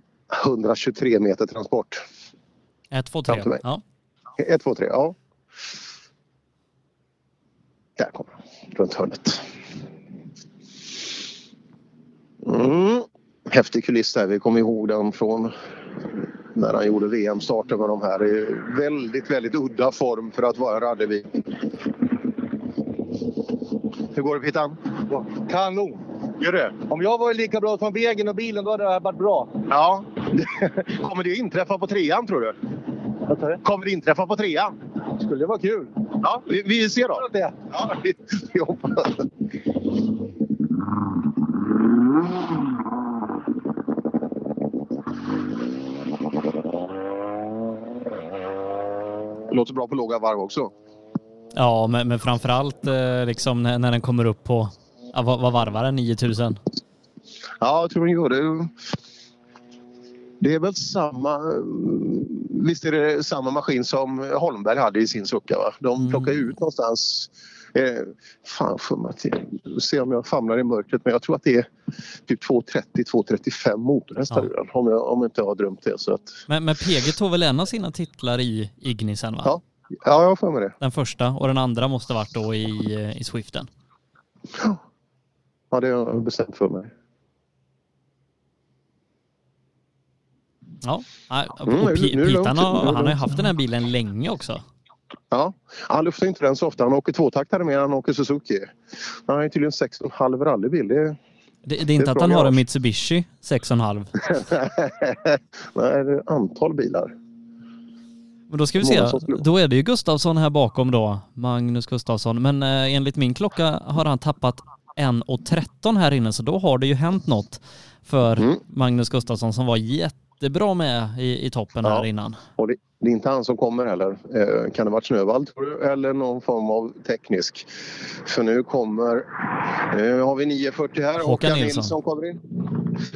S6: 123 meter transport.
S5: 1, 2,
S6: Fram
S5: 3.
S6: till mig.
S5: Ja.
S6: Ett, två, tre. Ja. Där kommer han, runt hörnet. Mm. Häftig kuliss där. Vi kommer ihåg den från när han gjorde VM-starten med de här. Det är Väldigt, väldigt udda form för att vara Radevik. Hur går det Pittan?
S26: Kanon.
S6: Gör det?
S26: Om jag var lika bra som vägen och bilen, då hade det här varit bra.
S6: Ja. Kommer det inträffa på trean tror du? Kommer det inträffa på trean? Skulle det vara kul. Ja, vi, vi ser då. Ja, vi, vi hoppas. Låter bra på låga varv också.
S5: Ja, men, men framförallt eh, liksom när, när den kommer upp på, ja, vad, vad varvar den? 9000?
S6: Ja, jag tror den gör det. Det är väl samma... Visst är det samma maskin som Holmberg hade i sin Succa? Va? De plockar ju ut någonstans... Eh, fan, för mig att jag- se om jag famlar i mörkret. Men jag tror att det är typ 230-235 motorhästar i den. Om jag om inte jag har drömt det. Så att,
S5: Men, men PG tog väl en av sina titlar i Ignisen? Va? Ja.
S6: ja, jag har för mig det.
S5: Den första och den andra måste varit då i, eh, i Swiften.
S6: Ja, det har jag bestämt för mig.
S5: Ja, nej, och
S6: Mm, nu-
S5: Pi-
S6: nu är det lugnt.
S5: Pitan
S6: Nu är
S5: har,
S6: det
S5: han har ju
S6: lugnt.
S5: haft den här bilen länge också.
S6: Ja, han luftar inte den så ofta. Han åker tvåtaktare mer än han åker Suzuki. Han har ju tydligen 6,5 rallybil. Det,
S5: Det, det är inte att han har en Mitsubishi 6,5.
S6: Nej, det är ett antal bilar.
S5: Men då ska vi se.
S6: Många som skulle-
S5: Då är det ju Gustafsson här bakom då. Magnus Gustafsson. Men eh, enligt min klocka har han tappat 1.13 här inne så då har det ju hänt något för Magnus Gustafsson som var jättebra med i, i toppen här innan.
S6: Och det, det är inte han som kommer heller. Eh, kan det vara Snövall tror du? Eller någon form av teknisk? För nu kommer... Nu har vi 9.40 här. Håkan, Nilsson. kommer in.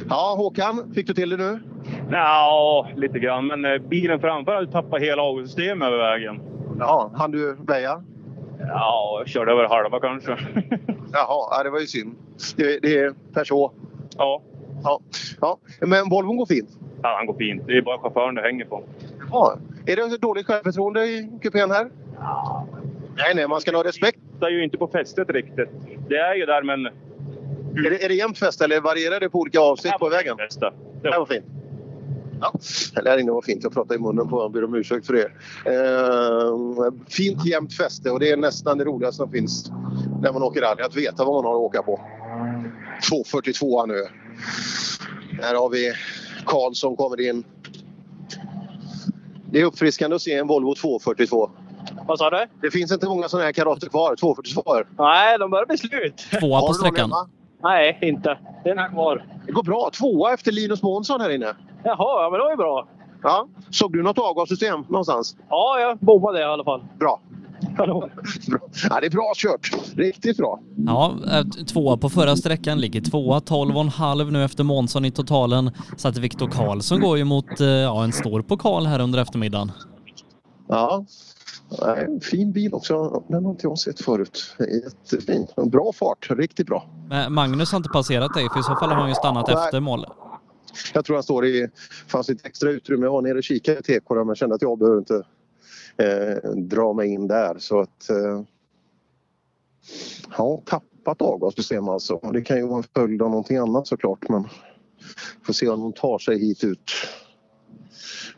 S6: Ja, Håkan, fick du till det nu?
S8: Ja, lite grann. Men eh, bilen framför hade tappat hela avgassystemet över vägen.
S6: Ja, hann du väja?
S8: Ja, jag körde över halva kanske.
S6: Jaha, ja, det var ju synd. Det, det är Peugeot.
S8: Ja.
S6: ja. Ja, men Volvon går fint.
S8: Ja, han går fint. Det är bara chauffören det hänger på.
S6: Ja. Är det dåligt självförtroende i kupén här? Nej, nej, man ska ha respekt.
S8: Det är ju inte på fästet riktigt. Det är ju där, men...
S6: Är det, är det jämnt fäste eller varierar det på olika avsnitt på vägen? Det här var fint. Ja, det här inne var fint. Jag pratade i munnen på honom. Ber om ursäkt för det. Eh, fint jämnt fäste och det är nästan det roligaste som finns när man åker rally. Att veta vad man har att åka på. 2.42 nu. Här har vi Karlsson kommer in. Det är uppfriskande att se en Volvo 242.
S21: Vad sa du?
S6: Det finns inte många sådana här karater kvar, 240 kvar.
S21: Nej, de börjar bli slut.
S6: Tvåa på Har du någon sträckan. hemma?
S21: Nej, inte. Det är en här kvar.
S6: Det går bra. Tvåa efter Linus Månsson här inne.
S21: Jaha, ja, men det var ju bra.
S6: Ja. Såg du något avgassystem någonstans?
S21: Ja, jag bommade i alla fall.
S6: Bra. bra. Ja, det är bra kört. Riktigt bra.
S5: Ja, eh, tvåa på förra sträckan, ligger tvåa, tolv och en halv nu efter Månsson i totalen. Så att Viktor Karlsson går ju mot eh, ja, en stor pokal här under eftermiddagen.
S6: Ja. Nej, en fin bil också. Den har inte jag sett förut. Jättefin. Bra fart. Riktigt bra.
S5: Men Magnus har inte passerat dig, för i så fall har han ju stannat
S6: Nej.
S5: efter mål.
S6: Jag tror han står i... fanns lite extra utrymme. Jag var nere och kikade i TK där, men kände att jag behöver inte eh, dra mig in där. Så att... Eh, ja, tappat avgassystem alltså. Det kan ju vara en följd av någonting annat såklart, men... Får se om de tar sig hit ut.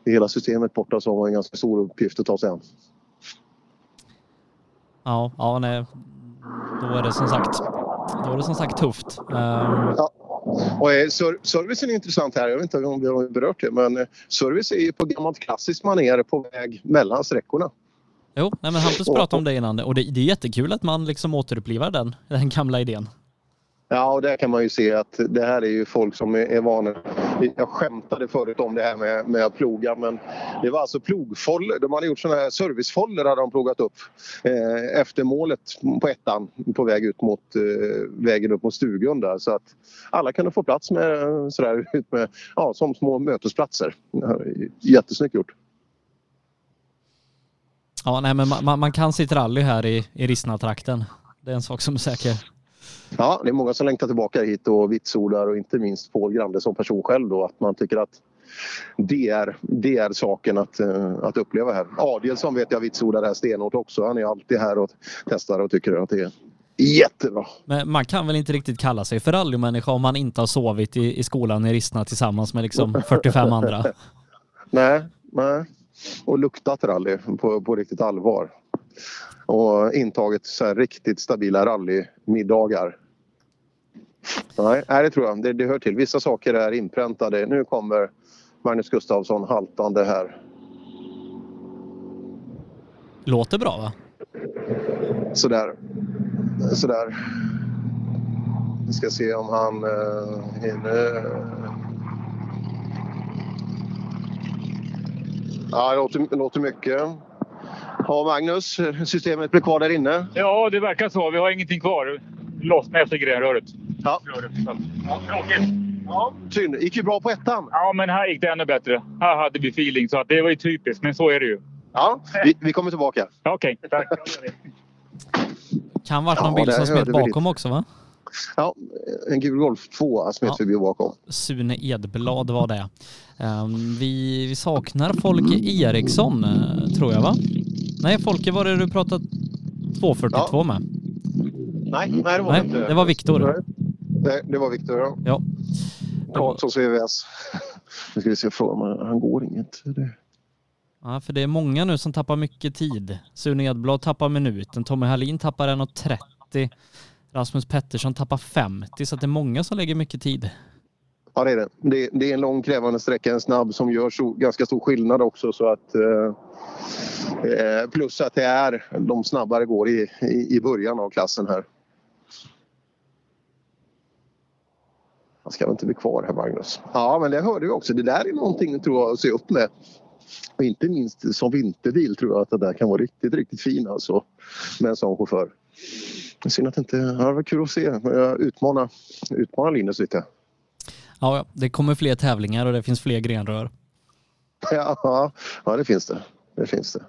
S6: Det hela systemet borta så har en ganska stor uppgift att ta sig an.
S5: Ja, ja, nej. Då är det som sagt, då är det som sagt tufft. Ehm,
S6: Och eh, ser- servicen är intressant här. Jag vet inte om vi har berört det, men eh, service är ju på gammalt klassiskt manér på väg mellan sträckorna.
S5: Jo, nej, men Hampus pratade om det innan och det, det är jättekul att man liksom återupplivar den, den gamla idén.
S6: Ja, och där kan man ju se att det här är ju folk som är, är vana. Jag skämtade förut om det här med, med att ploga, men det var alltså plogfoller. De hade gjort sådana här servicefoller hade de plogat upp eh, efter målet på ettan på väg ut mot eh, vägen upp mot stugan där så att alla kunde få plats med eh, sådär ut med ja, som små mötesplatser. Det här är Jättesnyggt gjort.
S5: Ja, nej, men man, man kan sitt rally här i, i Rissna-trakten. Det är en sak som är säker.
S6: Ja, det är många som längtar tillbaka hit och vitsordar och inte minst Paul Grande som person själv då att man tycker att det är, det är saken att, eh, att uppleva här. Adielsson vet jag vitsordar det här stenhårt också. Han är alltid här och testar och tycker att det är jättebra.
S5: Men man kan väl inte riktigt kalla sig för rallymänniska om man inte har sovit i, i skolan i Rissna tillsammans med liksom 45 andra.
S6: Nej, nej. Och luktat rally på, på riktigt allvar. Och intagit så här riktigt stabila rallymiddagar. Nej, nej, det tror jag. Det, det hör till. Vissa saker är inpräntade. Nu kommer Magnus Gustafsson haltande här.
S5: Låter bra va?
S6: Sådär. Sådär. Vi ska se om han eh, hinner. Ja, det låter, det låter mycket. Ja, Magnus, systemet blir kvar där inne.
S14: Ja, det verkar så. Vi har ingenting kvar. Lossna efter grenröret.
S6: Ja.
S14: Tråkigt. Ja.
S6: Synd. gick ju bra på ettan.
S14: Ja, men här gick det ännu bättre. Här hade vi feeling, så att det var ju typiskt. Men så är det ju.
S6: Ja, vi, vi kommer tillbaka.
S14: Okej, tack.
S5: Kan varit någon
S6: Ja,
S5: bil
S6: det
S5: som smet
S6: hörde vi
S5: bakom också va?
S6: Ja, en gul Golf 2 smet
S5: Ja.
S6: förbi bakom.
S5: Sune Edblad var det. Ehm, vi, vi saknar Folke Eriksson eh, tror jag va? Nej Folke var det du pratat 242 med?
S6: Nej, nej, det var
S5: Nej,
S6: det inte.
S5: det var Viktor.
S6: Nej, det var Viktor, ja.
S5: Ja.
S6: Karlssons VVS. Nu ska vi se, fråga om han- han går inget. Det...
S5: Ja, för det är många nu som tappar mycket tid. Sune Edblad tappar minuten, Tommy Hallin tappar 1.30, Rasmus Pettersson tappar 50, så att det är många som lägger mycket tid.
S6: Ja, det är det. det. Det är en lång krävande sträcka, en snabb som gör så, ganska stor skillnad också. Så att, eh, eh, plus att det är de snabbare går i, i, i början av klassen här. Han ska väl inte bli kvar här, Magnus. Ja, men det hörde vi också. Det där är någonting tror jag, att se upp med. Och inte minst som vinterbil tror jag att det där kan vara riktigt, riktigt fin alltså. Med en sån chaufför. Synd att inte... Ja, det var kul att se. Men jag utmanar, utmanar Linus lite.
S5: Ja, ja, det kommer fler tävlingar och det finns fler grenrör.
S6: Ja, ja det finns det. Det finns det.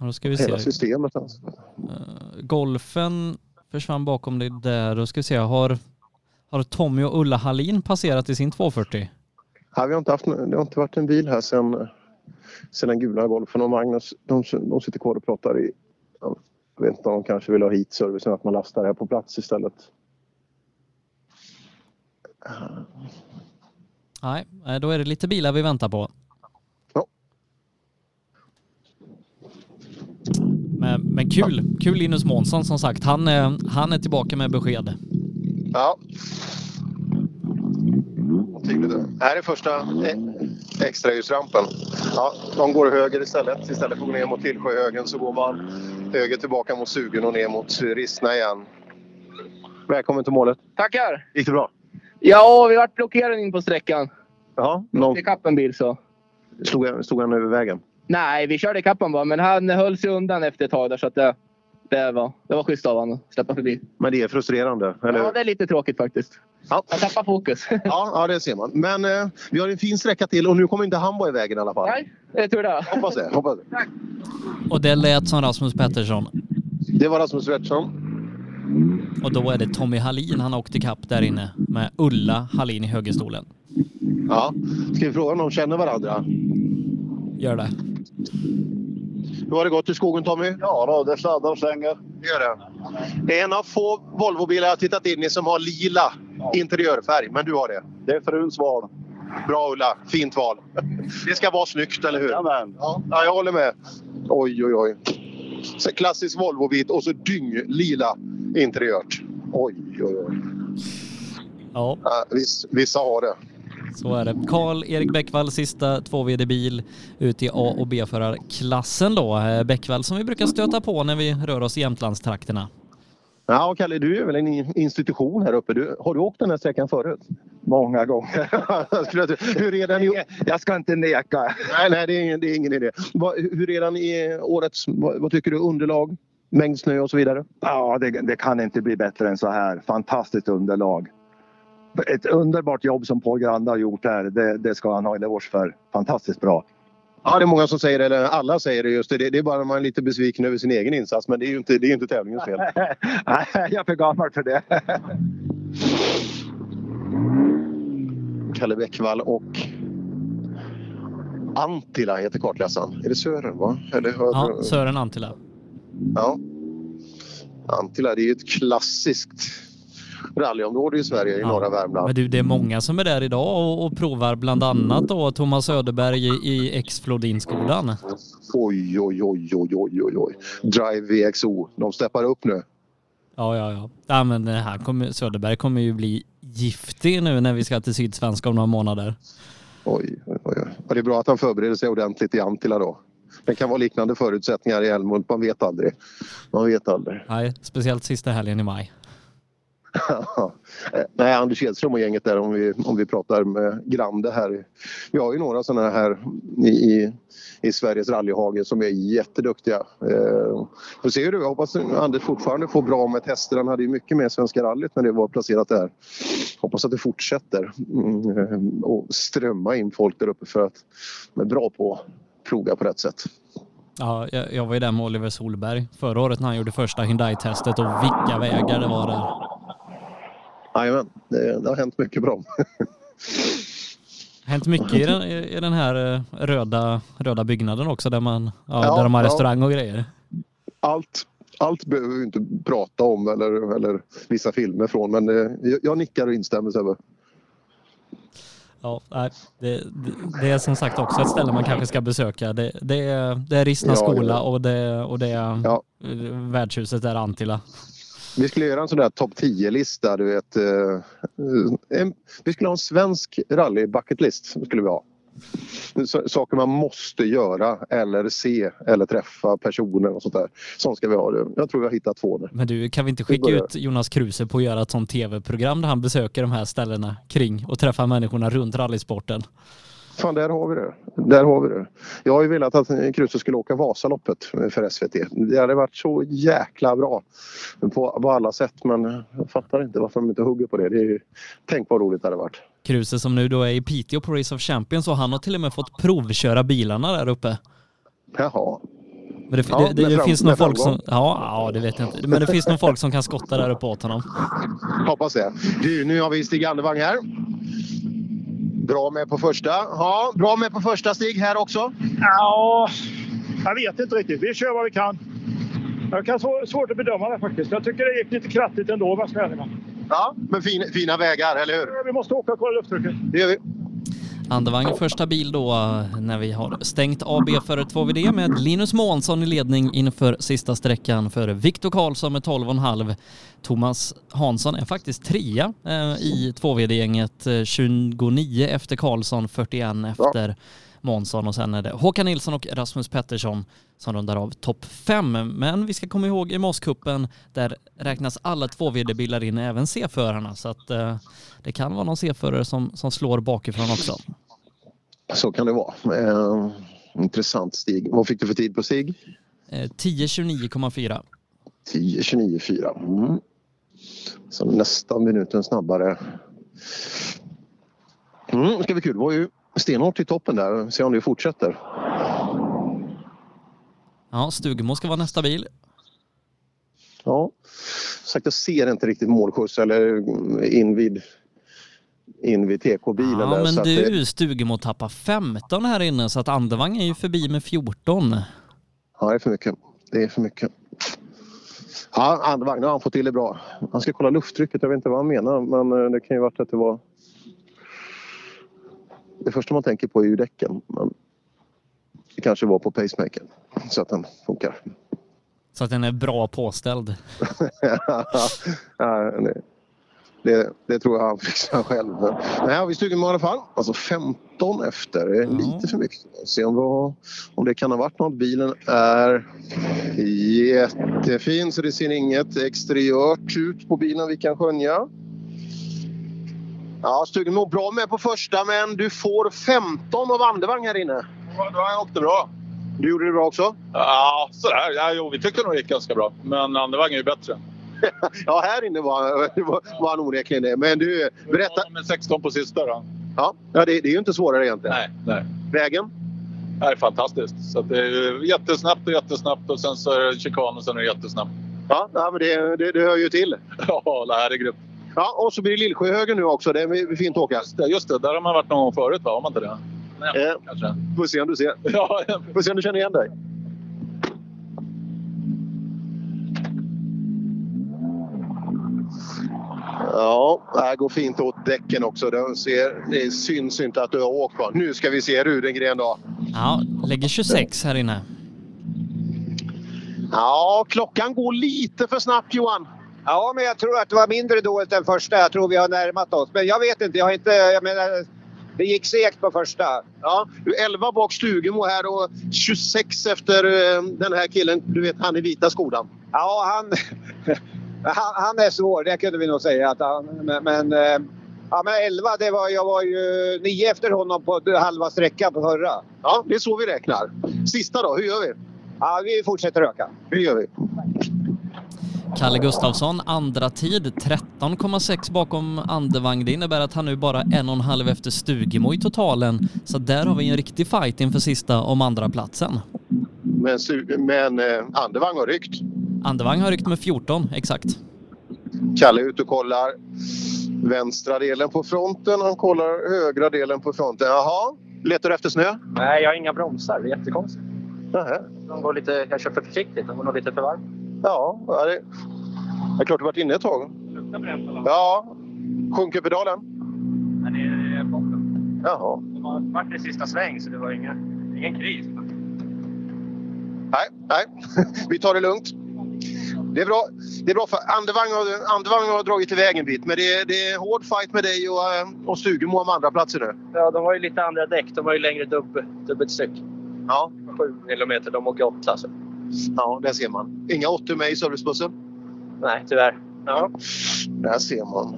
S5: Och då ska vi
S6: Hela
S5: se.
S6: systemet. Alltså.
S5: Eh, Golfen försvann bakom dig där. Då ska vi se, har, har Tommy och Ulla Hallin passerat i sin 240?
S6: Här, vi har inte haft, det har inte varit en bil här sen sedan gula golfen och Magnus, de, de sitter kvar och pratar i... ja, Jag vet inte om de kanske vill ha hit servicen, att man lastar här på plats istället.
S5: Nej, eh, då är det lite bilar vi väntar på. Men, men kul, kul Linus Månsson som sagt. Han, eh, han är tillbaka med besked.
S6: Ja. Här är första eh, extraljusrampen. Ja, de går höger istället. Istället för att gå ner mot Tillsjöhögen så går man höger tillbaka mot Sugen och ner mot Rissne igen. Välkommen till målet.
S7: Tackar!
S6: Gick det bra?
S7: Ja, vi vart blockerade in på sträckan.
S6: Ja, någon...
S7: Ikapp en bil så.
S6: Stod, han- stod han över vägen?
S7: Nej, vi körde ikapp honom bara, men han höll sig undan efter ett tag där så att det, det, var, det var schysst av honom att släppa förbi.
S6: Men det är frustrerande, eller
S7: Ja,
S6: hur?
S7: det är lite tråkigt faktiskt.
S6: Ja.
S7: Jag tappar fokus.
S6: Ja, ja, det ser man. Men eh, vi har en fin sträcka till och nu kommer inte Hambo i vägen i alla fall.
S7: Nej, det är tur det.
S6: Hoppas det. Hoppas det.
S5: Och det lät som Rasmus Pettersson.
S6: det var Rasmus Pettersson.
S5: Och då är det Tommy Hallin han har åkt ikapp där inne med Ulla Hallin i högerstolen.
S6: Ja. Ska vi fråga om de känner varandra?
S5: Gör det.
S6: Hur har det gått i skogen Tommy? Ja, då, det sladdar och slänger. Gör det. Det är en av få Volvobilar jag har tittat in i som har lila interiörfärg, men du har det. Det är fruns val. Bra Ulla, fint val. Det ska vara snyggt, eller hur? Jajamän. Ja, ja, jag håller med. Oj, oj, oj. Så klassisk Volvobit och så dynglila interiört. Oj, oj, oj.
S5: Ja.
S6: Vissa, vissa har det.
S5: Så är det. Karl-Erik Bäckvall, sista 2VD-bil ut i A och B-förarklassen då. Eh, Bäckvall som vi brukar stöta på när vi rör oss i Jämtlandstrakterna.
S6: Ja, och Kalle, du är väl en in- institution här uppe. Du, har du åkt den här sträckan förut? Många gånger. hur är den i... Jag ska inte neka. Nej, nej det, är ingen, det är ingen idé. Vad, hur är den i årets... Vad, vad tycker du? Underlag, mängd snö och så vidare?
S16: Ja, det, det kan inte bli bättre än så här. Fantastiskt underlag. Ett underbart jobb som Paul Grande har gjort här. Det, det ska han ha en eloge för. Fantastiskt bra.
S6: Ja, det är många som säger det, eller alla säger det just det. Det det är bara när man är lite besviken över sin egen insats, men det är ju inte, det är ju inte tävlingens fel.
S16: Nej, jag är för gammal för det.
S6: Kalle Bäckvall och Antila heter kartläsaren. Är det Sören? Va? Eller,
S5: Ja, Sören Antila.
S6: Ja. Antilla, det är ju ett klassiskt rallyområde i Sverige, i norra Värmland.
S5: Men du, det är många som är där idag och, och provar bland annat då Thomas Söderberg i- i Ex-Flodinskolan.
S6: Oj, oj, oj, oj, oj, oj, oj. Drive VXO, de steppar upp nu.
S5: Ja, ja, ja. ja men eh, här kommer, Söderberg kommer ju bli giftig nu när vi ska till Sydsvenska om några månader.
S6: Oj, oj, oj. Och det är bra att han förbereder sig ordentligt i Antilla då. Det kan vara liknande förutsättningar i Älmhult, man vet aldrig. Man vet aldrig.
S5: Nej, speciellt sista helgen i maj.
S6: Nej, Anders Edström och gänget där om vi, om vi pratar med Grande här. Vi har ju några sådana här i, i, i Sveriges rallyhage som är jätteduktiga. Eh, får se hur det är. Jag hoppas att Anders fortfarande får bra med tester. Han hade ju mycket med Svenska rallyt när det var placerat där. Hoppas att det fortsätter mm, eh, och strömma in folk där uppe för att de är bra på att ploga på rätt sätt.
S5: Ja, jag, jag var ju där med Oliver Solberg förra året när han gjorde första Hyundai-testet och vilka vägar det var där.
S6: Jajamän, det, det har hänt mycket bra.
S5: Hänt mycket i den, i i den här eh, röda, röda byggnaden också där, man, ja,
S6: Ja,
S5: där de har
S6: ja.
S5: restaurang och grejer.
S6: allt, allt behöver vi inte prata om eller, eller vissa filmer från men eh, jag, jag nickar och instämmer Sebbe.
S5: Ja, nej, det, det, det är som sagt också ett ställe man kanske ska besöka. Det, det, är, det är Rissna
S6: Ja,
S5: skola
S6: ja.
S5: och det, och det är eh, värdshuset där Antilla.
S6: Vi skulle göra en sån där topp 10-lista, du vet. eh, En, vi skulle ha en svensk rally-bucketlist. skulle vi ha. S- Saker man måste göra eller se eller träffa personer och sånt där. Sånt ska vi ha. det. Jag tror vi har hittat två nu.
S5: Men du, kan vi inte
S6: Vi
S5: skicka
S6: börjar.
S5: ut Jonas Kruse på att göra ett sånt tv-program där han besöker de här ställena kring och träffar människorna runt rallysporten?
S6: Fan, där har vi det. Där har vi det. Jag har ju velat att Kruse skulle åka Vasaloppet för SVT. Det hade varit så jäkla bra på, på alla sätt men jag fattar inte varför de inte hugger på det. det är ju, tänk vad roligt det hade varit.
S5: Kruse som nu då är i Piteå på Race of Champions och han har till och med fått provköra bilarna där uppe.
S6: Jaha.
S5: Men det,
S6: Ja,
S5: det, det,
S6: med
S5: det
S6: fram-
S5: finns
S6: med
S5: nog folk som...
S6: framgång.
S5: Ja, ja, det vet jag inte. Men det finns nog folk som kan skotta där uppe åt honom.
S6: Hoppas det. Du, nu har vi Stig Andervang här. Bra med på första. Ja, bra med på första stig här också.
S17: Ja, jag vet inte riktigt. Vi kör vad vi kan. Jag kan svå- svårt att bedöma det faktiskt. Jag tycker det gick lite krattigt ändå, om jag ska vara ärlig.
S6: Ja, men fin, fina vägar, eller hur?
S17: Vi måste åka och kolla lufttrycket.
S6: Det gör vi.
S5: Andevang första bil då eh, när vi har stängt AB för 2VD med Linus Månsson i ledning inför sista sträckan för Viktor Karlsson med 12,5. Thomas Hansson är faktiskt trea eh, i 2VD-gänget, eh, 29 efter Karlsson, 41 efter Månsson och sen är det Håkan Nilsson och Rasmus Pettersson som rundar av topp fem. Men vi ska komma ihåg i Mosskuppen där räknas alla 2VD-bilar in, även C-förarna, så att eh, det kan vara någon C-förare som, som slår bakifrån också.
S6: Så kan det vara. Eh, intressant Stig. Vad fick du för tid på Stig?
S5: Eh, 10.29,4.
S6: 10.29,4. Mm. Så nästan minuten snabbare. Mm, det ska bli kul. Det var ju stenhårt i toppen där. Se om det fortsätter.
S5: Ja, Stugemo ska vara nästa bil.
S6: Ja, som sagt, jag ser inte riktigt målskjuts eller invid invid TK-bilen.
S5: Ja,
S6: där,
S5: men
S6: så att
S5: du,
S6: det-
S5: Stugemo tappar 15 här inne så att Andevang är ju förbi med 14.
S6: Ja, det är för mycket. Det är för mycket. Ja, andevagn, nu har han fått till det bra. Han ska kolla lufttrycket. Jag vet inte vad han menar, men eh, det kan ju varit att det var... Det första man tänker på är ju däcken. Men det kanske var på pacemakern så att den funkar.
S5: Så att den är bra påställd.
S6: Ja, det, det, det tror jag han fixar själv. Men här har vi stugan i alla fall. Alltså 15 efter. Det är lite för mycket. Se om, vad, om det kan ha varit något. Bilen är jättefin så det ser inget exteriört ut på bilen vi kan skönja. Ja, Stugan mår bra med på första men du får 15 av Andevang här inne.
S10: Då har jag åkt det bra.
S6: Du gjorde det bra också?
S10: Ja, sådär. Ja, jo, vi tyckte nog det gick ganska bra. Men eh, andevagn är ju bättre.
S6: ja, här inne var, var, var han onekligen det. Men du, berätta.
S10: Ja, men 16 på sista då.
S6: Ja, ja det, det är ju inte svårare egentligen.
S10: Nej, nej.
S6: Vägen?
S10: Det är fantastiskt. Så att det är jättesnabbt och jättesnabbt och sen så är det chikan och sen är det jättesnabbt.
S6: Ja, nej, men det, det, det hör ju till.
S10: Ja, det här är grymt.
S6: Ja, och så blir det Lillsjöhögen nu också. Det är fint att åka.
S10: Just det, just det, där har man varit någon gång förut, va? Har man inte det?
S6: Eh,
S10: Kanske.
S6: Får se om du ser.
S10: Ja,
S6: Får se om du känner igen dig. Ja, det här går fint åt däcken också. De ser, det syns inte att du har åkt på. Nu ska vi se Rudengren då.
S5: Ja, lägger 26 här inne.
S6: Ja, klockan går lite för snabbt Johan.
S11: Ja, men jag tror att det var mindre dåligt än första. Jag tror vi har närmat oss. Men jag vet inte. Jag har inte... Jag menar, det gick segt på första.
S6: Ja, du är 11 bak Stugemo här och 26 efter eh, den här killen. Du vet, han i vita skodan.
S11: Ja, han, han, han är svår. Det kunde vi nog säga. Att han, men, men, eh, ja, men 11, det var, jag var ju nio efter honom på halva sträckan på förra.
S6: Ja, det är så vi räknar. Sista då, hur gör vi?
S11: Ja, vi fortsätter öka.
S6: Hur gör vi?
S5: Kalle Gustafsson, andra tid, 13,6 bakom Andevang. Det innebär att han nu bara en och en halv efter Stugemo i totalen. Så där har vi en riktig fight inför sista om andra platsen.
S6: Men, Stu- men eh, Andevang har ryckt.
S5: Andevang har ryckt med 14, exakt.
S6: Kalle är ute och kollar vänstra delen på fronten. Han kollar högra delen på fronten. Jaha, letar du efter snö?
S7: Nej, jag har inga bromsar. Det är jättekonstigt.
S6: Nähä.
S7: De går lite, jag kör för försiktigt. De går nog lite för varmt.
S6: Ja, ja, det det är klart du varit inne ett tag. Ja, sjunker pedalen?
S7: Men det är eh, botten.
S6: Jaha.
S7: Det var vart i sista sväng, så det var ingen, ingen kris.
S6: Nej, nej. Vi tar det lugnt. Det är bra. Det är bra för Andevang har, Andevang har dragit iväg en bit, men det är, det är hård fight med dig och, eh, och Stugemo om andra platser nu.
S7: Ja, de har ju lite andra däck. De har ju längre dubb, dubbelstryck.
S6: Ja.
S7: 7 kilometer. De åker 8. Så.
S6: Ja, där ser man. Inga 80 med i servicebussen?
S7: Nej, tyvärr.
S6: Ja. Där ser man.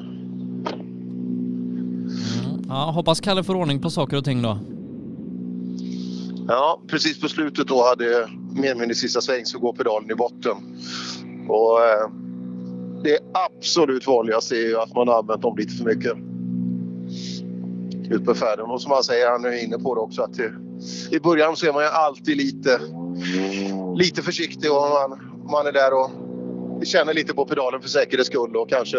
S5: Ja, hoppas Kalle får ordning på saker och ting då.
S6: Ja, precis på slutet då hade mer eller mindre sista sväng så går pedalen i botten. Och eh, det absolut vanligaste är ju att man har använt dem lite för mycket. Ut på färden. Och som han säger, han är inne på det också, att det, i början så är man ju alltid lite, lite försiktig och man, man är där och känner lite på pedalen för säkerhets skull och kanske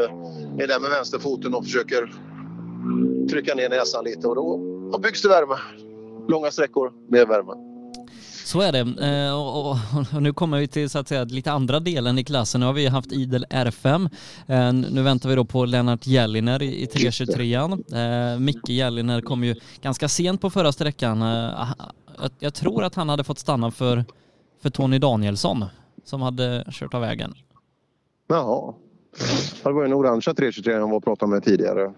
S6: är där med vänsterfoten och försöker trycka ner näsan lite och då, då byggs det värme. Långa sträckor med värme.
S5: Så är det. Eh, och, och, och nu kommer vi till så att säga, lite andra delen i klassen. Nu har vi haft idel R5. Eh, nu väntar vi då på Lennart Jelliner i, i 323an. Eh, Micke Jelliner kom ju ganska sent på förra sträckan. Eh, jag, jag tror att han hade fått stanna för, för Tony Danielsson som hade kört av vägen.
S6: Jaha. Ja, Det var ju den orangea 323 han var och pratade med tidigare.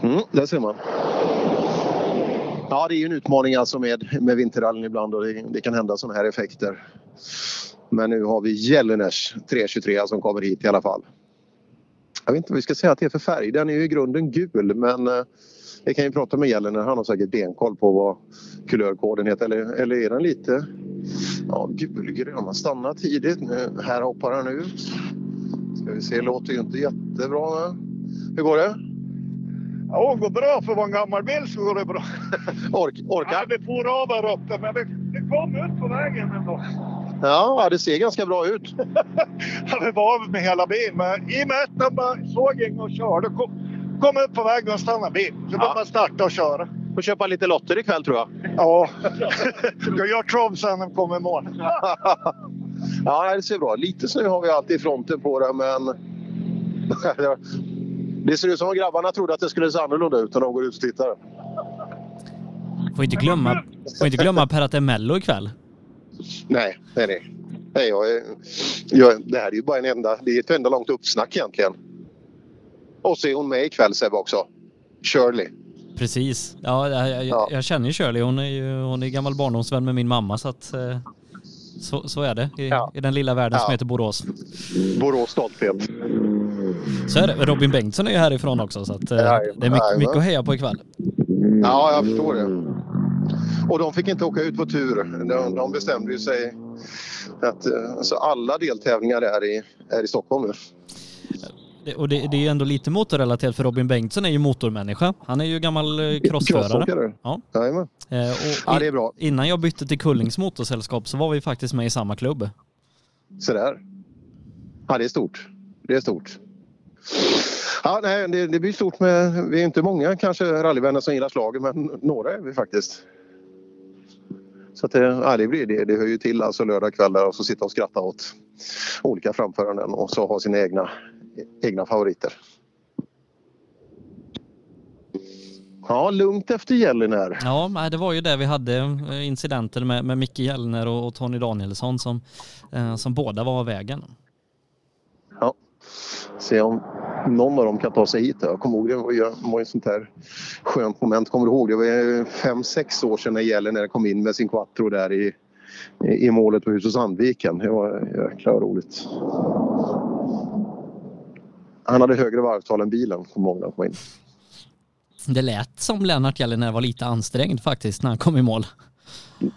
S6: Mm, där ser man. Ja, det är ju en utmaning alltså med, med vinterrallyn ibland och det, det kan hända sådana här effekter. Men nu har vi Jelliners 323 som kommer hit i alla fall. Jag vet inte vad vi ska säga att det är för färg. Den är ju i grunden gul men eh, vi kan ju prata med Jelliner. Han har säkert benkoll på vad kulörkoden heter. Eller, eller är den lite ja, gulgrön? Han stannar tidigt. Nu, här hoppar han ut. Ska vi se, låter ju inte jättebra. Hur går det?
S16: Ja, det går bra. För att vara en gammal bil så går det bra.
S6: Ork, orkar?
S16: Nej, vi for av här uppe, men vi, vi kom ut på vägen ändå.
S6: Ja, det ser ganska bra ut.
S16: Ja, vi var av med hela bilen, men i och med att de bara såg ingen och körde kom, kom upp på vägen och stannade bilen. Så ja. bara starta och köra.
S6: Får köpa lite lotter ikväll tror jag.
S16: Ja, jag gör trav sen när vi kommer i mål.
S6: Ja, det ser bra Lite snö har vi alltid i fronten på det, men... Det ser ut som om grabbarna trodde att det skulle se annorlunda ut när de går ut och tittar.
S5: Får inte glömma, får inte glömma Per att det är Mello ikväll.
S6: Nej, nej, nej. nej jag, är- jag, det här är ju bara en enda, det är ett enda långt uppsnack egentligen. Och så är hon med ikväll Sebbe också. Shirley.
S5: Precis. Ja, jag, jag, jag känner ju Shirley. Hon är ju hon är gammal barndomsvän med min mamma så att eh, så, så är det i, i den lilla världen som heter Borås.
S6: Borås stolthet.
S5: Så är det. Robin Bengtsson är ju härifrån också så att eh, det är mycket,
S6: jajamän.
S5: mycket att heja på ikväll.
S6: Ja, jag förstår det. Och de fick inte åka ut på tur. De, de bestämde ju sig att eh, alltså alla deltävlingar är i, är i Stockholm nu.
S5: Det, och det, det är ju ändå lite motorrelaterat för Robin Bengtsson är ju motormänniska. Han är ju gammal eh, crossförare.
S6: Crossåkare.
S5: Ja.
S6: Jajamän.
S5: Eh, och det är bra. Innan jag bytte till Kullings motorsällskap så var vi faktiskt med i samma klubb.
S6: Så där. Ja, det är stort. Det är stort. Ja, nej, det, det blir stort med... Vi är inte många kanske rallyvänner som gillar slaget, men några är vi faktiskt. Så att det, ja, det, blir, det, det hör ju till alltså lördag kväll där och så sitta och skratta åt olika framföranden och så ha sina egna, egna favoriter. Ja, lugnt efter gällen här.
S5: Ja, nej, det var ju det vi hade eh, incidenter med, med Micke Gällner och, och Tony Danielsson som, eh, som båda var av vägen.
S6: Ja. Se om någon av dem kan ta sig hit. Jag kommer ihåg det var ju, var ju ett sånt här skönt moment. Kommer du ihåg? Det var ju fem, sex år sedan när Gällner kom in med sin quattro där i, i, i målet på Husus Sandviken. Det var jäkla roligt. Han hade högre varvtal än bilen, kommer jag ihåg när han kom in.
S5: Det lät som Lennart Gällner var lite ansträngd faktiskt när han kom i mål.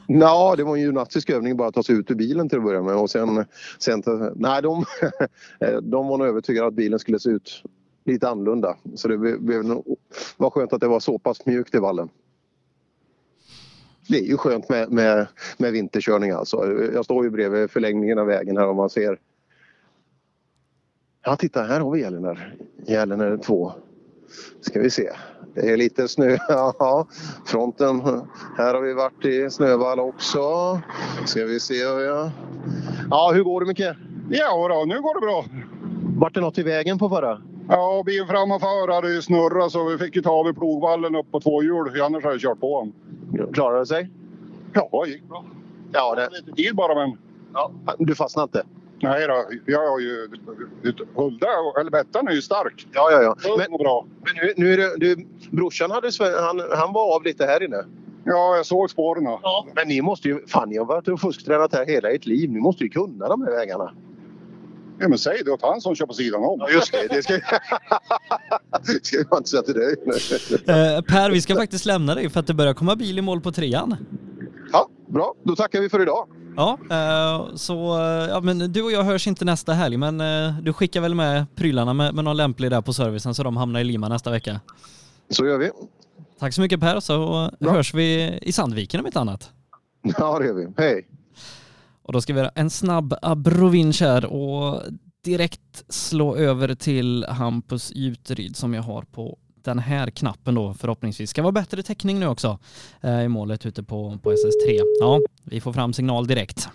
S6: Ja, det var en gymnastisk övning bara att ta sig ut ur bilen till att börja med. Och sen, sen, nej, de, de var nog övertygade att bilen skulle se ut lite annorlunda. Så det blev- blev nog- var skönt att det var så pass mjukt i vallen. Det är ju skönt med, med, med vinterkörning alltså. Jag står ju bredvid förlängningen av vägen här och man ser. Ja, titta här har vi Gällner. Gällner 2. Ska vi se. Det är lite snö. Ja, fronten. Här har vi varit i Snövalla också. Ska vi se. Ja, ja hur går det Micke?
S27: Ja, då, nu går det bra.
S6: Vart det något i vägen på förra?
S27: Ja, bilen fram och för hade ju snurrat så vi fick ju ta av i plogvallen upp på två hjul. Annars hade jag kört på honom.
S6: Klarade det sig?
S27: Ja, det gick bra.
S6: Ja,
S27: det... Lite tid bara men...
S6: Ja, du fastnade inte?
S27: Nej då, jag har ju... Hulda, eller Bettan är ju stark.
S6: Ja, ja, ja.
S27: Men, och bra.
S6: Men nu, nu är det, du, brorsan hade, sve- han, han var av lite här inne.
S27: Ja, jag såg spåren. Ja.
S6: Men ni måste ju... Fan, ni har varit och fusktränat här hela ert liv. Ni måste ju kunna de här vägarna.
S27: Ja, men säg det åt han som kör på sidan om.
S6: Ja, just det. det ska... ska jag inte säga till dig.
S5: Eh, per, vi ska faktiskt lämna dig för att det börjar komma bil i mål på trean.
S6: Ja, bra. Då tackar vi för idag.
S5: Ja, eh, så eh, ja, men du och jag hörs inte nästa helg, men eh, du skickar väl med prylarna med, med någon lämplig där på servicen så de hamnar i Lima nästa vecka.
S6: Så gör vi.
S5: Tack så mycket Per, så hörs vi i Sandviken om inte annat.
S6: Ja, det gör vi. Hej!
S5: Och då ska vi göra en snabb abrovinch här och direkt slå över till Hampus Juteryd som jag har på den här knappen då förhoppningsvis. Ska vara bättre täckning nu också eh, i målet ute på, på SS3. Ja, vi får fram signal direkt.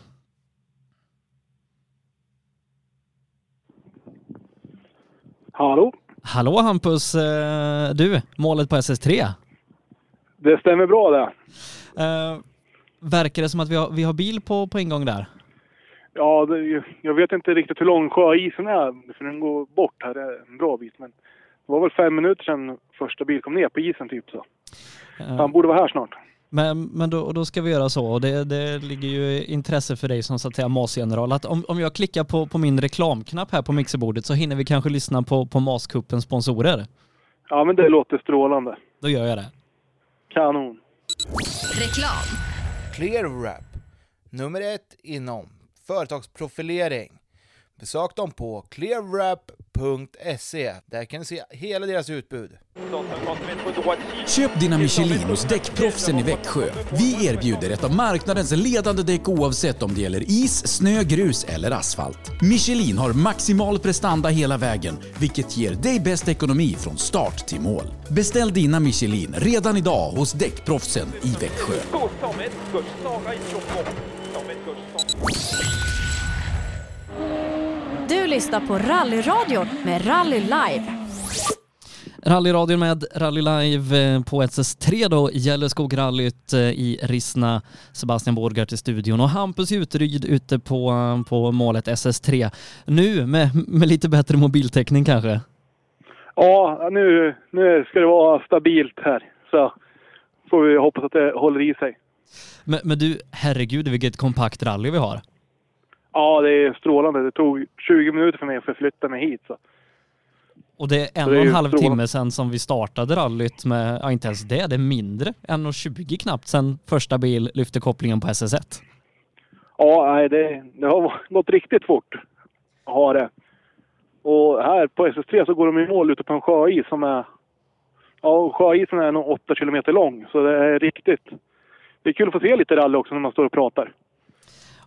S12: Hallå?
S5: Hallå Hampus, eh, du, målet på SS3.
S12: Det stämmer bra det.
S5: Eh, verkar det som att vi har, vi har bil på, på ingång där?
S12: Ja, det, jag vet inte riktigt hur lång sjöisen är, för den går bort här en bra bit. Men det var väl fem minuter sedan första bil kom ner på isen typ så.
S5: Eh,
S12: Han borde vara här snart.
S5: Men, men då, då ska vi göra så, och det, det ligger ju i intresse för dig som så att säga MAS-general, att om, om jag klickar på, på min reklamknapp här på mixerbordet så hinner vi kanske lyssna på, på MAS-cupens sponsorer.
S12: Ja, men det låter strålande.
S5: Då gör jag det.
S12: Kanon.
S3: Reklam. ClearWrap. Nummer ett inom företagsprofilering. Besök dem på clearwrap.se. Där kan du se hela deras utbud.
S4: Köp dina Michelin hos Däckproffsen i Växjö. Vi erbjuder ett av marknadens ledande däck oavsett om det gäller is, snö, grus eller asfalt. Michelin har maximal prestanda hela vägen, vilket ger dig bäst ekonomi från start till mål. Beställ dina Michelin redan idag hos Däckproffsen i Växjö.
S1: Du lyssnar på Rallyradion med Rally Live.
S5: Rallyradion med Rally Live eh, på SS3 då, Gälleskogsrallyt eh, i Rissna. Sebastian Borgart i studion och Hampus Juteryd ute på, eh, på målet SS3. Nu med, med lite bättre mobiltäckning kanske?
S12: Ja, nu, nu ska det vara stabilt här. Så får vi hoppas att det håller i sig.
S5: Men, men du, herregud vilket kompakt rally vi har.
S12: Ja, det är strålande. Det tog 20 minuter för mig att förflytta mig hit. Så.
S5: Och det är en
S12: Det är
S5: och en
S12: ju
S5: halv
S12: strålande.
S5: timme sedan som vi startade rallyt med, ja inte ens det, det är mindre, 1.20 knappt sedan första bil lyfte kopplingen på SS1.
S12: Ja, nej, det, det har gått riktigt fort. Har det. Och här på SS3 så går de i mål ute på en sjöis som är... Ja, sjöisen är nog 8 kilometer lång, så det är riktigt. Det är kul att få se lite rally också när man står och pratar.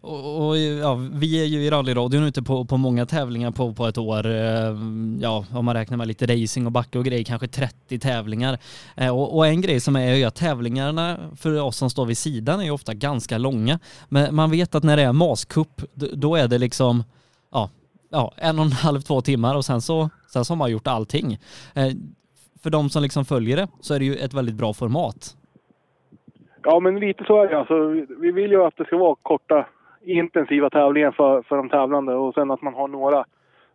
S5: Och, och ja, vi är ju i rallyradion ute på, på många tävlingar på, på ett år. Eh, Ja, om man räknar med lite racing och backe och grejer, kanske 30 tävlingar. Eh, Och, och en grej som är ju att tävlingarna för oss som står vid sidan är ju ofta ganska långa. Men man vet att när det är maskupp, d- då är det liksom ja, ja, en och en halv, två timmar och sen så, sen så har man gjort allting. Eh, För de som liksom följer det så är det ju ett väldigt bra format.
S12: Ja, men lite så är det. Alltså, vi vill ju att det ska vara korta, intensiva tävlingar för, för de tävlande och sen att man har några,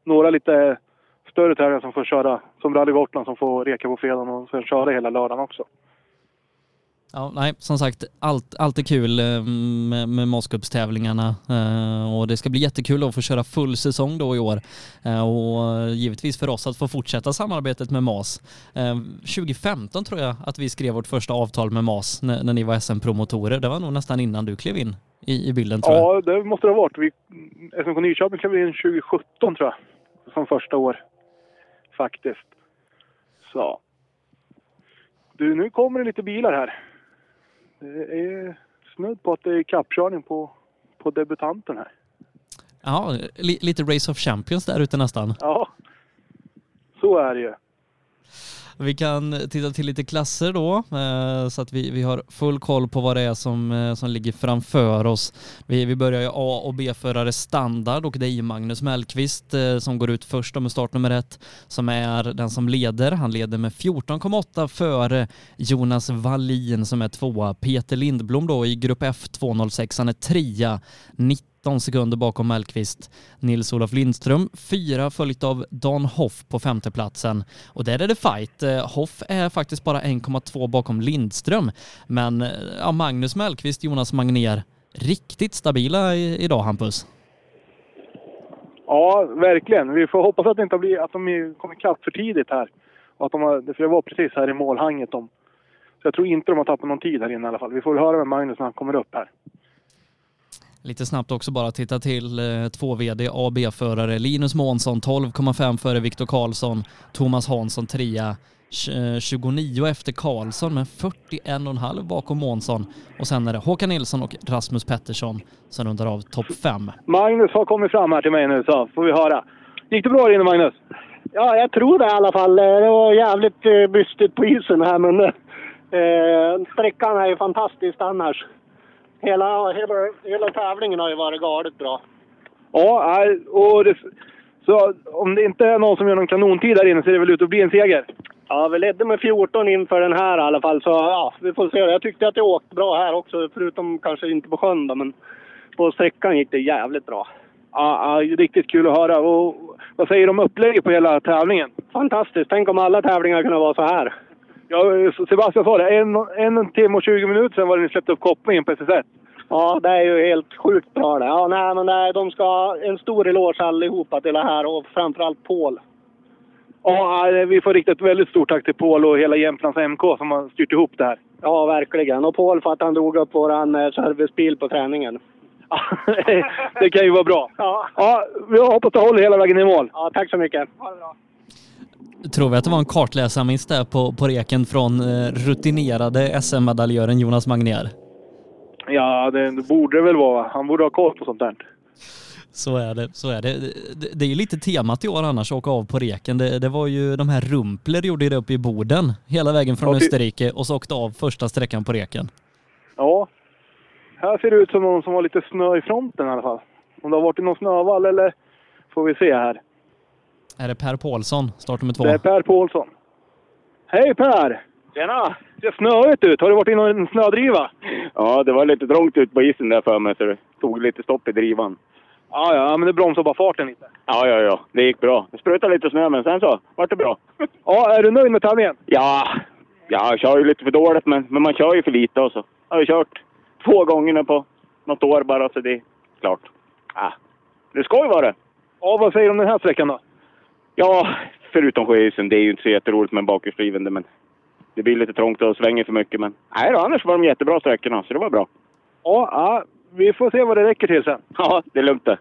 S12: några lite större tävlingar som får köra, som Rally Gotland som får reka på fredagen och sen köra hela lördagen också.
S5: Ja, nej, som sagt, allt, allt är kul eh, med, med Moskupstävlingarna eh, och det ska bli jättekul att få köra full säsong då i år eh, och givetvis för oss att få fortsätta samarbetet med MAS. Eh, 2015 tror jag att vi skrev vårt första avtal med MAS när, när ni var SM-promotorer. Det var nog nästan innan du klev in i, i bilden tror jag.
S12: Ja, det måste det ha varit. Vi, SMK Nyköping klev in 2017 tror jag, som första år faktiskt. Så. Du, nu kommer det lite bilar här. Det är snudd på att det är kappkörning på, på debutanten här.
S5: Ja, li, lite Race of Champions där ute nästan.
S12: Ja, så är det ju.
S5: Vi kan titta till lite klasser då, eh, så att vi, vi har full koll på vad det är som, eh, som ligger framför oss. Vi, vi börjar ju A och B-förare standard och det är ju Magnus Mellqvist eh, som går ut först då med startnummer ett, som är den som leder. Han leder med 14,8 före Jonas Wallin som är tvåa. Peter Lindblom då i grupp F 206, han är trea, 19 19 sekunder bakom Mellqvist. Nils-Olof Lindström fyra följt av Dan Hoff på femteplatsen. Och där är det fight. Eh, Hoff är faktiskt bara 1,2 bakom Lindström. Men eh, ja, Magnus Mellqvist, Jonas Magnér, riktigt stabila i, idag Hampus.
S12: Ja, verkligen. Vi får hoppas att, det inte blir, att de kommer ikapp för tidigt här. Och att de har, för jag var precis här i målhanget. De, så jag tror inte de har tappat någon tid här inne i alla fall. Vi får väl höra med Magnus när han kommer upp här.
S5: Lite snabbt också bara titta till eh, två VD AB-förare. Linus Månsson 12,5 före Viktor Karlsson. Thomas Hansson 3 29 efter Karlsson men 41,5 bakom Månsson. Och sen är det Håkan Nilsson och Rasmus Pettersson som rundar av topp 5.
S12: Magnus har kommit fram här till mig nu så får vi höra. Gick det bra där inne Magnus?
S21: Ja, jag tror det i alla fall. Eh, Det var jävligt eh, bystigt på isen här, men eh, sträckan är ju fantastisk annars. Hela, hela, hela tävlingen har ju varit galet bra.
S18: Ja, nej, och det, så om det inte är någon som gör någon kanontid där inne så är det väl ut att bli en seger.
S21: Ja, vi ledde med 14 inför den här i alla fall, så ja, vi får se. Jag tyckte att det åkte bra här också, förutom kanske inte på sjön då, men på sträckan gick det jävligt bra.
S18: Ja, ja, riktigt kul att höra. Och vad säger du om upplägget på hela tävlingen?
S21: Fantastiskt! Tänk om alla tävlingar kunde vara så här.
S18: Ja, eh, Sebastian sa det, en, en timme och 20 minuter sedan var det ni släppte upp kopplingen på SSS.
S21: Ja, det är ju helt sjukt bra det. Ja, nej, men nej, de ska ha en stor eloge allihopa till det här och framförallt Paul.
S18: Ja, ja, vi får rikta ett väldigt stort tack till Paul och hela Jämtlands MK som har styrt ihop det här.
S21: Ja, verkligen. Och Paul för att han drog upp våran eh, servicebil på träningen.
S18: det kan ju vara bra.
S21: Ja.
S18: Ja, vi hoppas det håller hela vägen i mål.
S21: Ja, tack så mycket. Ha det bra.
S5: Tror vi att det var en kartläsarmiss där på, på reken från eh, rutinerade SM-medaljören Jonas Magnér?
S18: Ja, det, det borde det väl vara. va? Han borde ha koll på sånt där.
S5: Så är det. Så är det. Det, det är ju lite temat i år annars, åka av på reken. Det, det var ju de här Rumpler gjorde ju det uppe i Boden hela vägen från
S18: Ja, ty-
S5: Österrike och så åkte av första sträckan på reken.
S18: Ja. Här ser det ut som någon som har lite snö i fronten i alla fall. Om det har varit någon snövall eller får vi se här.
S5: Är det Per Paulsson, start nummer två?
S18: Det är Per Paulsson. Hej Per! Tjena! Det ser snöigt ut. Har du varit i någon snödriva?
S28: Ja, det var lite trångt ut på isen där för mig så det tog lite stopp i drivan.
S18: Ja, ja, men det bromsar bara farten lite.
S28: Ja, ja, ja, det gick bra. Det sprutade lite snö men sen så vart det bra.
S18: Ja, är du nöjd med tävlingen?
S28: Ja, ja jag kör ju lite för dåligt men, men man kör ju för lite och så har jag kört två gånger nu på något år bara så det är klart. Ja, det ska ju vara det.
S18: Ja, vad säger du om den här sträckan då?
S28: Ja, förutom sjöisen, det är ju inte så jätteroligt med bakhjulsdrivande men det blir lite trångt och svänger för mycket men nej då, annars var de jättebra sträckorna så det var bra.
S18: Ja, ja, vi får se vad det räcker till sen.
S28: Ja, det är lugnt det.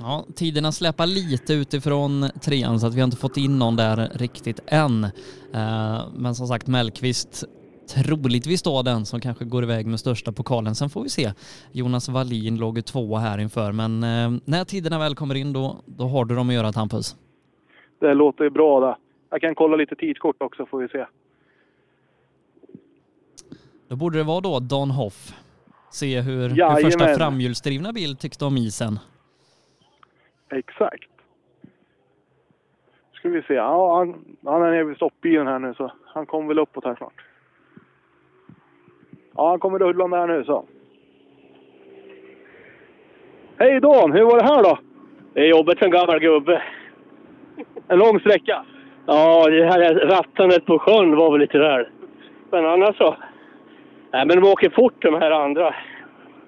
S5: Ja, tiderna släpar lite utifrån trean så att vi har inte fått in någon där riktigt än. Eh, Men som sagt, Mellqvist troligtvis då den som kanske går iväg med största pokalen. Sen får vi se. Jonas Wallin låg ju tvåa här inför, men eh, när tiderna väl kommer in då, då har du dem att göra Hampus.
S18: Det låter ju bra det. Jag kan kolla lite tidskort också får vi se.
S5: Då borde det vara då Dan Hoff. Se hur, hur
S18: Jajamän.
S5: första framhjulsdrivna bil tyckte om isen.
S18: Exakt. Ska vi se. Ja, han, han är nere vid stoppbilen här nu så han kommer väl uppåt här snart. Ja, han kommer rullande här nu så. Hej Dan! Hur var det här då?
S13: Det är jobbigt för en gammal gubbe.
S18: En lång sträcka?
S13: Ja, det här rattandet på sjön var väl lite väl. Men annars så. Nej, men de åker fort de här andra.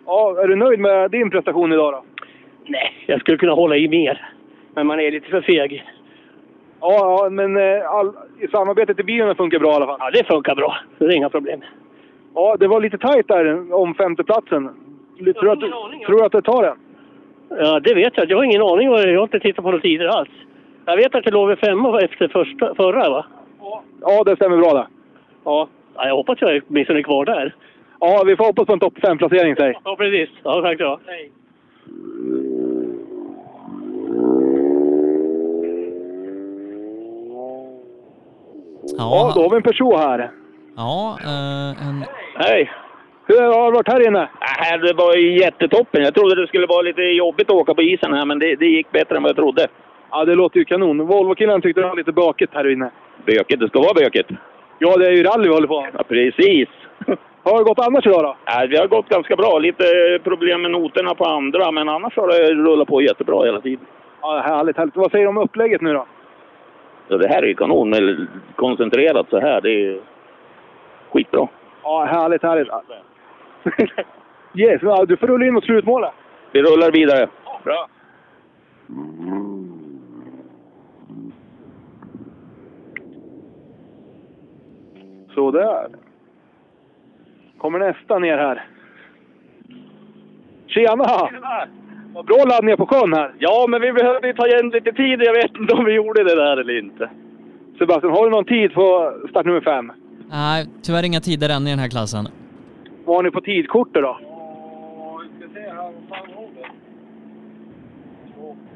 S18: Ja, är du nöjd med din prestation idag då?
S13: Nej, jag skulle kunna hålla i mer. Men man är lite för feg.
S18: Ja, ja men eh, all, i samarbetet i bilen funkar bra i alla fall?
S13: Ja, det funkar bra. Det är inga problem.
S18: Ja, det var lite tajt där om femteplatsen. Tror du att, du- tror du att det tar den?
S13: Ja, det vet jag. Jag har ingen aning. vad det är. Jag har inte tittat på några tider alls. Jag vet att det låg vid femma efter första, förra, va?
S18: Ja, det stämmer bra det.
S13: Ja. ja, jag hoppas jag är åtminstone kvar där.
S18: Ja, vi får hoppas på en topp 5-placering säg.
S13: Ja, precis. Ja, tack så. Hej.
S18: Ja, då har vi en person här.
S5: Ja, eh, en...
S13: Hej!
S18: Hur har det varit här inne?
S2: Nej, det var ju jättetoppen. Jag trodde det skulle vara lite jobbigt att åka på isen här, men det, det gick bättre än vad jag trodde.
S18: Ja, det låter ju kanon. Volvo-killen tyckte det var lite bökigt här inne.
S2: Bökigt, det ska vara bökigt.
S18: Ja, det är ju rally vi håller på med.
S2: Ja, precis.
S18: Har det gått annars idag då?
S2: Nej, det har gått ganska bra. Lite problem med noterna på andra, men annars har det rullat på jättebra hela tiden.
S18: Ja, härligt, härligt. Vad säger du om upplägget nu då?
S2: Så det här är ju kanon. eller Koncentrerat så här, det är ju skitbra.
S18: Ja, härligt, härligt. Yes, ja, du får rulla in mot slutmålet.
S2: Vi rullar vidare. Bra.
S18: Sådär. Kommer nästa ner här. Tjena! Vad bra laddningar på sjön här.
S2: Ja, men vi behövde ju ta igen lite tid. Jag vet inte om vi gjorde det där eller inte.
S18: Sebastian, har du någon tid på start nummer fem?
S5: Nej, tyvärr inga tider än i den här klassen.
S18: Vad har ni på tidkortet då?
S29: ska se här vad fan hon är.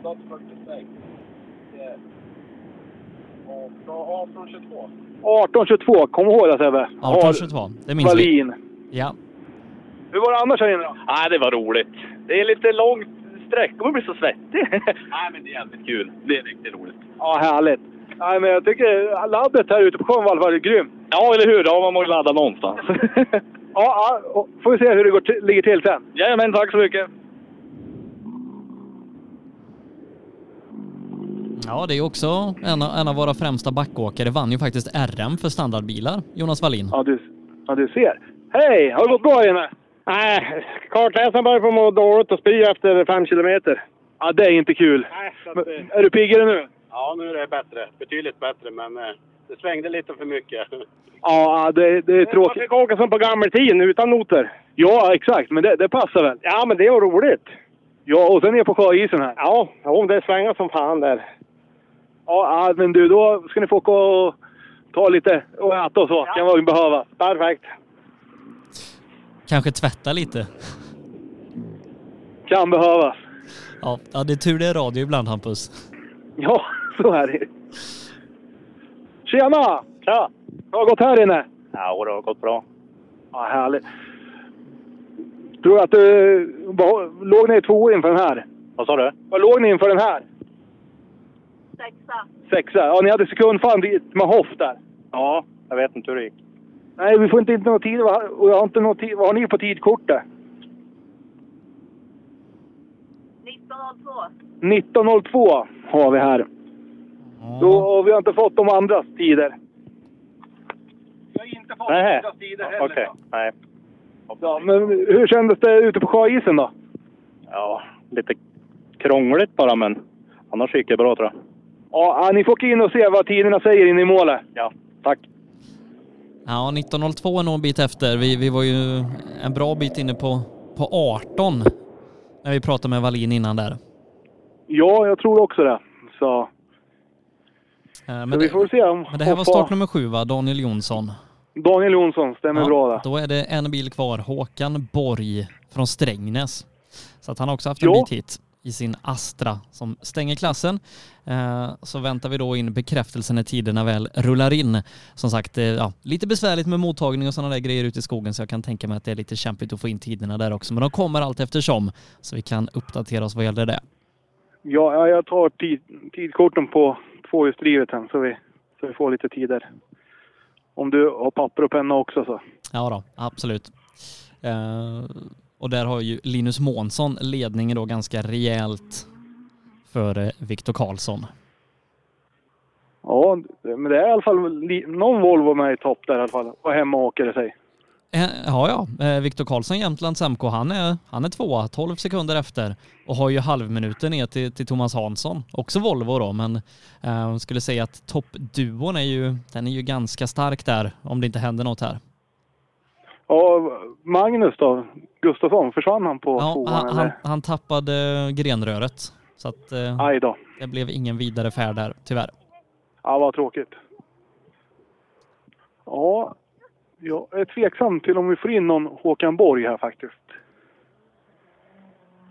S29: 28.46.
S30: Så 18-22.
S12: 18-22, kom ihåg det Sebbe.
S5: 18-22, det minns vi.
S12: Wallin.
S5: Ja.
S12: Hur var det annars här inne då?
S2: Nej, det var roligt. Det är lite långt sträck och man blir så svettig. Nej, men det är jävligt kul. Det är riktigt roligt.
S12: Ja, härligt. Nej, men jag tycker labbet här ute på sjön var i alla fall grymt.
S2: Ja, eller hur? Ja, man måste ladda någonstans.
S12: Ja, ja, och får vi se hur det går till, ligger till sen.
S2: Jajamän, tack så mycket.
S5: Ja, det är också en av, en av våra främsta backåkare. Vann ju faktiskt RM för standardbilar, Jonas Wallin.
S12: Ja, du, ja, du ser. Hej! Har det gått bra här inne?
S21: Nej, kartläsaren börjar få må dåligt och spy efter fem kilometer.
S12: Ja, det är inte kul.
S21: Nej, så att,
S12: Men,
S21: eh,
S12: är du piggare nu?
S21: Ja, nu är det bättre. Betydligt bättre, men eh, det svängde lite för mycket.
S12: Ja, det, det är
S21: Man
S12: tråkigt.
S21: fick åka som på gammeltiden, utan noter.
S12: Ja, exakt. Men det, det passar väl?
S21: Ja, men det var roligt.
S12: Ja, och sen ner på sjöisen här.
S21: Ja, jo, det svänger som fan där.
S12: Ja, ja, men du, då ska ni få åka och ta lite och äta och så. kan man behöva.
S21: Perfekt.
S5: Kanske tvätta lite.
S12: Kan behövas.
S5: Ja, ja, det är tur det är radio ibland, Hampus.
S12: Ja, så är det. Tjena! Tja! Hur har det gått här inne?
S6: Ja, det har gått bra.
S12: Ja, härligt. Tror du att du var, låg ni två inför den här?
S6: Vad sa du?
S12: Vad låg ni inför den här?
S8: Sexa.
S12: Sexa. Ja, ni hade sekundfall dit med Hoff där.
S6: Ja, jag vet inte hur det gick.
S12: Nej, vi får inte in någon tid. va? Och jag har inte någon tid. Vad har ni på tidkortet?
S8: 19.02.
S12: 19.02 har vi här. Då, och vi har inte fått de andras tider.
S21: Nej.
S12: heller,
S21: Okej, nej.
S12: Ja, men hur kändes det ute på sjöisen då?
S6: Ja, lite krångligt bara, men annars gick det bra tror jag.
S12: Ja, ja, ni får åka in och se vad tiderna säger inne i målet.
S6: Ja.
S5: Ja, 19.02 är nog en bit efter. Vi, vi var ju en bra bit inne på, på 18 när vi pratade med Wallin innan där.
S12: Ja, jag tror också det. Så,
S5: Eh,
S12: så vi får se om...
S5: Men det här var
S12: om-
S5: start nummer sju va? Daniel Jonsson.
S12: Daniel Jonsson, stämmer
S5: Ja,
S12: bra där.
S5: Då är det en bil kvar. Håkan Borg från Strängnäs. Så att han har också haft en
S12: Ja.
S5: bit hit i sin Astra som stänger klassen. Eh, Så väntar vi då in bekräftelsen när tiderna väl rullar in. Som sagt, eh, ja, lite besvärligt med mottagning och sådana där grejer ute i skogen så jag kan tänka mig att det är lite kämpigt att få in tiderna där också. Men de kommer allt eftersom så vi kan uppdatera oss vad gäller det.
S12: Ja, ja, jag tar tid, tidkorten på tvåhjulsdrivet sen så vi, så vi får lite tider. Om du har papper och penna också så.
S5: Ja då, absolut. Eh, och där har ju Linus Månsson ledningen då ganska rejält för Viktor Karlsson.
S12: Ja, men det är i alla fall li- någon Volvo med i topp där i alla fall. Och hemmaåkare säg.
S5: Eh, Ja, ja. Eh, Viktor Karlsson, Jämtlands MK, han är, han är tvåa, 12 sekunder efter och har ju halvminuten ner till, till Thomas Hansson, också Volvo då, men eh, skulle säga att toppduon är ju, den är ju ganska stark där om det inte händer något här.
S12: Ja, Magnus då? Gustafsson, försvann han på
S5: Ja,
S12: tvåan
S5: han, han,
S12: eller?
S5: han tappade grenröret så att eh,
S12: Aj då.
S5: det blev ingen vidare färd där, tyvärr.
S12: Ja, vad tråkigt. Ja, jag är tveksam till om vi får in någon Håkan Borg här faktiskt.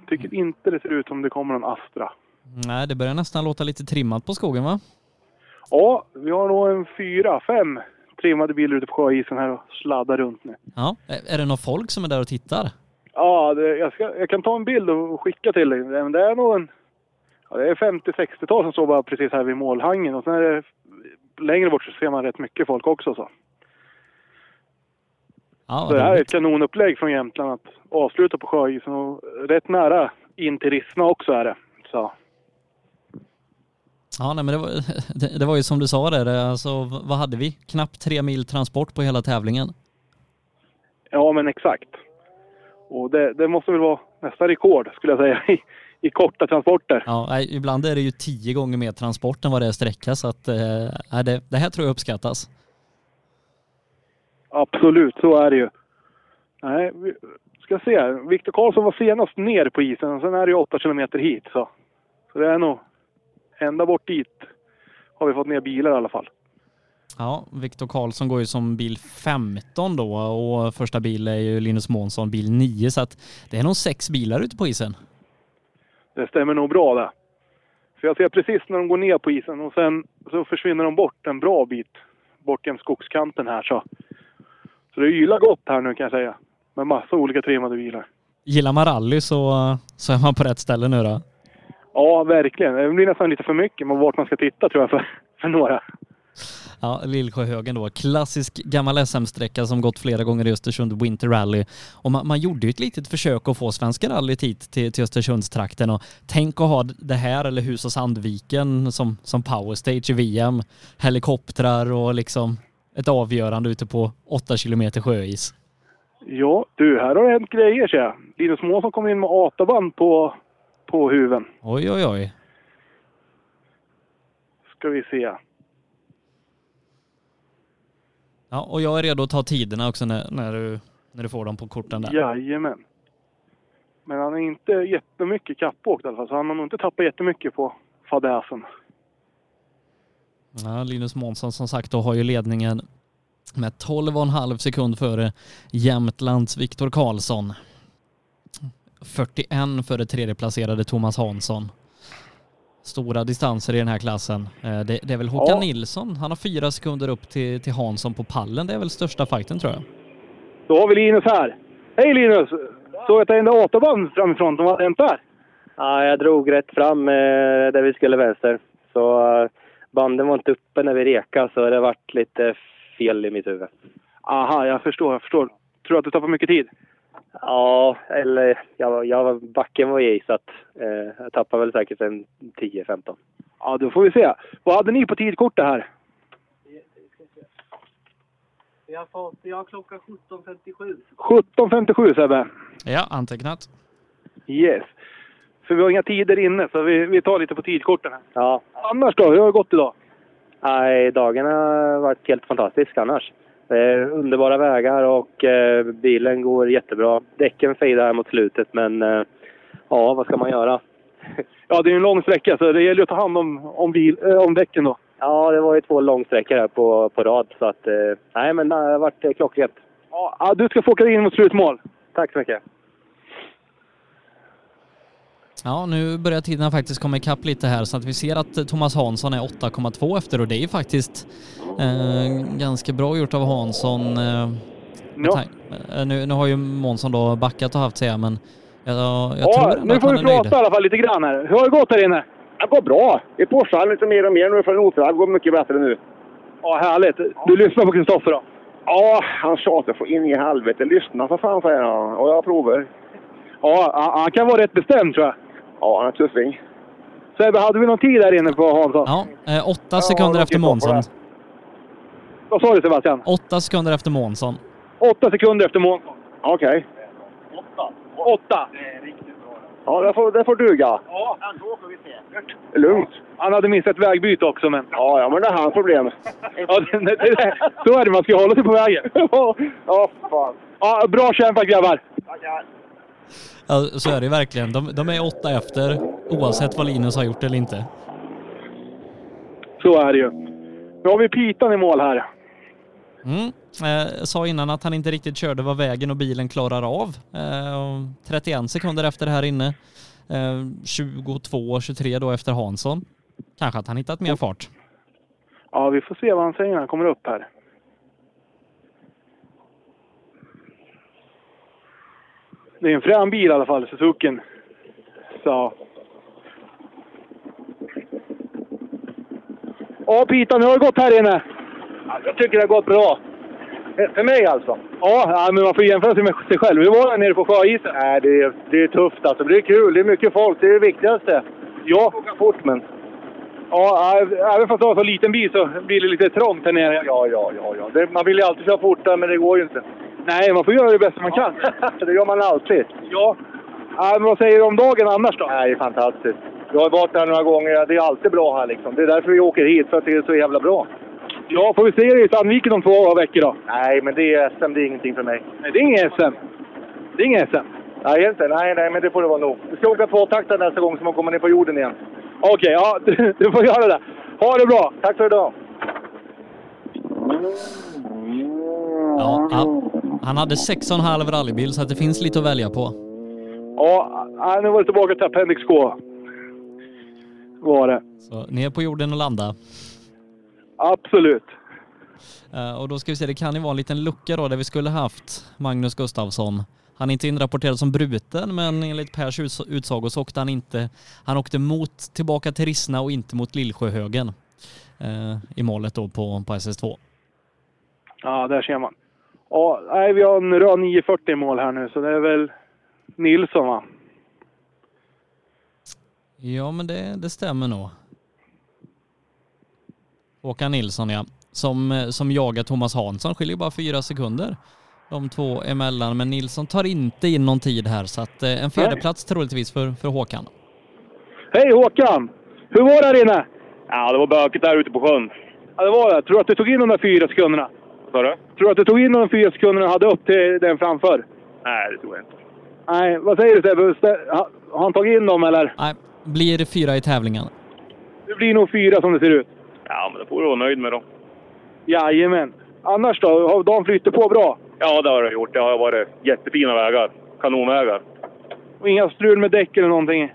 S12: Tycker inte det ser ut som det kommer någon Astra.
S5: Nej, det börjar nästan låta lite trimmat på skogen va?
S12: Ja, vi har nog en fyra, fem trimmade bilar ute på sjöisen här och sladdar runt nu.
S5: Ja. Ä- Är det någon folk som är där och tittar?
S12: Ja, det, jag, ska, jag kan ta en bild och skicka till dig. Men det är nog en... Ja, det är 50-60-tal som står bara precis här vid målhangen. Och sen är det, längre bort så ser man rätt mycket folk också. Så,
S5: Ja,
S12: så det här är
S5: roligt.
S12: ett kanonupplägg från Jämtland att avsluta på sjöisen. Och rätt nära in till Rissna också är det. Så.
S5: Ja, nej, men det var, det, det var ju som du sa där, det, alltså, v- vad hade vi? Knappt tre mil transport på hela tävlingen.
S12: Ja, men exakt. Och det, det måste väl vara nästa rekord skulle jag säga i, i korta transporter.
S5: Ja, nej, ibland är det ju tio gånger mer transport än vad det är sträcka, så att, eh, nej, det, det här tror jag uppskattas.
S12: Absolut, så är det ju. Nej, vi ska se. Viktor Karlsson var senast ner på isen. och Sen är det ju 8 kilometer hit. Så, så det är nog ända bort dit har vi fått ner bilar i alla fall.
S5: Ja, Viktor Karlsson går ju som bil 15 då och första bil är ju Linus Månsson bil 9, så att det är nog sex bilar ute på isen.
S12: Det stämmer nog bra det.
S18: Så jag ser precis när de går ner på isen och sen så försvinner de bort en bra bit bort jäms skogskanten här. Så, så det ylar gott här nu kan jag säga. Med massa olika trimmade bilar.
S5: Gillar man rally så, så är man på rätt ställe nu då.
S18: Ja, verkligen. Det blir nästan lite för mycket med vart man ska titta tror jag för, för några.
S5: Ja, Lillsjöhögen då. Klassisk gammal SM-sträcka som gått flera gånger i Östersund Winter Rally. Och man, man gjorde ju ett litet försök att få Svenska rallyt hit till, till Östersundstrakten och tänk att ha det här eller Hus och Sandviken som, som powerstage i VM. Helikoptrar och liksom ett avgörande ute på 8 kilometer sjöis.
S18: Ja, du, här har det hänt grejer ser jag. Linus Månsson kom in med ataband på, på huven.
S5: Oj, oj, oj.
S18: Ska vi se.
S5: Ja, och jag är redo att ta tiderna också när, när, du, när du får dem på korten där.
S18: Jajamän. Men han är inte jättemycket kappåkt i alla fall, så han har nog inte tappat jättemycket på fadäsen.
S5: Ja, Linus Månsson som sagt då har ju ledningen med 12,5 sekund före Jämtlands Viktor Karlsson. 41 före tredjeplacerade Thomas Hansson. Stora distanser i den här klassen. Eh, Det, det är väl Håkan
S18: Ja.
S5: Nilsson, han har fyra sekunder upp till, till Hansson på pallen. Det är väl största fighten tror jag.
S18: Då har vi Linus här. Hej Linus! Såg att det hände autobahn framifrån. Vad hade hänt där?
S7: Ja, jag drog rätt fram eh, där vi skulle vänster. Så eh, banden var inte uppe när vi rekade så det vart lite fel i mitt huvud.
S18: Aha, jag förstår. Jag förstår. Tror du att du tappar mycket tid?
S7: Ja, eller jag, jag, backen var i så att eh, jag tappade väl säkert en 10-15.
S18: Ja, då får vi se. Vad hade ni på tidkortet här?
S21: Vi har fått, jag har klockan 17.57.
S18: 17.57 Sebbe.
S5: Ja, antecknat.
S18: Yes. För vi har inga tider inne, så vi, vi tar lite på tidkorten här.
S7: Ja.
S18: Annars då? Hur har det gått idag?
S7: Nej, dagen har varit helt fantastisk annars. Det är underbara vägar och eh, bilen går jättebra. Däcken fejdar här mot slutet men eh, ja, vad ska man göra?
S18: Ja, det är ju en lång sträcka, så det gäller ju att ta hand om, om, bil, eh, om däcken då.
S7: Ja, det var ju två långsträckor här på, på rad så att eh, nej men det har varit eh, klockrent.
S18: Ja, du ska få åka in mot slutmål.
S7: Tack så mycket.
S5: Ja, nu börjar tiden faktiskt komma ikapp lite här så att vi ser att eh, Thomas Hansson är 8,2 efter och det är ju faktiskt eh, ganska bra gjort av Hansson. Eh, med
S18: Ja.
S5: tan- eh, nu, nu har ju Månsson då backat och haft sig här, men jag, jag tror
S18: Ja,
S5: ändå
S18: nu
S5: att
S18: får
S5: han
S18: vi
S5: är
S18: prata
S5: nöjd.
S18: i alla fall lite grann här. Hur har det gått här inne?
S16: Det går bra. Vi pushar lite liksom mer och mer nu för en otrad går mycket bättre nu.
S18: Ja, härligt. Du lyssnar på Kristoffer då?
S16: Ja, han tjatar för in i helvete. Lyssna för fan, säger han. Och jag provar.
S18: Ja, han- han kan vara rätt bestämd tror jag.
S16: Ja, han är tuffing.
S18: Sebbe, hade vi någon tid där inne på Hansson?
S5: Ja, eh, åtta sekunder efter Månsson.
S18: Vad sa du Sebastian?
S5: Åtta sekunder efter Månsson.
S18: Åtta sekunder efter Månsson.
S16: Okej.
S18: Åtta. Åtta.
S16: Det är riktigt bra.
S18: Ja, det får, det får duga.
S16: Ja, då får vi se.
S18: Lugnt. Han hade missat ett vägbyte också, men... Ja, ja men det är hans problem. ja, det, det, det, så är det. Man ska ju hålla sig på vägen. ja, fan. Ja, bra kämpat grabbar!
S5: Ja, så är det ju verkligen. De, de är åtta efter oavsett vad Linus har gjort eller inte.
S18: Så är det ju. Nu har vi Pitan i mål här.
S5: Mm. Eh, sa innan att han inte riktigt körde vad vägen och bilen klarar av. Eh, och 31 sekunder efter här inne. Eh, 22-23 då efter Hansson. Kanske att han hittat mer fart.
S18: Ja, vi får se vad han säger när han kommer upp här. Det är en frän bil i alla fall, Suzukin. Så. Ja, Pitan, hur har det gått här inne? Jag tycker det har gått bra. För mig alltså? Ja, ja, men man får jämföra sig med sig själv. Hur var det nere på sjöisen? Nej, det är, det är tufft alltså. Det är kul. Det är mycket folk. Det är det viktigaste. Ja. Åka fort, men... Ja, ä- även fast du har så liten bil så blir det lite trångt här nere. Ja, ja, ja. ja. man vill ju alltid köra fortare, men det går ju inte. Nej, man får göra det bästa man kan. det gör man alltid. Ja. Äh, men vad säger du om dagen annars då? Nej, fantastiskt. Jag har varit här några gånger. Det är alltid bra här liksom. Det är därför vi åker hit, för att det är så jävla bra. Ja, får vi se dig i Sandviken om två veckor då?
S16: Nej, men det är SM. Det är ingenting för mig.
S18: Nej, det är inget SM. Det är inget SM.
S16: Nej, inte. Nej, nej, men det får det vara nog. Vi ska åka tvåtaktare nästa gång så man kommer ner på jorden igen.
S18: Okej, ja, du, du får göra det. Ha det bra! Tack för idag!
S5: Ja, ja. Han hade 6,5 rallybil så att det finns lite att välja på.
S18: Ja, äh, nu var det tillbaka till Appendix K.
S12: var det.
S5: Så ner på jorden och landa.
S12: Absolut.
S5: Eh, Och då ska vi se, det kan ju vara en liten lucka då där vi skulle haft Magnus Gustafsson. Han är inte inrapporterad som bruten, men enligt Pers uts- utsago så åkte han inte... Han åkte mot, tillbaka till Rissna och inte mot Lillsjöhögen eh, i målet då på, på SS2.
S12: Ja, där ser man. Ja, nej, vi har en röd 940 i mål här nu, så det är väl Nilsson va?
S5: Ja, men det, det stämmer nog. Håkan Nilsson, ja. Som, eh, som jagar Thomas Hansson. Skiljer bara fyra sekunder de två emellan. Men Nilsson tar inte in någon tid här, så att, eh, en fjärdeplats troligtvis för, för Håkan.
S12: Hej Håkan! Hur var det här inne?
S16: Ja, det var bökigt där ute på sjön.
S12: Ja, det var det. Tror du att du tog in de där fyra sekunderna?
S16: Sa du?
S12: Tror du att du tog in de fyra sekunderna och hade upp till den framför?
S16: Nej, det tror jag inte.
S12: Nej, vad säger du Sebbe? Stä- ha- Har han tagit in dem eller?
S5: Nej, blir fyra i tävlingen.
S12: Det blir nog fyra som det ser ut.
S16: Ja, men det får du vara nöjd med då.
S12: Jajamän. Annars då? Har de flyttat på bra?
S16: Ja, det har jag gjort. Det har varit jättefina vägar. Kanonvägar.
S12: Och inga strul med däck eller någonting?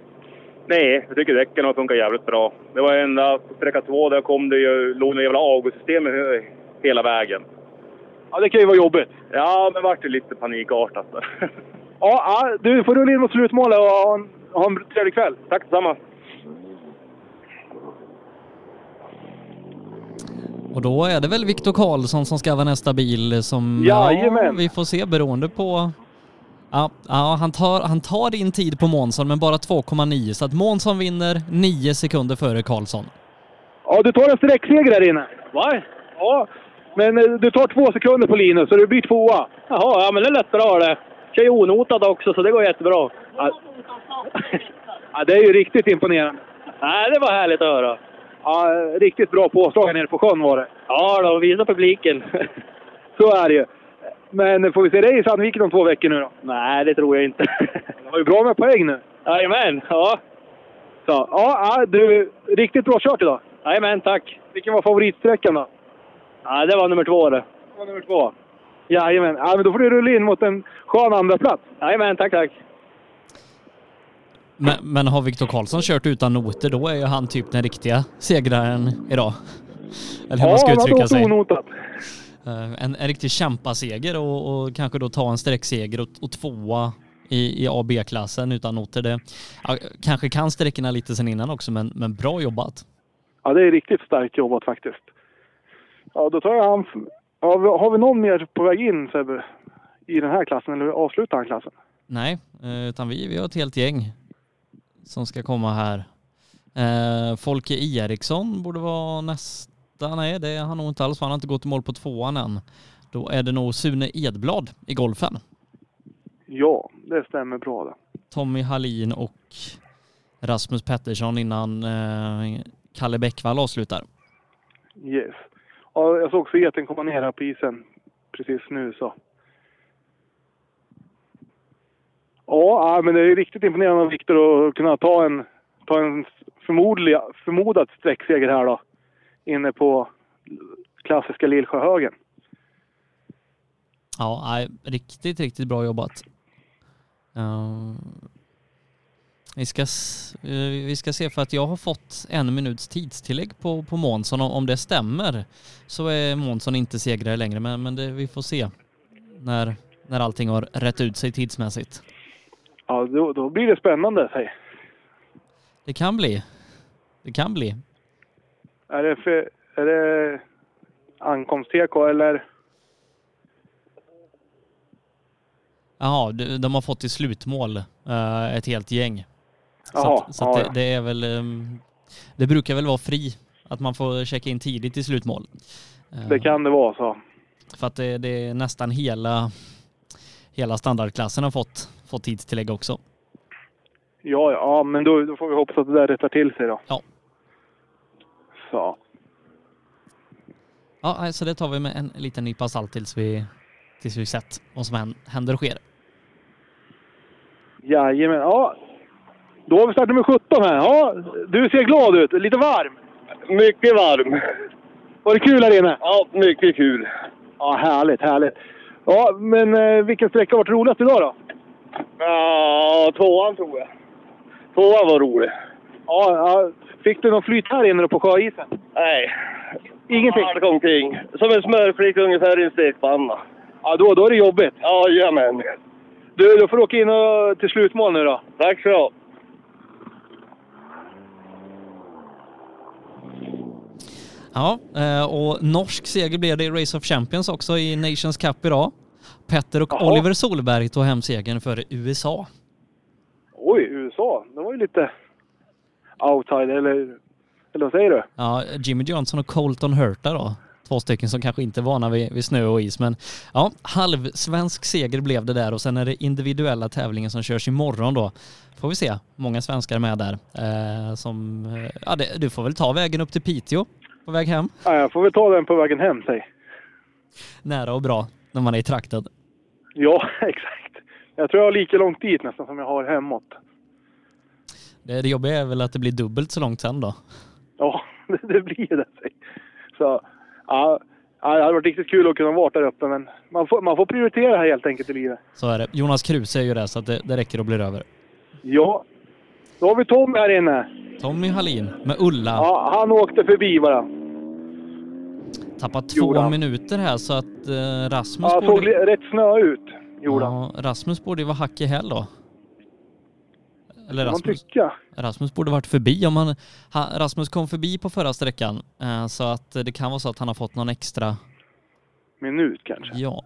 S16: Nej, jag tycker däcken har funkat jävligt bra. Det var enda på sträcka två där kom det ju, låg något jävla avgassystem i hö- hela vägen.
S12: Ja, det kan ju vara jobbigt.
S16: Ja, men vart det lite panikartat.
S18: alltså.
S16: där.
S12: Ja, ja, du får rulla in mot slutmålet och ha en, ha en trevlig kväll. Tack detsamma.
S5: Och då är det väl Viktor Karlsson som ska vara nästa bil som ja,
S12: Jajamän.
S5: vi får se beroende på... Ja, ja han, tar, han tar in tid på Månsson men bara 2,9 så att Månsson vinner 9 sekunder före Karlsson.
S12: Ja, du tar en sträckseger där inne. Va? Ja. Men eh, du tar två sekunder på Linus, så du blir tvåa.
S21: Jaha, ja men det är lättare att ha det. Kör ju onotad också, så det går jättebra. Ja,
S12: Ja, det är ju riktigt imponerande.
S21: Nej, det var härligt att höra.
S12: Ja, riktigt bra påslag här nere på sjön var det.
S21: Ja då, visa publiken.
S12: Så är det ju. Men får vi se dig i Sandviken om två veckor nu då?
S21: Nej, det tror jag inte.
S12: Det var ju bra med poäng nu.
S21: Jajamän, ja.
S12: Så, ja, ja, du, riktigt bra kört idag.
S21: Jajamän, tack.
S12: Vilken var favoritsträckan då?
S21: Ja, det var nummer två det.
S12: Det var nummer två. Jajamän. Ja, men då får du rulla in mot en skön andra plats.
S21: Jajamän, tack, tack.
S5: Men, men har Viktor Karlsson kört utan noter då är ju han typ den riktiga segraren idag. Eller hur man ska uttrycka sig.
S12: Ja, han har åkt onotat.
S5: Eh, En, en riktig kämpaseger och, och kanske då ta en sträckseger och, och tvåa i, i A och B-klassen utan noter. Det, ja, kanske kan sträckorna lite sen innan också men, men bra jobbat.
S12: Ja, det är riktigt starkt jobbat faktiskt. Ja, då tar jag han... Ja, vi- har vi någon mer på väg in Sebbe? I den här klassen, eller avslutar han klassen?
S5: Nej, eh, utan vi, vi har ett helt gäng som ska komma här. Eh, Folke Eriksson borde vara nästa. Nej, det är han nog inte alls. för Han har inte gått i mål på tvåan än. Då är det nog Sune Edblad i golfen.
S12: Ja, det stämmer bra det.
S5: Tommy Hallin och Rasmus Pettersson innan eh, Kalle Bäckvall avslutar.
S12: Yes. Ja, jag såg Sveten komma ner här på isen precis nu så. Ja, ja, men det är riktigt imponerande av Viktor att kunna ta en, ta en förmodliga, förmodad sträckseger här då. Inne på klassiska Lillsjöhögen.
S5: Ja, nej, riktigt, riktigt bra jobbat. Eh, vi, ska, s- eh, vi ska se, för att jag har fått en minuts tidstillägg på, på Månsson. Om, om det stämmer så är Månsson inte segrare längre, men, men det, vi får se när, när allting har rätt ut sig tidsmässigt.
S12: Ja, då, då blir det spännande säg.
S5: Det kan bli. Det kan bli.
S12: Är det, för, är det ankomst-TK eller?
S5: Jaha, de de har fått i slutmål eh, ett helt gäng.
S12: Jaha,
S5: så att, så att
S12: ja,
S5: det,
S12: ja.
S5: det är väl... ehm, det brukar väl vara fri, att man får checka in tidigt i slutmål. Eh,
S12: Det kan det vara så.
S5: För att det, det är nästan hela, hela standardklassen har fått, fått tidstillägg också.
S12: Ja, ja, ja, men då, då får vi hoppas att det där rättar till sig då.
S5: Ja.
S12: Så.
S5: Ja, nej, så det tar vi med en liten nypa salt tills vi, tills vi sett vad som hän- händer och sker.
S12: Jajamän, ja. Då har vi start nummer 17 här. Ja, du ser glad ut. Lite varm. Mycket varm. Var det kul här inne? Ja, mycket kul. Ja, härligt, härligt. Ja, men eh, vilken sträcka har varit roligast idag då?
S22: Ja, tvåan tror jag. Tvåan var rolig.
S12: Ja, ja. Fick du någon flyt här inne då på sjöisen?
S11: Nej.
S12: Ingenting?
S11: Allt omkring. Som en smörflik ungefär i en stekpanna.
S12: Ja, då, då är det jobbigt.
S11: Jajamän.
S12: Du, då får du åka in och, till slutmål nu då.
S11: Tack så du
S5: Ja, eh, och norsk seger blev det i Race of Champions också i Nations Cup idag. Petter och
S12: Jaha.
S5: Oliver Solberg tog hem segern för USA.
S12: Oj, USA. Det var ju lite outside, eller, eller vad säger du?
S5: Ja, Jimmy Johnson och Colton Herta då. Två stycken som kanske inte är vana vid, vid snö och is, men ja, halvsvensk seger blev det där och sen är det individuella tävlingen som körs imorgon då. Får vi se, många svenskar med där. Eh, som, eh, ja, det, du får väl ta vägen upp till Piteå på väg hem.
S12: Ja, jag får väl ta den på vägen hem, säg.
S5: Nära och bra när man är i trakten.
S12: Ja, exakt. Jag tror jag har lika långt dit nästan som jag har hemåt.
S5: Det, det jobbiga är väl att det blir dubbelt så långt sen då.
S12: Ja, det, det blir det. säg. Så, ja, ja, det hade varit riktigt kul att kunna vara där uppe, men man får, man får prioritera här helt enkelt i livet.
S5: Så är det. Jonas Kruse är ju där så att det, det räcker och blir över.
S12: Ja, då har vi Tom här inne.
S5: Tommy Hallin med Ulla.
S12: Ja, han åkte förbi bara.
S5: Tappat två
S12: Gjorde han.
S5: minuter här så att eh, Rasmus
S12: Ja, såg li- rätt snö ut. gjorde
S5: ja, Rasmus borde ju vara hack i häl då. Eller
S12: kan man
S5: Rasmus.
S12: tycka.
S5: Rasmus borde varit förbi om han... ha- Rasmus kom förbi på förra sträckan eh, så att eh, det kan vara så att han har fått någon extra...
S12: Minut kanske.
S5: Ja.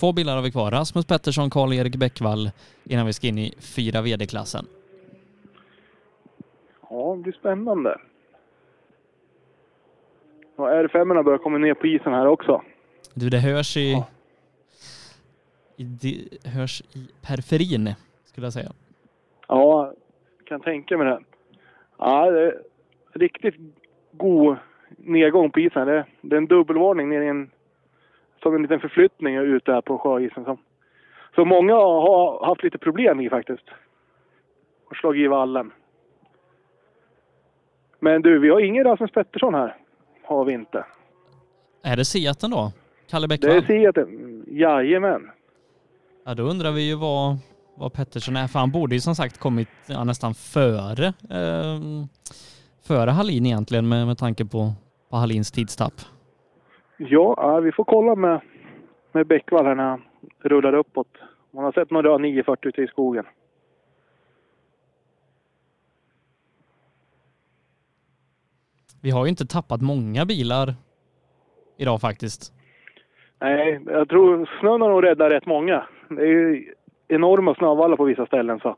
S5: Två bilar har vi kvar. Rasmus Pettersson, Karl-Erik Bäckvall innan vi ska in i fyra VD-klassen.
S12: Ja, det blir spännande. Och R5 börjar komma ner på isen här också.
S5: Du, det hörs i... i det hörs i periferin, skulle jag säga.
S12: Ja, kan tänka mig det. Ja, det är riktigt god nedgång på isen. Det, det är en dubbelvarning ner i en... Som en liten förflyttning ute här på sjöisen. Som, så många har haft lite problem i faktiskt. Och slagit i vallen. Men du, vi har ingen Rasmus Pettersson här. Har vi inte.
S5: Är det Seaten då? Kalle
S12: Det
S5: Bäckvall?
S12: är Seaten. Jajamän.
S5: Ja, då undrar vi ju vad, vad Pettersson är, för han borde ju som sagt kommit ja, nästan före, eh, före Hallin egentligen med, med tanke på, på Hallins tidstapp.
S12: Ja, ja, vi får kolla med, med Bäckvall här när han rullar uppåt. Om han har sett någon röd 940 ute i skogen.
S5: Vi har ju inte tappat många bilar idag faktiskt.
S12: Nej, jag tror snön har nog räddat rätt många. Det är ju enorma snövallar på vissa ställen. Så.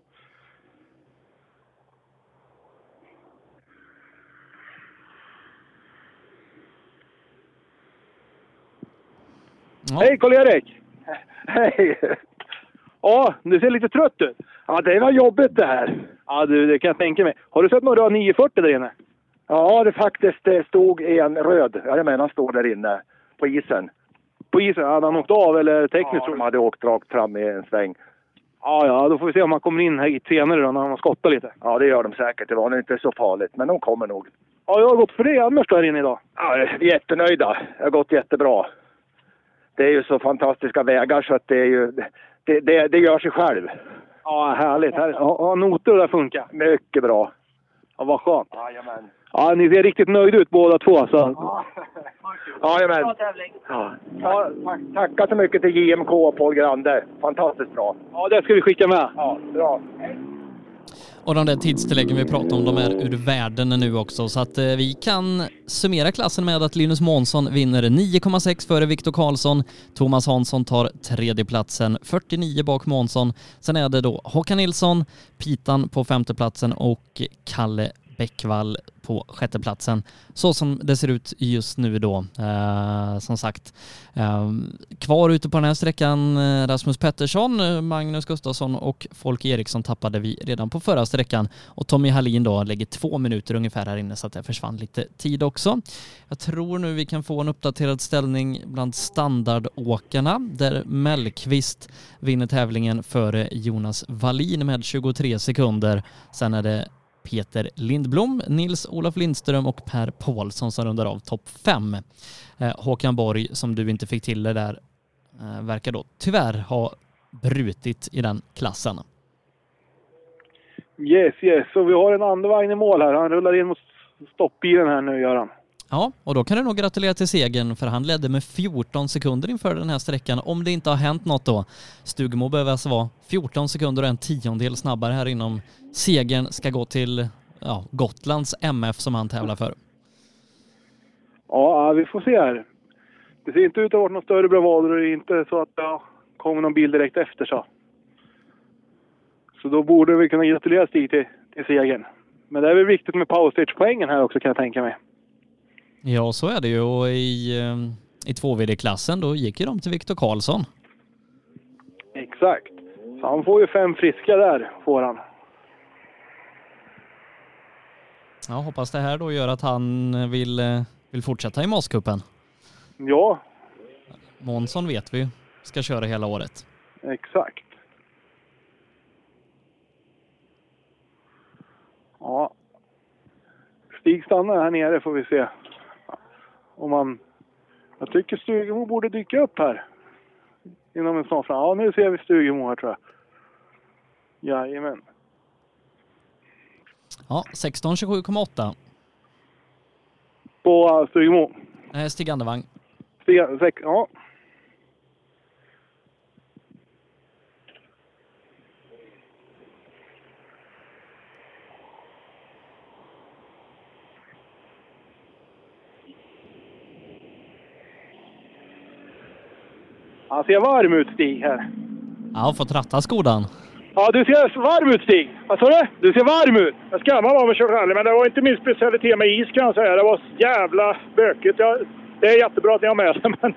S12: Hej Karl-Erik! Hej! Ja, du ser lite trött ut. Ja, det var jobbigt det här. Ja, du, det kan jag tänka mig. Har du sett någon röd 940 där inne?
S20: Ja, det faktiskt
S12: eh,
S20: det stod en röd. Jag menar, han står där inne på isen.
S12: På isen? Hade han åkt av eller tekniskt?
S20: Ja, de hade åkt rakt fram i en sväng.
S12: Ja, ja, då får vi se om han kommer in här hit senare då när han har skottat lite.
S20: Ja, det gör de säkert. Det var nog inte så farligt, men de kommer nog.
S12: Ja, jag har gått för det annars då här inne idag.
S20: Ja, jag är jättenöjda. Det har gått jättebra. Det är ju så fantastiska vägar så att det är ju... Det, det, det gör sig själv.
S12: Ja, härligt. Här, har, har noter och det funkar?
S20: Mycket bra.
S12: Ja, vad skönt.
S20: Jajamän.
S12: Ja, ni ser riktigt nöjda ut båda två. Så.
S20: Jajamän.
S8: tävling.
S20: Ja. Tack, tackar så mycket till JMK och Paul Grande. Fantastiskt bra.
S12: Ja, det ska vi skicka med.
S20: Ja, bra.
S5: Och de där tidstilläggen vi pratade om, de är ur världen nu också. Så att eh, vi kan summera klassen med att Linus Månsson vinner 9,6 före Viktor Karlsson. Thomas Hansson tar tredjeplatsen, 49 bak Månsson. Sen är det då Håkan Nilsson, Pitan på femteplatsen och Kalle Bäckvall på sjätteplatsen. Så som det ser ut just nu då, eh, som sagt. Eh, kvar ute på den här sträckan eh, Rasmus Pettersson, eh, Magnus Gustafsson och Folke Eriksson tappade vi redan på förra sträckan. Och Tommy Hallin då lägger två minuter ungefär här inne så att det försvann lite tid också. Jag tror nu vi kan få en uppdaterad ställning bland standardåkarna där Mellqvist vinner tävlingen före Jonas Wallin med 23 sekunder. Sen är det Peter Lindblom, Nils-Olof Lindström och Per Paulsson som rundar av topp fem. Eh, Håkan Borg, som du inte fick till det där, eh, verkar då tyvärr ha brutit i den klassen.
S18: Yes, yes. Så vi har en andevagn i mål här. Han rullar in mot stoppbilen här nu, Göran.
S5: Ja, och då kan du nog gratulera till segern för han ledde med 14 sekunder inför den här sträckan om det inte har hänt något då. Stugemo behöver alltså vara 14 sekunder och en tiondel snabbare här inom segern ska gå till ja, Gotlands MF som han tävlar för.
S18: Ja, ja, vi får se här. Det ser inte ut att ha varit någon större bravader och det är inte så att det ja, kommer någon bil direkt efter. Så. så då borde vi kunna gratulera Stig till, till segern. Men det är väl viktigt med powerstage-poängen här också kan jag tänka mig.
S5: Ja, så är det ju och i, eh, i 2VD-klassen då gick ju de till Viktor Karlsson.
S18: Exakt. Så han får ju fem friska där, får han.
S5: Ja, hoppas det här då gör att han vill, eh, vill fortsätta i Maskuppen.
S18: Ja,
S5: Månsson vet vi ju, ska köra hela året.
S18: Exakt. Ja. Stig stannar här nere får vi se. Om han... Jag tycker Stugemo borde dyka upp här. Inom en snar fram. Ja, nu ser vi Stugemo här tror jag. Jajamän.
S5: Ja, 16.27,8.
S18: På Stugemo.
S5: Eh, Stig Andevang.
S18: Stig, sex, ja. Han ser varm ut Stig här.
S5: Ja, har fått ratta skodan.
S18: Ja, du ser varm ut Stig. Vad sa du? Du ser varm ut.
S17: Jag skammar mig av att köra rally, men det var inte min specialitet med is kan jag säga. Det var så jävla bökigt. Jag, det är jättebra att ni har med det, men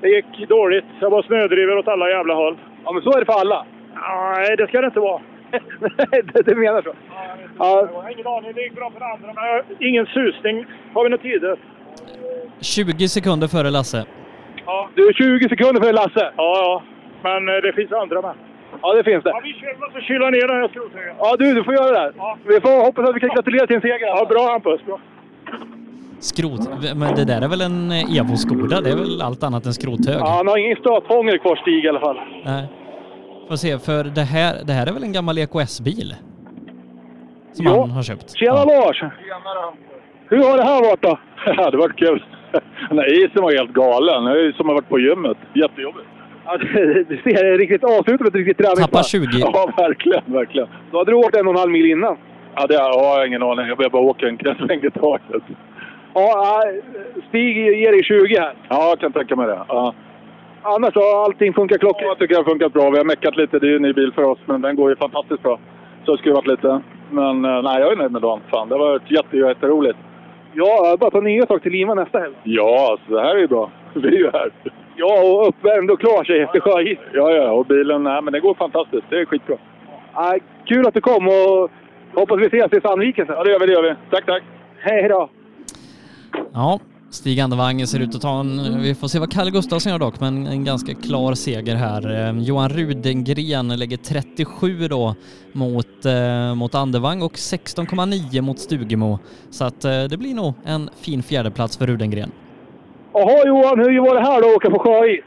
S17: det gick dåligt. Jag var snödriver åt alla jävla håll.
S18: Ja, men så är det för alla.
S17: Nej, det ska det inte vara.
S18: Nej, det, det menar så.
S17: Ja. Jag har ingen aning. Det gick bra för andra, men jag har ingen susning. Har vi några tider?
S5: 20 sekunder före Lasse.
S17: Ja.
S18: Du är 20 sekunder före Lasse.
S17: Ja, ja. Men eh, det finns andra med.
S18: Ja, det finns det.
S17: Ja, vi kör, måste kyla ner den här skrothögen.
S18: Ja, du, du får göra det. här. Vi får hoppas att vi kan gratulera till en seger.
S17: Ja, bra Hampus. Bra.
S5: Skrot. Men det där är väl en eh, Evo-skoda? Det är väl allt annat än skrothög?
S18: Ja, han har ingen stötfångare kvar Stig i alla fall.
S5: Nej. Får se, för det här, det här är väl en gammal EKS-bil? Som
S18: Ja.
S5: han har köpt.
S18: Tjena Lars! Hur har det här varit då?
S10: Ja, det var kul. Den där isen var helt galen. Det är ju som att ha varit på gymmet. Jättejobbigt.
S18: Ja, det- det ser riktigt avslutat ut, ett riktigt träningspass.
S10: Tappar 20.
S18: Ja, verkligen, verkligen. Då hade du åkt en och en halv mil innan.
S10: Ja, det har jag ingen aning. Jag behöver bara åka en sväng i taget.
S18: Ja, äh, Stig ger dig 20 här.
S10: Ja, jag kan tänka mig det. Ja.
S18: Annars har allting funkat klockrent.
S10: Ja, jag tycker det har funkat bra. Vi har meckat lite. Det är ju en ny bil för oss, men den går ju fantastiskt bra. Så skruvat lite. Men eh, nej, jag är nöjd med dagen. Fan, det har varit jätte, jätteroligt.
S18: Ja, bara ta nya tag till Lima nästa helg.
S10: Ja, alltså, det här är ju bra. Vi är ju här.
S18: Ja, och uppvärmd och klar sig efter sjöis.
S10: Ja, ja, och bilen. Nej, men det går fantastiskt. Det är skitbra.
S18: Ja, kul att du kom och hoppas vi ses i Sandviken sen.
S10: Ja, det gör vi. Det gör vi. Tack, tack.
S18: Hej då!
S5: Ja, Stig Andevang ser ut att ta en, vi får se vad Kalle Gustafsson gör dock, men en ganska klar seger här. Eh, Johan Rudengren lägger 37 då mot, eh, mot Andevang och 16,9 mot Stugemo. Så att eh, det blir nog en fin fjärdeplats för Rudengren.
S18: Jaha Johan, hur var det här då att åka på sjöis?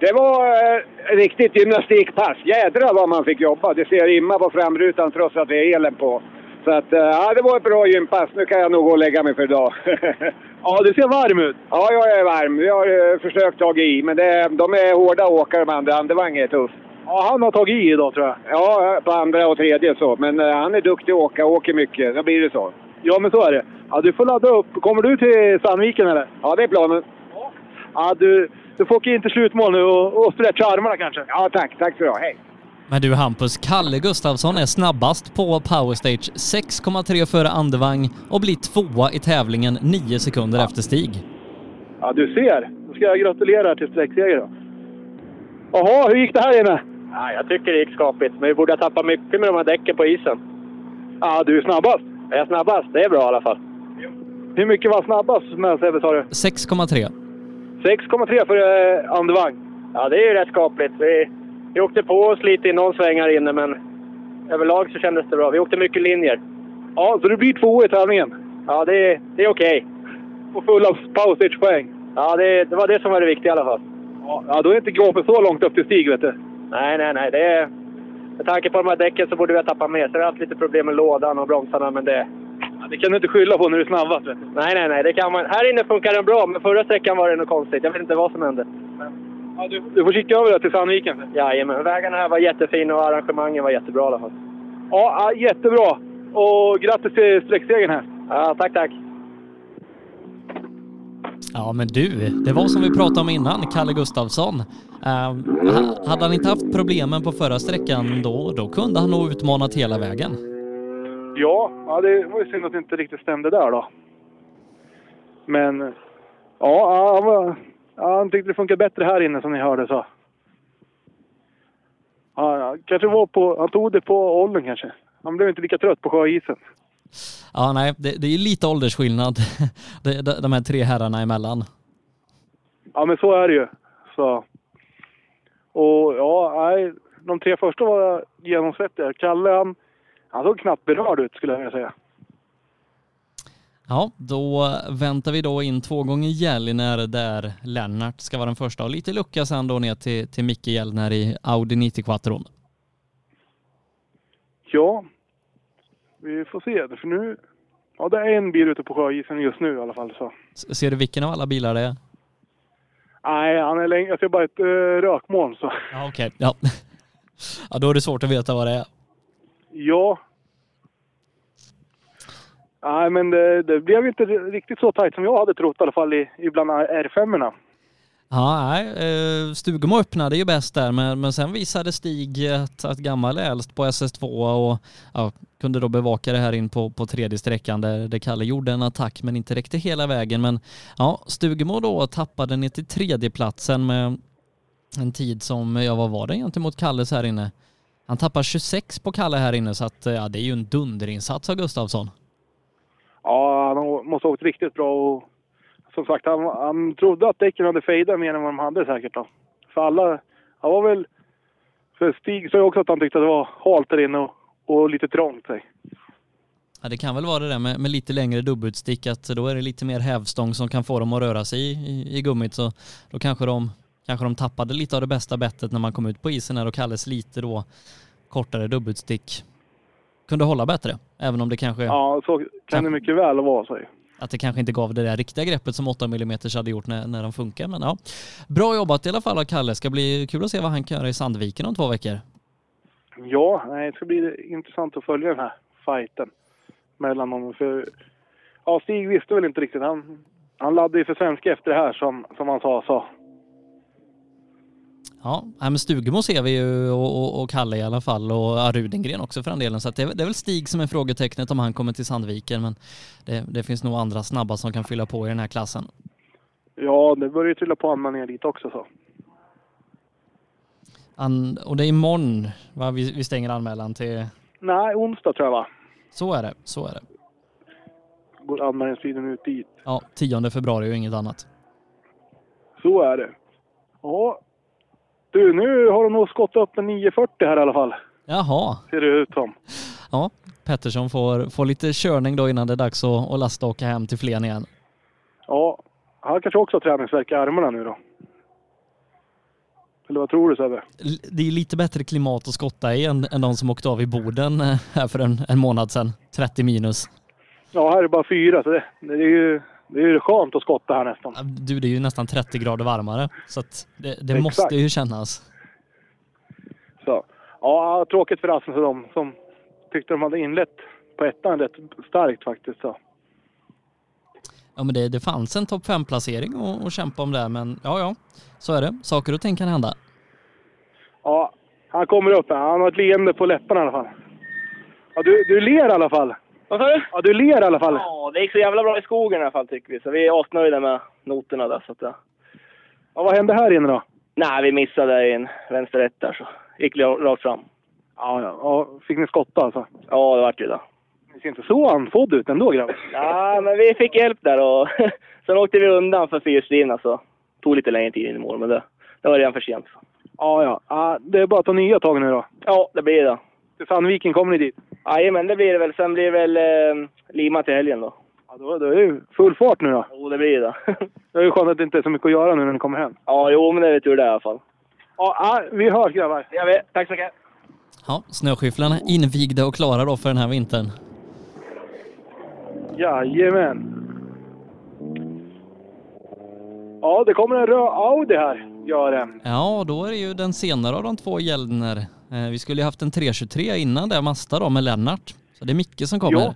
S11: Det var eh, riktigt gymnastikpass. Jädrar vad man fick jobba. Det ser imma på framrutan trots att det är elen på. Så att, eh, ja, det var ett bra gympass. Nu kan jag nog gå och lägga mig för idag.
S18: ja, du ser varm ut.
S11: Ja, jag är varm. Jag har eh, försökt ta i, men det, de är hårda åkare de andra. Andevang är tuff.
S18: Ja, han har tagit i idag tror jag.
S11: Ja, på andra och tredje så. Men eh, han är duktig att åka, åker mycket. Då blir det så.
S18: Ja, men så är det. Ja, du får ladda upp. Kommer du till Sandviken eller?
S11: Ja, det är planen.
S18: Ja, du, du får åka in till slutmål nu och, och stretcha armarna kanske.
S11: Ja, tack. Tack så du ha. Hej!
S5: Men du Hampus, Kalle Gustafsson är snabbast på Powerstage, 6,3 före Andevang och blir tvåa i tävlingen 9 sekunder efter Stig.
S18: Ja, du ser. Då ska jag gratulera till sträckseger då. Jaha, hur gick det här inne?
S21: Ja, jag tycker det gick skapligt, men vi borde ha tappat mycket med de här däcken på isen.
S18: Ja, du är snabbast.
S21: Jag är snabbast, det är bra i alla fall.
S18: Hur mycket var snabbast med Sebbe sa du?
S5: 6,3.
S18: 6,3 för eh, andevagn.
S21: Ja, det är ju rätt skapligt. Vi, vi åkte på oss lite i någon sväng här inne, men överlag så kändes det bra. Vi åkte mycket linjer.
S18: Ja, så du blir två i tävlingen?
S21: Ja, det, det är okej.
S18: Och full av powerstagepoäng?
S21: Ja, det, det var det som var det viktiga i alla fall.
S18: Ja, då är inte gapet så långt upp till Stig vet du.
S21: Nej, nej, nej. Det,
S3: Med tanke på de här däcken så borde vi ha tappat mer. Så vi har haft lite problem med lådan och bromsarna, men det...
S12: det kan du inte skylla på när du är snabbast. Vet du.
S3: Nej, nej, nej. Det kan man. Här inne funkar den bra, men förra sträckan var det något konstigt. Jag vet inte vad som hände.
S12: Ja, du, du får kika över det till Sandviken.
S3: Jajamän. Vägarna här var jättefina och arrangemangen var jättebra i alla fall.
S12: Ja, ja, jättebra. Och grattis till sträcksegern här.
S3: Ja, tack, tack.
S5: Ja men du, det var som vi pratade om innan, Kalle Gustafsson. Eh, ha- hade han inte haft problemen på förra sträckan då, då kunde han nog utmanat hela vägen.
S12: Ja, ja, det var ju synd att det inte riktigt stämde där då. Men ja, ja, han, var, ja, han tyckte det funkar bättre här inne som ni hörde så. Ja, ja, kanske var på, han tog det på åldern kanske. Han blev inte lika trött på sjöisen.
S5: Ja nej, det, det är ju lite åldersskillnad de, de, de här tre herrarna emellan.
S12: Ja, men så är det ju. Så. Och ja, nej, de tre första var genomsvettiga. Kalle, han, han såg knappt berörd ut skulle jag vilja säga.
S5: Ja, då väntar vi då in två gånger Gällner där Lennart ska vara den första och lite lucka sen då ner till, till Micke Gällner i Audi 90 Quattron.
S12: Ja, vi får se. För nu... Ja, det är en bil ute på sjöisen just nu i alla fall. Så.
S5: S- Ser du vilken av alla bilar det är?
S12: Nej, han är längre. Jag ser bara ett uh, rökmoln. Så.
S5: Ja, okej. Ja. ja, då är det svårt att veta vad det är.
S12: Ja. Nej, men det, det blev ju inte riktigt så tajt som jag hade trott i alla fall i, i bland r 5 erna
S5: Ja, nej, eh, Stugemo öppnade ju bäst där, men, men sen visade Stig att, att Gammal är äldst på SS2 och ja, kunde då bevaka det här in på, på tredje sträckan där, där Kalle gjorde en attack men inte räckte hela vägen. Men ja, Stugemo då tappade ner till tredjeplatsen med en tid som, ja vad var det gentemot Kalles här inne? Han tappar 26 på Kalle här inne så att eh, ja, det är ju en dunderinsats av Gustafsson.
S12: Ja, han måste ha åkt riktigt bra. Och, som sagt, han, han trodde att däcken hade fejdat mer än vad de hade säkert. Då. För alla... Han var väl... För Stig sa ju också att han tyckte att det var halt där inne och, och lite trångt. Sig.
S5: Ja, det kan väl vara det där med, med lite längre dubbelstick att då är det lite mer hävstång som kan få dem att röra sig i, i, i gummit så då kanske de, kanske de tappade lite av det bästa bettet när man kom ut på isen här och Kalles lite då kortare dubbelstick kunde hålla bättre även om det kanske
S12: Ja, så kan det mycket väl vara. Så.
S5: att det kanske inte gav det där riktiga greppet som 8 mm hade gjort när, när de funkar men ja. Bra jobbat i alla fall av Kalle. Ska bli kul att se vad han kan göra i Sandviken om två veckor.
S12: Ja, nej, det ska bli intressant att följa den här fighten mellan dem. För, ja, Stig visste väl inte riktigt. Han, han laddade ju för svenska efter det här, som, som han sa. Så.
S5: Ja, nej, men Stugemo ser vi ju och, och, och Kalle i alla fall och ja, Rudengren också för den delen. Så att det, är- det är väl Stig som är frågetecknet om han kommer till Sandviken. Men det, det finns nog andra snabba som kan fylla på i den här klassen.
S12: Ja, det börjar ju trilla på anmälningar dit också. Så.
S5: An, och det är imorgon va? Vi, vi stänger anmälan till...
S12: Nej, onsdag tror jag va?
S5: Så är det, så är det.
S12: Går anmälningstiden ut dit.
S5: Ja, 10 februari och inget annat.
S12: Så är det. Ja. Du, nu har de nog skottat upp en 940 här i alla fall.
S5: Jaha.
S12: Ser det ut som.
S5: Ja, Pettersson får, får lite körning då innan det är dags att, att lasta och åka hem till Flen igen.
S12: Ja, han kanske också har träningsvärk i armarna nu då. Eller vad tror du Sebbe?
S5: L- Det är lite bättre klimat att skotta i än, än de som åkte av i Boden eh, här för en, en månad sedan. 30 minus.
S12: Ja, här är bara fyra så det, det är ju det är ju skönt att skotta här nästan.
S5: Du, det är ju nästan 30 grader varmare. Så att det, det
S12: Exakt.
S5: måste ju kännas.
S12: Så. Ja, tråkigt för Rasmus och dem som tyckte de hade inlett på ettan rätt starkt faktiskt. Så.
S5: Ja, men det, det fanns en topp 5-placering att att kämpa om där, men ja, ja, så är det. Saker och ting kan hända.
S12: Ja, han kommer upp här. Han har ett leende på läpparna i alla fall. Ja, du, du ler i alla fall.
S4: Vad sa du?
S12: Ja, du ler i alla fall.
S4: Ja, det gick så jävla bra i skogen i alla fall tycker vi. Så vi är asnöjda med noterna där. Så att, ja.
S12: Ja, vad hände här inne då?
S4: Nej, vi missade en vänster ett där så gick vi rakt fram.
S12: Ja, ja. ja fick ni skotta alltså?
S4: Ja, det vart ju det.
S12: Ni ser inte så andfådd ut ändå grabbar.
S4: Ja, men vi fick hjälp där och sen åkte vi undan för fyrhjulsdrivna så tog lite längre tid in i mål men det, det var redan för sent.
S12: Ja, ja, ja. Det är bara att ta nya tag nu då.
S4: Ja, det blir det.
S12: Till Sandviken kommer ni dit?
S4: Jajamän, det blir det väl. Sen blir det väl eh, Lima till helgen då.
S12: Ja, då, då är det ju full fart nu då.
S4: Jo, det blir det.
S12: Det är ju skönt att det inte är så mycket att göra nu när ni kommer hem.
S4: ja, jo, men det är väl tur det i alla fall.
S12: Ja, ja, vi hörs grabbar.
S4: Det gör vi. Tack så mycket.
S5: Ja, snöskyfflarna invigda och klara då för den här vintern.
S12: Jajamän. Ja, det kommer en röd Audi här, gör den.
S5: Ja, då är det ju den senare av de två Gällner. Eh, Vi skulle ju haft en 323 innan där, Masta då med Lennart. Så det är Micke som kommer.
S12: Ja.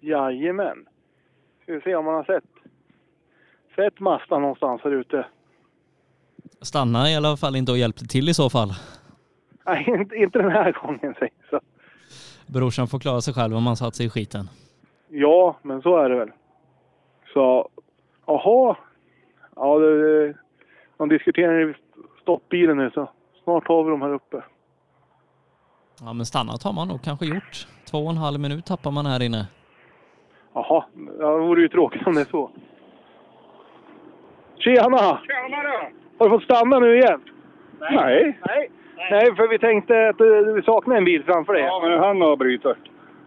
S12: Jajamän. Ska vi se om man har sett. Sett Mazda någonstans här ute.
S5: Stanna i alla fall inte och hjälpte till i så fall.
S12: Nej, inte, inte den här gången säger jag så.
S5: Brorsan får klara sig själv om han satt sig i skiten.
S12: Ja, men så är det väl. Så, aha. Ja, det, de diskuterar i stoppbilen nu så snart har vi dem här uppe.
S5: Ja, men stannat har man nog kanske gjort. Två och en halv minut tappar man här inne.
S12: Jaha, ja, det vore ju tråkigt om det är så. Tjena!
S15: Tjenare!
S12: Har du fått stanna nu igen? Nej.
S15: Nej.
S12: Nej, för vi tänkte att eh, vi saknar en bil framför dig.
S15: Ja,
S12: men han avbryter.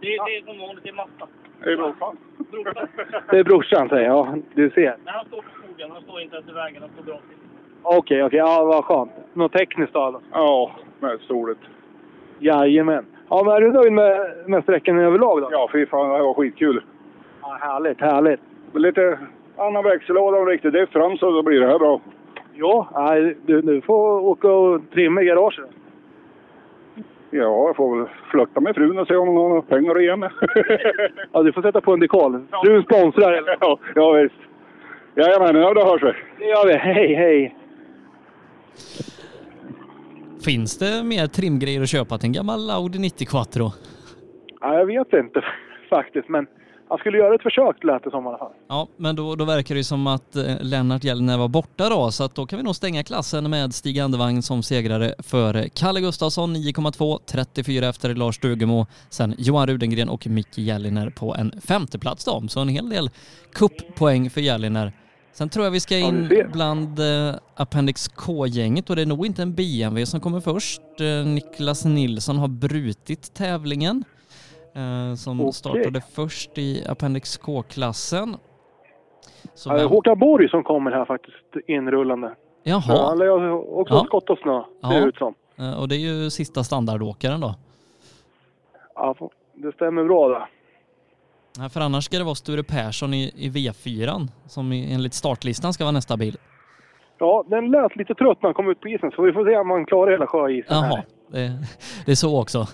S15: Det är, det är som vanligt, det är Masta.
S12: Det är brorsan.
S15: Brorsan.
S12: Det är brorsan säger jag. Du ser.
S15: Nej, han står på skogen. Han står inte ens i vägen. Han står gratis.
S12: Okej, okej. Ja, vad skönt. Något tekniskt då? alltså?
S18: Ja, med soligt.
S12: Jajamän. Ja, men är du nöjd med, med sträckan överlag då?
S18: Ja, fy fan, det här var skitkul.
S12: Ja, härligt, härligt.
S18: Men Lite annan växellåda och riktig diff fram så då blir det här bra.
S12: Ja, nej, du, du får åka och trimma i garaget.
S18: Ja, jag får väl flörta med frun och se om hon har pengar igen.
S12: ja, du får sätta på en dekal. Du sponsrar eller?
S18: Ja, ja visst. Jajamän, ja, då hörs vi.
S12: Det gör vi. Hej, hej.
S5: Finns det mer trimgrejer att köpa till en gammal Audi 90 Quattro?
S12: Ja, jag vet inte faktiskt, men han skulle göra ett försök lät det som i alla fall.
S5: Ja, men då, då verkar det ju som att eh, Lennart Gällner var borta då, så att då kan vi nog stänga klassen med Stig Andevang som segrare före Kalle Gustafsson 9,2, 34 efter Lars Stugemo, sen Johan Rudengren och Micke Gällner på en femteplats då, så en hel del cuppoäng för Gällner. Sen tror jag vi ska in bland eh, Appendix K-gänget och det är nog inte en BMW som kommer först. Eh, Niklas Nilsson har brutit tävlingen eh, som
S12: Okej.
S5: startade först i Appendix K-klassen. Så
S12: Ja,
S5: vem-
S12: Eh, Håkan Borg som kommer här faktiskt inrullande.
S5: Jaha.
S12: Ja, han lär ju också
S5: Ja.
S12: skott och snö, ser det
S5: Ja.
S12: ut som.
S5: Eh, Och det är ju sista standardåkaren då.
S12: Ja, det stämmer bra det.
S5: Nej, För annars ska det vara Sture Persson i, i V4 som i- enligt startlistan ska vara nästa bil.
S12: Ja, den lät lite trött när han kom ut på isen, så vi får se om han klarar hela sjöisen
S5: Jaha,
S12: här.
S5: det, det är så också.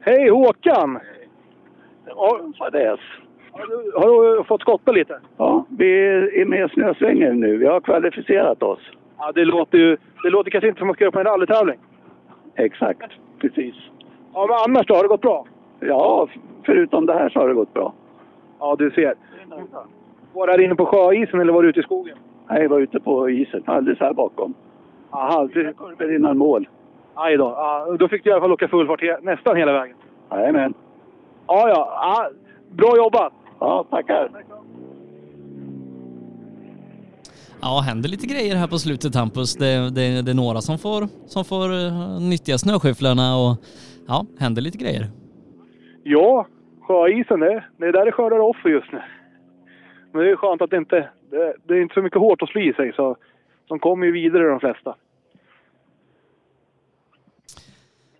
S12: Hej Håkan! Ja, fadäs. Har du fått skotta lite?
S1: Ja, vi är med i snösvängen nu. Vi har kvalificerat oss.
S12: Ja, det låter ju... Det låter kanske inte som att man ska upp på en rallytävling.
S1: Exakt, precis.
S12: Ja, men annars då? Har det gått bra?
S1: Ja, förutom det här så har det gått bra.
S12: Ja, du ser. Var det här inne på sjöisen eller var du ute i skogen?
S1: Nej, jag var ute på isen, alldeles här bakom.
S12: Aha,
S1: Fyra kurvor innan mål.
S12: Aj då. Ja, då fick du i alla fall åka full fart he- nästan hela vägen.
S1: Jajamän.
S12: Ja, ja. ja bra jobbat!
S1: Ja, tackar.
S5: Ja, händer lite grejer här på slutet Hampus. Det, det, det är några som får, som får eh, nyttja snöskyfflarna och ja, händer lite grejer.
S12: Ja, sjöisen det, det är där det skördar offer just nu. Men det är skönt att det inte... Det, det är inte så mycket hårt att slå i sig, så de kommer ju vidare de flesta.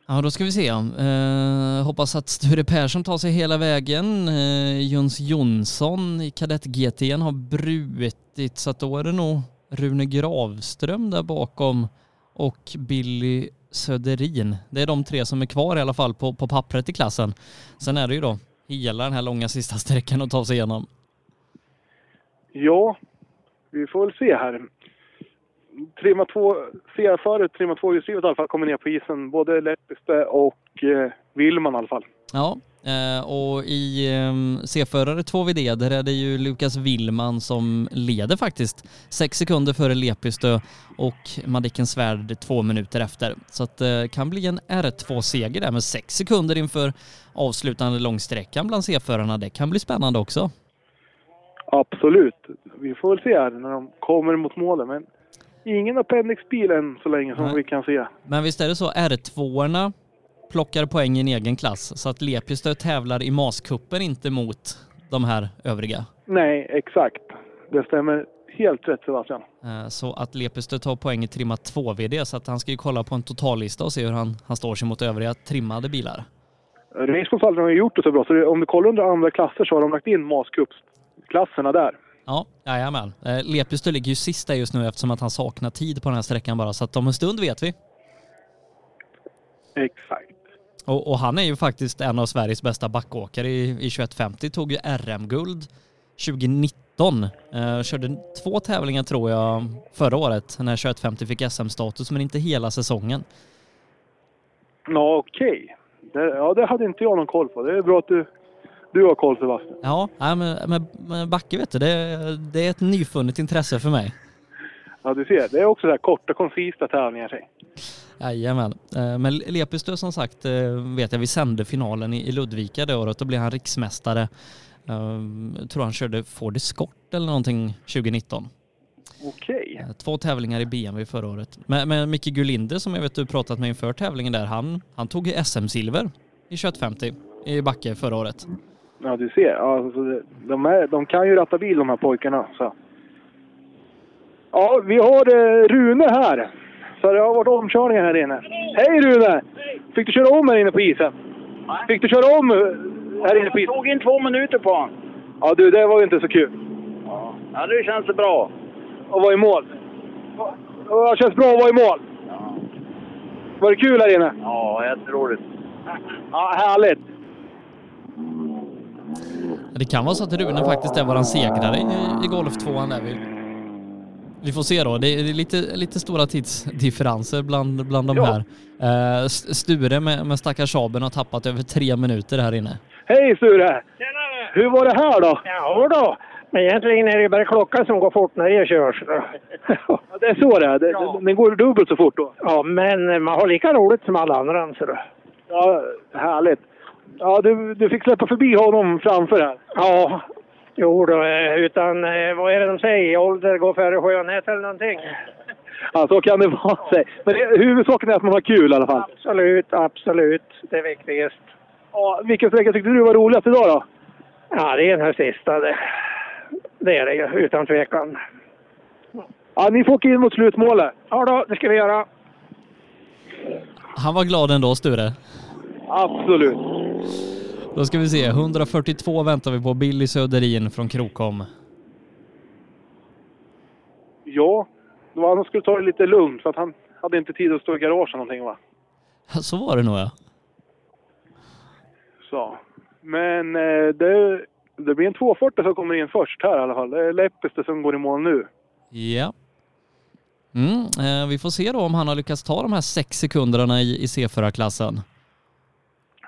S5: Ja, då ska vi se. Eh, hoppas att Sture Persson tar sig hela vägen. Eh, Jöns Jonsson i kadett GT har brutit, så att då är det nog Rune Gravström där bakom och Billy Söderin. Det är de tre som är kvar i alla fall på, på pappret i klassen. Sen är det ju då hela den här långa sista sträckan att ta sig igenom.
S12: Ja, vi får väl se här. Trimma 2, CR-föret, Trimma 2-hjulsdrivet i alla fall, kommer ner på isen. Både Leppiste och eh, Willman i alla fall.
S5: Ja, eh, och i eh, C-förare 2VD där är det ju Lukas Willman som leder faktiskt. Sex sekunder före Lepistö och Madicken Svärd två minuter efter. Så att det kan bli en R2-seger där med sex sekunder inför avslutande långsträckan bland C-förarna. Det kan bli spännande också.
S12: Absolut. Vi får väl se här när de kommer mot målen. Men ingen appendixbil än så länge som
S5: Nej.
S12: vi kan se.
S5: Men visst är det så, R2-orna plockar poäng i en egen klass så att Lepistö tävlar i MAS-cupen inte mot de här övriga.
S12: Nej, exakt. Det stämmer Helt rätt Sebastian.
S5: Eh, Så att Lepistö tar poäng i trimma 2-VD, så att han ska ju kolla på en totallista och se hur han, han står sig mot övriga trimmade bilar.
S12: Racecross har aldrig gjort det så bra, så det- om du kollar under andra klasser så har de lagt in Mas Cups-klasserna där.
S5: Ja, jajamän. Eh, Lepistö ligger ju sista just nu eftersom att han saknar tid på den här sträckan bara, så att om en stund vet vi.
S12: Exakt.
S5: Och, och han är ju faktiskt en av Sveriges bästa backåkare i, i 2150, tog ju RM-guld 2019. Eh, körde två tävlingar tror jag förra året när 2150 fick SM-status, men inte hela säsongen.
S12: Ja, okej. Det, ja, det hade inte jag någon koll på. Det är bra att du, du har koll Sebastian.
S5: Ja, nej, men, men, men backe vet du, det, det är ett nyfunnet intresse för mig.
S12: Ja, du ser. Det är också så här korta, koncisa tävlingar. säg.
S5: Jajamän. Eh, Men Lepistö som sagt eh, vet jag, vi sände finalen i i Ludvika det året. Då blev han riksmästare. Eh, Jag tror han körde Ford Escort eller någonting 2019.
S12: Okej.
S5: Eh, Två tävlingar i BMW förra året. Men, men Micke Gulinder som jag vet du pratat med inför tävlingen där, han, han tog ju SM-silver i 2150 i Backe förra året.
S12: Ja, du ser. Alltså, det- de, är, de kan ju ratta bil de här pojkarna. Så. Ja, vi har eh, Rune här. Så det har varit omkörningar här inne. Hej Rune! Fick du köra om här inne på isen? Fick du köra om eh, här inne på isen?
S9: Jag tog in två minuter på honom.
S12: Ja du, det var ju inte så kul.
S9: Ja, det känns bra.
S12: Och var i mål. Ja, Det känns bra att vara i mål. Var det kul här inne?
S9: Ja, jätteroligt.
S12: Ja, härligt.
S5: Det kan vara så att Rune faktiskt är våran segrare i, i Golf-tvåan där. Vi, vi får se då. Det är, det är lite, lite stora tidsdifferenser bland, bland de här. Eh, S- Sture med, med stackars Saben har tappat över tre minuter här inne.
S12: Hej Sture! Hur var det här då?
S13: Ja då. men egentligen är det bara klockan som går fort när det körs.
S12: Ja, det är så det är. Det- det- Den går dubbelt så fort då.
S13: Ja, men man har lika roligt som alla andra. Så då.
S12: Ja, härligt. Ja, du, du fick släppa förbi honom framför här.
S13: Ja, jo då, eh, utan eh, vad är det de säger? Ålder går före skönhet eller någonting.
S12: Ja, så kan det vara. Sig. Men det, huvudsaken är att man har kul i alla fall.
S13: Absolut, absolut. Det är viktigast.
S12: Ja, vilken sträcka tyckte du var roligast idag då?
S13: Ja, det är den här sista. Det, det är det ju, utan tvekan.
S12: Ja, ni får åka in mot slutmålet.
S13: Ja då, det ska vi göra.
S5: Han var glad ändå, Sture.
S12: Absolut.
S5: Då ska vi se. 142 väntar vi på. Billy Söderin från Krokom.
S12: Ja, det var han som skulle ta det lite lugnt för att han hade inte tid att stå i garaget någonting va?
S5: Så var det nog ja.
S12: Så. Men eh, det, det blir en 240 som kommer in först här i alla fall. Det är Leppeste som går i mål nu.
S5: Ja. Mm, eh, vi får se då om han har lyckats ta de här sex sekunderna i, i C4-klassen.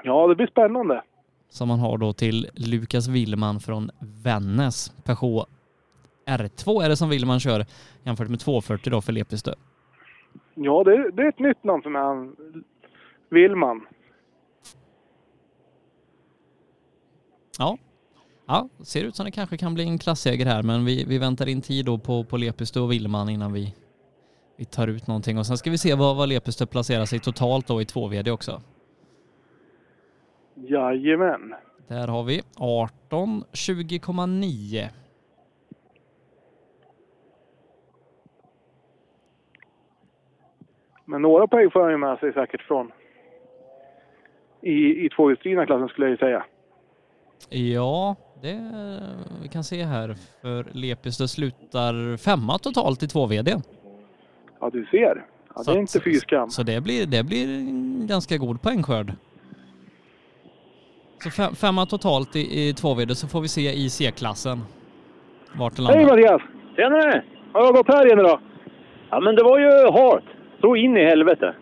S12: Ja, det blir spännande.
S5: som man har då till Lukas Willman från Vännäs. Peugeot R2 är det som Willman kör jämfört med 240 då för Lepistö.
S12: Ja, det, det är ett nytt namn för mig. Han, Willman.
S5: Ja. ja, ser ut som det kanske kan bli en klassseger här men vi, vi väntar in tid då på, på Lepistö och Willman innan vi, vi tar ut någonting och sen ska vi se vad, vad Lepistö placerar sig totalt då i 2VD också.
S12: Jajamän.
S5: Där har vi 18, 20,9.
S12: Men några poäng får han ju med sig säkert från i, i tvåhjulsdrivna klassen skulle jag ju säga.
S5: Ja, det vi kan se här för Lepistö slutar femma totalt i 2VD.
S12: Ja, du ser. Ja, det
S5: Så
S12: är
S5: att-
S12: inte fy skam.
S5: Så det blir, det blir en ganska god poängskörd. Så fem, femma totalt i, i 2VD så får vi se i C-klassen. Vart det landar.
S12: Hej Mattias!
S19: Tjenare!
S12: Har jag gått här inne då?
S19: Ja, men det var ju halt. Så in i helvete.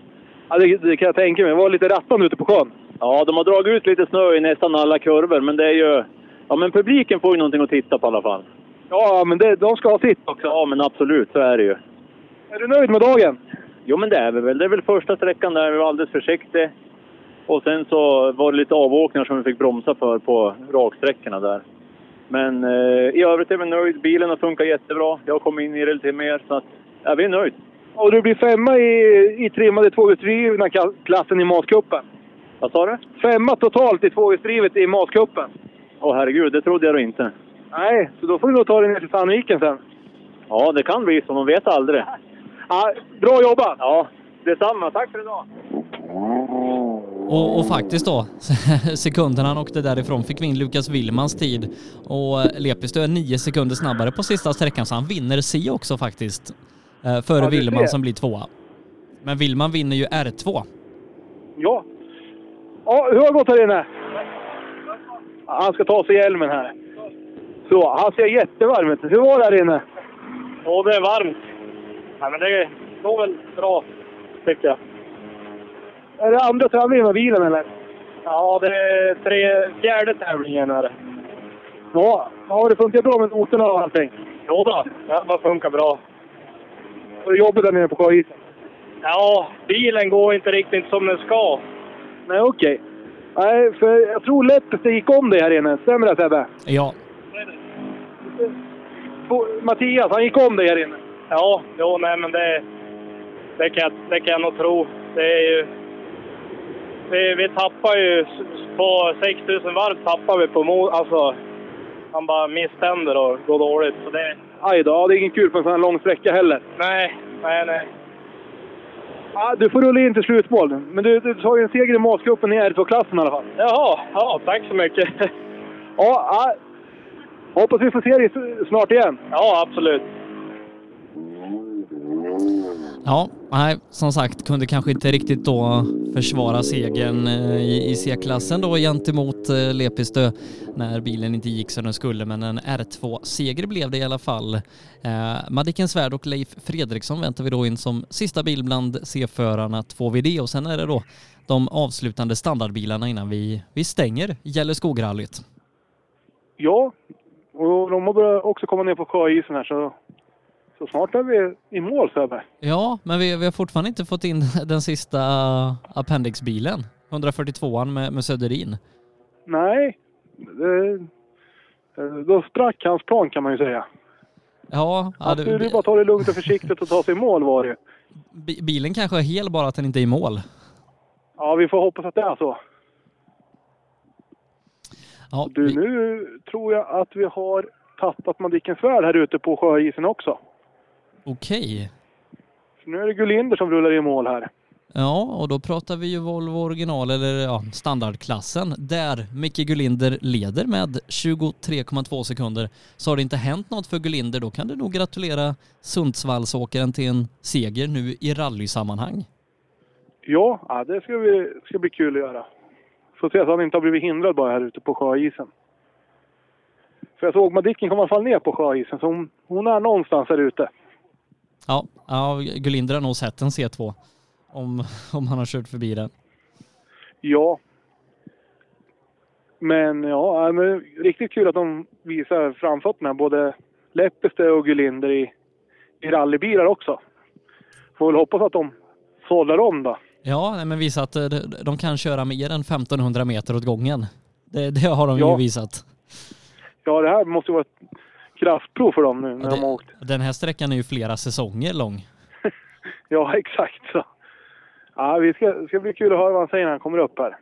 S12: Ja, det, kan jag tänka mig. Det var lite rattan ute på sjön.
S19: Ja, de har dragit ut lite snö i nästan alla kurvor, men det är ju... Ja, men publiken får ju någonting att titta på i alla fall.
S12: Ja, men det, de ska ha sitt
S19: också. Ja, men absolut, så är det ju.
S12: Är du nöjd med dagen?
S19: Jo, men det är vi väl. Det är väl första sträckan där vi var alldeles försiktiga. Och sen så var det lite avåkningar som vi fick bromsa för på raksträckorna där. Men eh, i övrigt är vi nöjd. Bilen har funkat jättebra. Jag har kommit in i det lite mer, så att, ja, vi är nöjd.
S12: Och du blir femma i, i trimmade tvåhjulsdrivna ka- klassen i matkuppen.
S19: Vad sa du?
S12: Femma totalt i tvåhjulsdrivet i matkuppen.
S19: Åh herregud, det trodde jag då inte.
S12: Nej, så då får du nog ta dig ner till Sandviken sen.
S19: Ja, det kan bli så. Man vet aldrig.
S7: Ja, bra jobbat!
S19: Ja, detsamma. Tack för idag!
S5: Och, och faktiskt då, sekunderna han åkte därifrån fick vi in Lukas Willmans tid. Och eh, Lepistö är nio sekunder snabbare på sista sträckan, så han vinner C också faktiskt. Eh, Före
S12: Ja, du ser.
S5: Willman som blir tvåa. Men Willman vinner ju R2.
S12: Ja. ja. Hur har det gått här inne? Han ska ta sig hjälmen här. Så, han ser jättevarm ut. Hur var det här inne?
S21: Ja, det är varmt. Nej, men det går väl bra, tycker jag.
S12: Är det andra tävlingen med bilen eller?
S21: Ja, det är tre, fjärde tävlingen är det.
S12: Ja. ja har det funkat bra med noterna och allting?
S21: Jodå, det bara funkar bra.
S12: Var det jobbigt där nere på isen?
S21: Ja, bilen går inte riktigt som den ska.
S12: Nej, okej. Nej, för jag tror lätt att det gick om dig här inne. Stämmer det Sebbe?
S5: Ja,
S12: Bo- Mattias, han gick om dig här inne.
S21: Ja, jo, nej, men det, det, kan, jag- det kan jag nog tro. Det är ju, vi, vi tappar ju s- på 6000 varv tappar vi på mo, alltså han bara misständer och går dåligt. Så det,
S12: Aj då, ja, det är ingen kul på en sån här lång sträcka heller.
S21: nej, nej, nej.
S12: Ja, du får rulla in till slutmål. Men du, du tar ju en seger i matcupen i R2-klassen i alla fall.
S21: Jaha, ja, tack så mycket.
S12: Ja, ja. Hoppas vi får se dig s- snart igen.
S21: Ja, absolut.
S5: Ja, nej, som sagt, kunde kanske inte riktigt då försvara segern eh, i, i C-klassen då gentemot eh, Lepistö när bilen inte gick som den skulle, men en R2-seger blev det i alla fall. Eh, Madicken Svärd och Leif Fredriksson väntar vi då in som sista bil bland C-förarna 2VD och sen är det då de avslutande standardbilarna innan vi, vi stänger Gällöskograllyt.
S12: Ja, och de börjar också komma ner på sjöisen här så, så snart är vi i mål Sebbe.
S5: Ja, men vi, vi har fortfarande inte fått in den sista appendixbilen, 142an med, med Söderin.
S12: Nej, det, eh, då sprack hans plan kan man ju säga.
S5: Ja, ja
S12: Att du,
S5: det,
S12: du bara tar det lugnt och försiktigt och tar sig i mål var det
S5: bi- bilen kanske är hel bara att den inte är i mål.
S12: Ja, vi får hoppas att det är så.
S5: Ja,
S12: Du, nu tror jag att vi har tappat Madicken Svärd här ute på sjöisen också.
S5: Okej.
S12: Så nu är det Gulinder som rullar i mål här.
S5: Ja, och då pratar vi ju Volvo original eller ja, standardklassen där Micke Gulinder leder med 23,2 sekunder. Så har det inte hänt något för Gulinder, då kan du nog gratulera Sundsvallsåkaren till en seger nu i rallysammanhang.
S12: Ja, ja det ska, vi, ska bli kul att göra. Får se så han inte har blivit hindrad bara här ute på sjöisen. För jag såg Madicken kom i alla fall ner på sjöisen, så hon, hon är någonstans här ute.
S5: Ja, ja Gulinder har nog sett en C2 om, om han har kört förbi den.
S12: Ja. Men ja, ja, men riktigt kul att de visar framfötterna, både Leppestö och Gulinder i, i rallybilar också. Får väl hoppas att de sållar om då.
S5: Ja, nej, men visa att eh, de- de kan köra mer än 1500 meter åt gången. Det, det har de ju
S12: Ja.
S5: visat.
S12: Ja, det här måste ju vara ett kraftprov för dem nu när de har åkt.
S5: Den här sträckan är ju flera säsonger lång.
S12: Ja, exakt så. Ja, vi ska, det ska bli kul att höra vad han säger när han kommer upp här.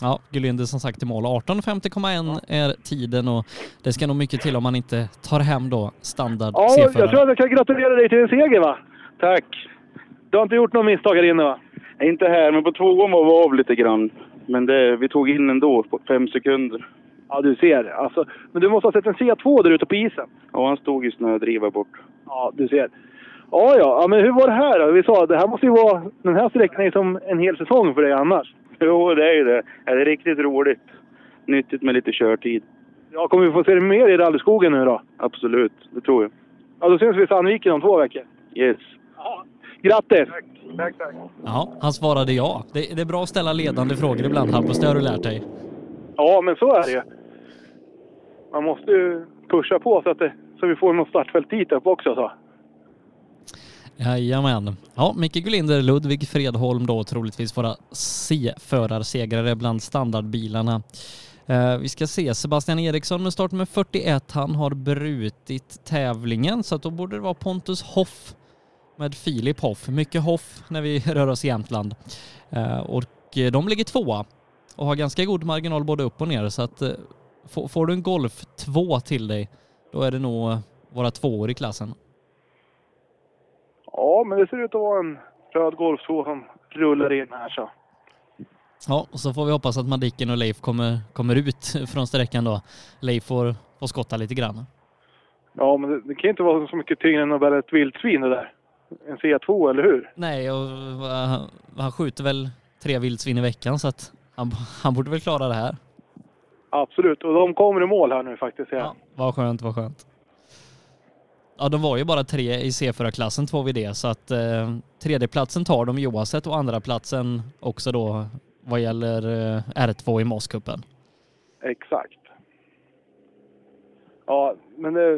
S5: Ja, Gulinder som sagt i mål. 18.50,1 är tiden och det ska nog mycket till om man inte tar hem då standard
S12: Ja,
S5: C-förare.
S12: jag tror att jag kan gratulera dig till en seger va? Tack! Du har inte gjort något misstag här inne va?
S2: Inte här, men på tvåan var vi av lite grann. Men det, vi tog in ändå på fem sekunder.
S12: Ja, du ser. Alltså, men du måste ha sett en C2 där ute på isen.
S2: Ja, han stod i snödriva bort.
S12: Ja, du ser. Ja, ja, ja, men hur var det här då? Vi sa att det här måste ju vara, den här sträckan är som en hel säsong för dig annars.
S2: Jo, det är ju det. Ja, Det är riktigt roligt. Nyttigt med lite körtid.
S12: Ja, kommer vi få se dig mer i rallyskogen nu då?
S2: Absolut, det tror jag.
S12: Ja, då syns vi i Sandviken om två veckor.
S2: Yes.
S12: Grattis!
S2: Tack, tack.
S5: Ja, han svarade ja. Det, det är bra att ställa ledande frågor ibland Hampus, det har du lärt dig.
S12: Ja, men så är det ju. Man måste ju pusha på så att det, så vi får något startfält dit upp också. Så.
S5: Jajamän. Ja, Micke Gulinder, Ludvig Fredholm då troligtvis våra C-förarsegrare bland standardbilarna. Eh, vi ska se, Sebastian Eriksson med startnummer 41, han har brutit tävlingen så att då borde det vara Pontus Hoff med Filip Hoff. Mycket Hoff när vi rör oss i Jämtland. Eh, och eh, de ligger tvåa och har ganska god marginal både upp och ner så att eh, får, får du en golftur två till dig, då är det nog eh, våra tvåor i klassen.
S18: Ja, men det ser ut att vara en röd golfsko som rullar in här så.
S5: Ja, och så får vi hoppas att Madicken och Leif kommer, kommer ut från sträckan då. Leif får, får skotta lite grann.
S18: Ja, men det, det kan ju inte vara så mycket tyngre än att bära ett vildsvin det där. En C2, eller hur?
S5: Nej, och eh, han skjuter väl tre vildsvin i veckan så att han, han borde väl klara det här.
S18: Absolut, och de kommer i mål här nu faktiskt. ser jag.
S5: Vad skönt, vad skönt. Ja, de var ju bara tre i C4-klassen, två vid det, så att eh, tredjeplatsen tar de oavsett och andra platsen också då vad gäller eh, R2 i Mosskuppen.
S18: Exakt. Ja, men det,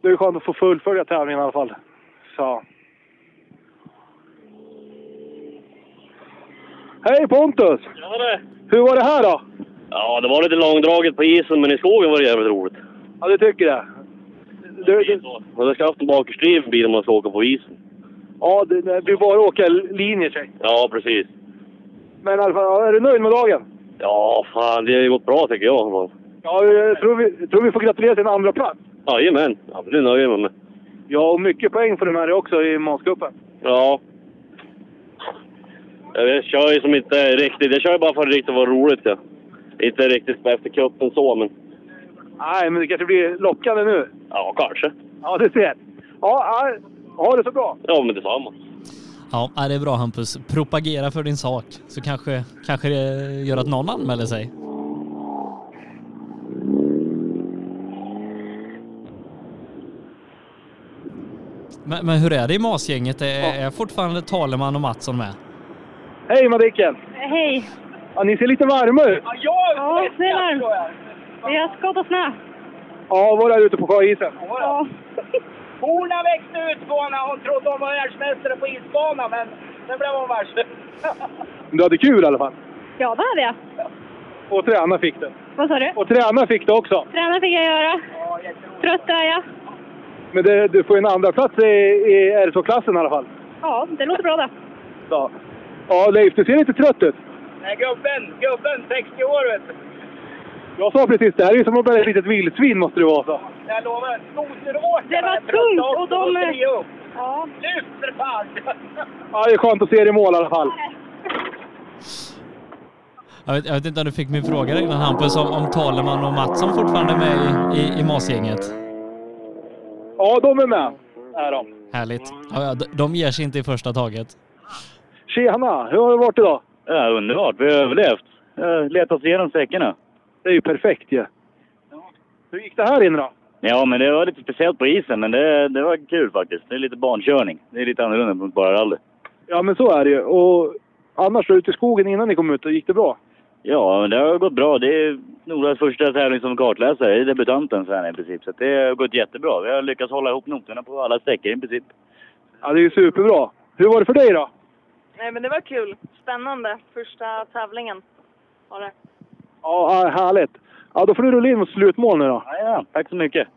S18: det är ju skönt att få fullfölja tävlingen i alla fall. Så. Hej Pontus!
S2: det.
S18: Hur var det här då?
S2: Ja, det var lite långdraget på isen, men i skogen var det jävligt roligt.
S18: Ja, du tycker det?
S2: Du, du... Man ska haft en bakerstyv bil om man ska åka på isen.
S18: Ja, det, det blir bara åka linjer säg.
S2: Ja, precis.
S18: Men i alla fall, ja, är du nöjd med dagen?
S2: Ja, fan, det har ju gått bra tycker jag.
S18: Ja, jag tror vi, jag tror vi får gratulera till en andra plats.
S2: Jajamän, ja, men det nöjer jag mig med.
S18: Ja, och mycket poäng får du med dig också i Månscupen.
S2: Ja. Jag kör ju som inte riktigt, jag kör ju bara för att det riktigt var roligt. Ja. Inte riktigt efter cupen så, men
S18: Nej, men det kanske blir lockande nu.
S2: ja, kanske.
S18: Ja, du ser. Ja, ja, ha det så bra!
S2: Ja, men detsamma.
S5: Ja, ja, det är bra Hampus. Propagera för din sak så kanske, kanske det gör att någon anmäler sig. Men, men hur är det i masgänget? Är, är fortfarande Taleman och Mattsson med?
S18: Hej Madicken!
S21: Hej!
S18: Ja, ni ser lite varma ut.
S21: Ja, se här. Vi har skottat snö.
S18: Ja, var där ute på sjöisen.
S21: Ja.
S31: Horna växte ut på när hon trodde hon var världsmästare på isbana, men sen blev hon värst.
S18: Men Du hade kul i alla fall.
S21: ja, det hade jag.
S18: Och träna fick du.
S21: Vad sa du?
S18: Och träna fick du också.
S21: Träna fick jag göra. Trött är jag.
S18: Men det, du får en andra plats i, i R2-klassen i alla fall.
S21: Ja, det låter bra det.
S18: Ja. ja, Leif, du ser lite trött ut.
S31: Nej, gubben, gubben, 60 år vet du.
S18: Jag sa precis, det här är ju som att bära ett litet vildsvin måste det vara. Så.
S31: Jag lovar, skoteråkare.
S21: Det var
S31: är trötta
S21: tungt,
S31: också,
S21: och de-
S31: då ger jag upp.
S21: Ja.
S31: Lyft för fan!
S18: Ja, det är skönt att se dig i mål i alla fall.
S5: Jag vet, jag vet inte om du fick min fråga där innan Hampus, om, om Taleman och Mattsson fortfarande är med i, i, i masgänget?
S18: Ja, de är med. Är de.
S5: Härligt. Ja, ja, de- de ger sig inte i första taget.
S18: Tjena, hur har det varit idag?
S32: Ja, underbart. Vi har överlevt. Eh, Letat oss igenom säckarna.
S18: Det är ju perfekt ju. Hur gick det här inne då?
S32: Ja, men det var lite speciellt på isen, men det, det var kul faktiskt. Det är lite barnkörning. Det är lite annorlunda mot bara rally.
S18: Ja, men så är det ju. Och annars då, ute i skogen innan ni kom ut, då gick det bra?
S32: Ja, men det har gått bra. Det är Noras första tävling som kartläsare. Det är debutanten så här i princip. Så att det har gått jättebra. Vi har lyckats hålla ihop noterna på alla sträckor i princip.
S18: Ja, det är ju superbra. Hur var det för dig då?
S21: Nej, men det var kul. Spännande. Första tävlingen var det.
S18: Ja, ja, härligt. Ja, då får du rulla in mot slutmål nu då.
S32: Ja, tack så mycket.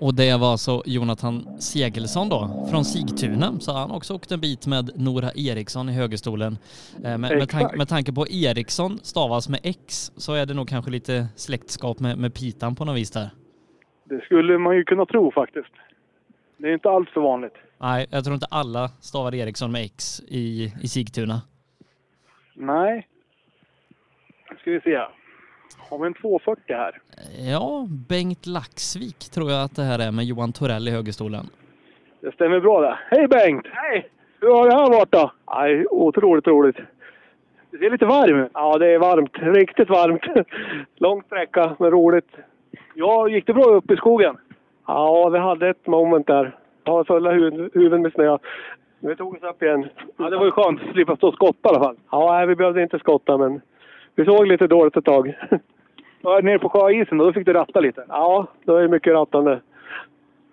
S5: Och det var alltså Jonathan Segelsson då, från Sigtuna, så han också åkt en bit med Nora Eriksson i högerstolen. Eh, Med, med,
S13: Exakt.
S5: tan- med tanke på Eriksson stavas med X så är det nog kanske lite släktskap med, med Pitan på något vis där.
S18: Det skulle man ju kunna tro faktiskt. Det är inte alls så vanligt.
S5: Nej, jag tror inte alla stavar Eriksson med X i, i Sigtuna.
S18: Nej. Nu ska vi se. Har vi en 240 här?
S5: Ja, Bengt Laxvik tror jag att det här är med Johan Torell i högerstolen.
S18: Det stämmer bra det. Hej Bengt! Hej! Hur har det här varit då? Nej, otroligt roligt. Du ser lite varm ut.
S33: Ja, det är varmt. Riktigt varmt. Lång sträcka, men roligt.
S18: Ja, gick det bra upp i skogen?
S33: Ja, vi hade ett moment där. Ta fulla huvud- huvuden med snö. Vi tog oss upp igen.
S18: Ja, det var ju skönt att slippa stå och skotta i alla fall.
S33: Ja, nej, vi behövde inte skotta, men vi såg lite dåligt ett tag.
S18: Ja, nere på sjöisen då, då fick du ratta lite?
S33: Ja, det var ju mycket rattande.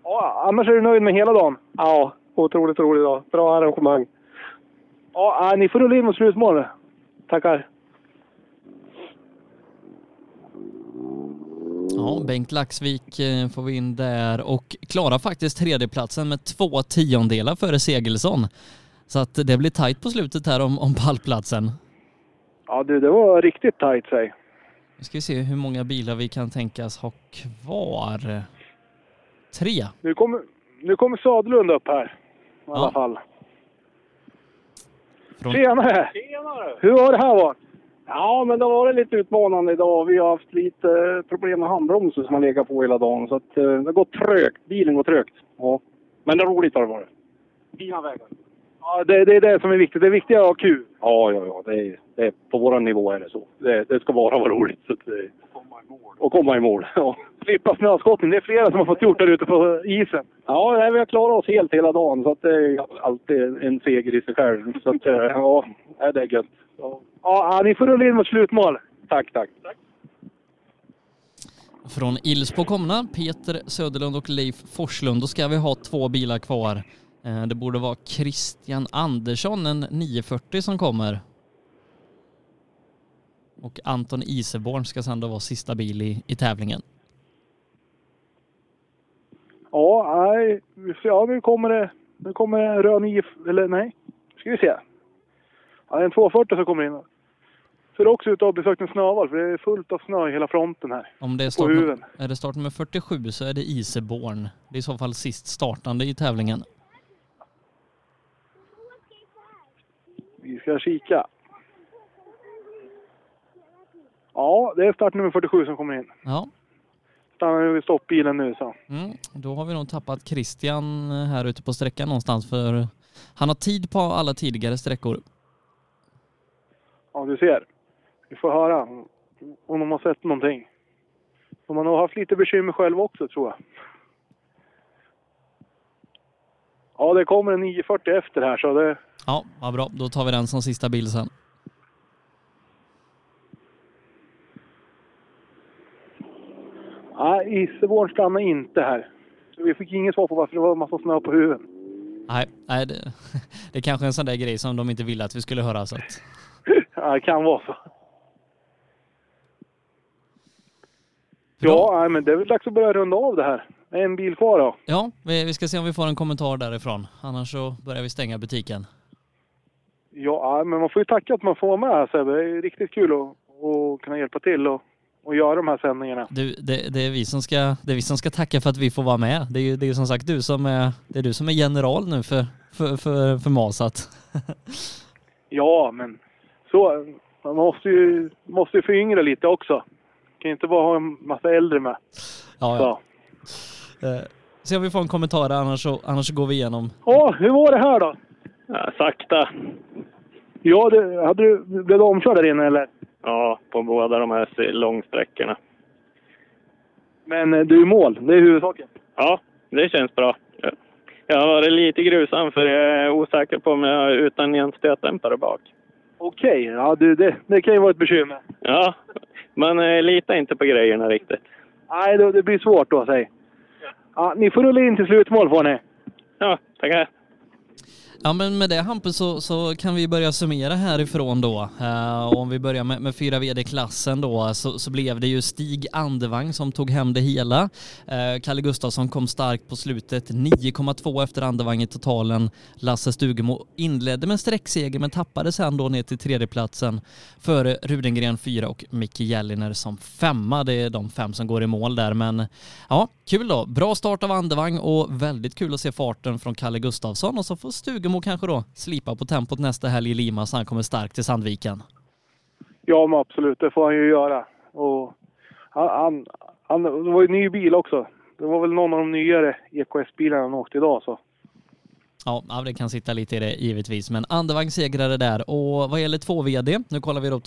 S18: Ja, annars är du nöjd med hela dagen?
S33: Ja, otroligt rolig dag. Bra arrangemang.
S18: Ja, nej, ni får rulla in mot slutmål nu.
S33: Tackar.
S5: Ja, Bengt Laxvik eh, får vi in där och klarar faktiskt tredjeplatsen med två tiondelar före Segelsson. Så att det blir tajt på slutet här om, om pallplatsen.
S18: Ja, du, det var riktigt tajt säg.
S5: Nu ska vi se hur många bilar vi kan tänkas ha kvar. Tre.
S12: Nu kommer, nu kommer Sadlund upp här. I alla
S5: Ja.
S12: fall.
S5: Från-
S12: Tjenare!
S14: Tjenare!
S12: Hur har det här varit?
S14: Ja, men det var lite utmanande idag. Vi har haft lite eh, problem med handbromsen som har legat på hela dagen. Så att, eh, det går trögt. Bilen går trögt. Ja. Men det är roligt har det varit.
S12: Fina vägar. Ja, det, det är det som är viktigt. Det viktiga är att ha kul.
S14: Ja, ja, ja. Det är, det är, på vår nivå är det så. Det, det ska bara vara roligt. Så att, eh, det, och komma i mål. Ja,
S12: Slippa snöskottning. Det är flera som har fått gjort där ute på isen.
S14: ja nej, vi har klarat oss helt hela dagen. Så att det är alltid en, en seger i sig själv. Så att, eh, ja, nej, det är gött.
S12: Ja, ni får rulla in mot slutmål.
S14: Tack, tack.
S5: Från Ilsbo komna, Peter Söderlund och Leif Forslund. Då ska vi ha två bilar kvar. Eh, Det borde vara Christian Andersson, en 940 som kommer. Och Anton Iseborn ska sedan då vara sista bil i, i tävlingen.
S12: Ja, nej. vi får se. Ja, nu kommer det. Nu kommer det en röd IF, eller nej. Ska vi se. Ja, det är en 240 som kommer in. Ser också ut att ha besökt en snöval för det är fullt av snö i hela fronten här.
S5: Om det är
S12: På
S5: start,
S12: huven.
S5: är det startnummer 47 så är det Iseborn. Det är i så fall sist startande i tävlingen.
S12: Vi ska kika. Ja, det är startnummer 47 som kommer in.
S5: Ja.
S12: Stannar nu vid stoppbilen nu så.
S5: Mm, då har vi nog tappat Christian eh, här ute på sträckan någonstans för han har tid på alla tidigare sträckor.
S12: Ja, du ser. Vi får höra om de har sett någonting. De har nog haft lite bekymmer själv också, tror jag. Ja, det kommer en 940 efter här, så det...
S5: Ja, vad bra. Då tar vi den som sista bil sen.
S12: Nej, Isseborn stannar inte här. Vi fick inget svar på varför det var en massa snö på huven.
S5: Nej, nej det, det är kanske är en sån där grej som de inte ville att vi skulle höra. Så att,
S12: Ja, det kan vara så. Ja, nej, men det är väl dags att börja runda av det här. Det är En bil kvar då.
S5: ja, vi, vi ska se om vi får en kommentar därifrån. Annars så börjar vi stänga butiken.
S12: Ja, men man får ju tacka att man får vara med här Sebbe. Det är riktigt kul att, att kunna hjälpa till och, och göra de här sändningarna.
S5: Du, det, det, är vi som ska, det är vi som ska tacka för att vi får vara med. Det är ju det är ju som sagt du som är, det är, du som är general nu för, för, för, för Masat.
S12: Ja, men så, man måste ju, måste ju föryngra lite också. Kan ju inte bara ha en massa äldre med.
S5: Ja, ja. Eh, se om vi får en kommentar annars så, annars så går vi igenom.
S12: Ja, hur var det här då?
S16: Ja, sakta.
S12: Ja, det, hade du, blev du omkörd där inne eller?
S16: Ja, på båda de här långsträckorna.
S12: Men eh, du är i mål, det är huvudsaken.
S16: Ja, det känns bra. Ja. Jag har varit lite grusam för jag är osäker på om jag har utan en stötdämpare bak.
S12: Okej, ja, du, det, det kan ju vara ett bekymmer.
S16: Ja, man eh, litar inte på grejerna riktigt.
S12: Nej, det, det blir svårt då, säg. Ja, ni får rulla in till slutmål får ni.
S16: Ja, tackar.
S5: Ja men med det Hampus så, så kan vi börja summera härifrån då. Eh, och om vi börjar med, med fyra vd-klassen då så, så blev det ju Stig Andevang som tog hem det hela. Eh, Kalle Gustafsson kom starkt på slutet, 9,2 efter Andevang i totalen. Lasse Stugemo inledde med sträckseger men tappade sen då ner till tredjeplatsen före Rudengren fyra och Micke Gälliner som femma. Det är de fem som går i mål där men ja, kul då. Bra start av Andevang och väldigt kul att se farten från Kalle Gustafsson och så får Stugemo kanske då slipa på tempot nästa helg i Lima så han kommer starkt till Sandviken.
S12: Ja, men absolut. Det får han ju göra. Och han, han, han, det var ju en ny bil också. Det var väl någon av de nyare EKS-bilarna han åkte idag. Så.
S5: Ja, ja, det kan sitta lite i det givetvis, men Andevang segrade där. Och vad gäller 2VD, nu kollar vi då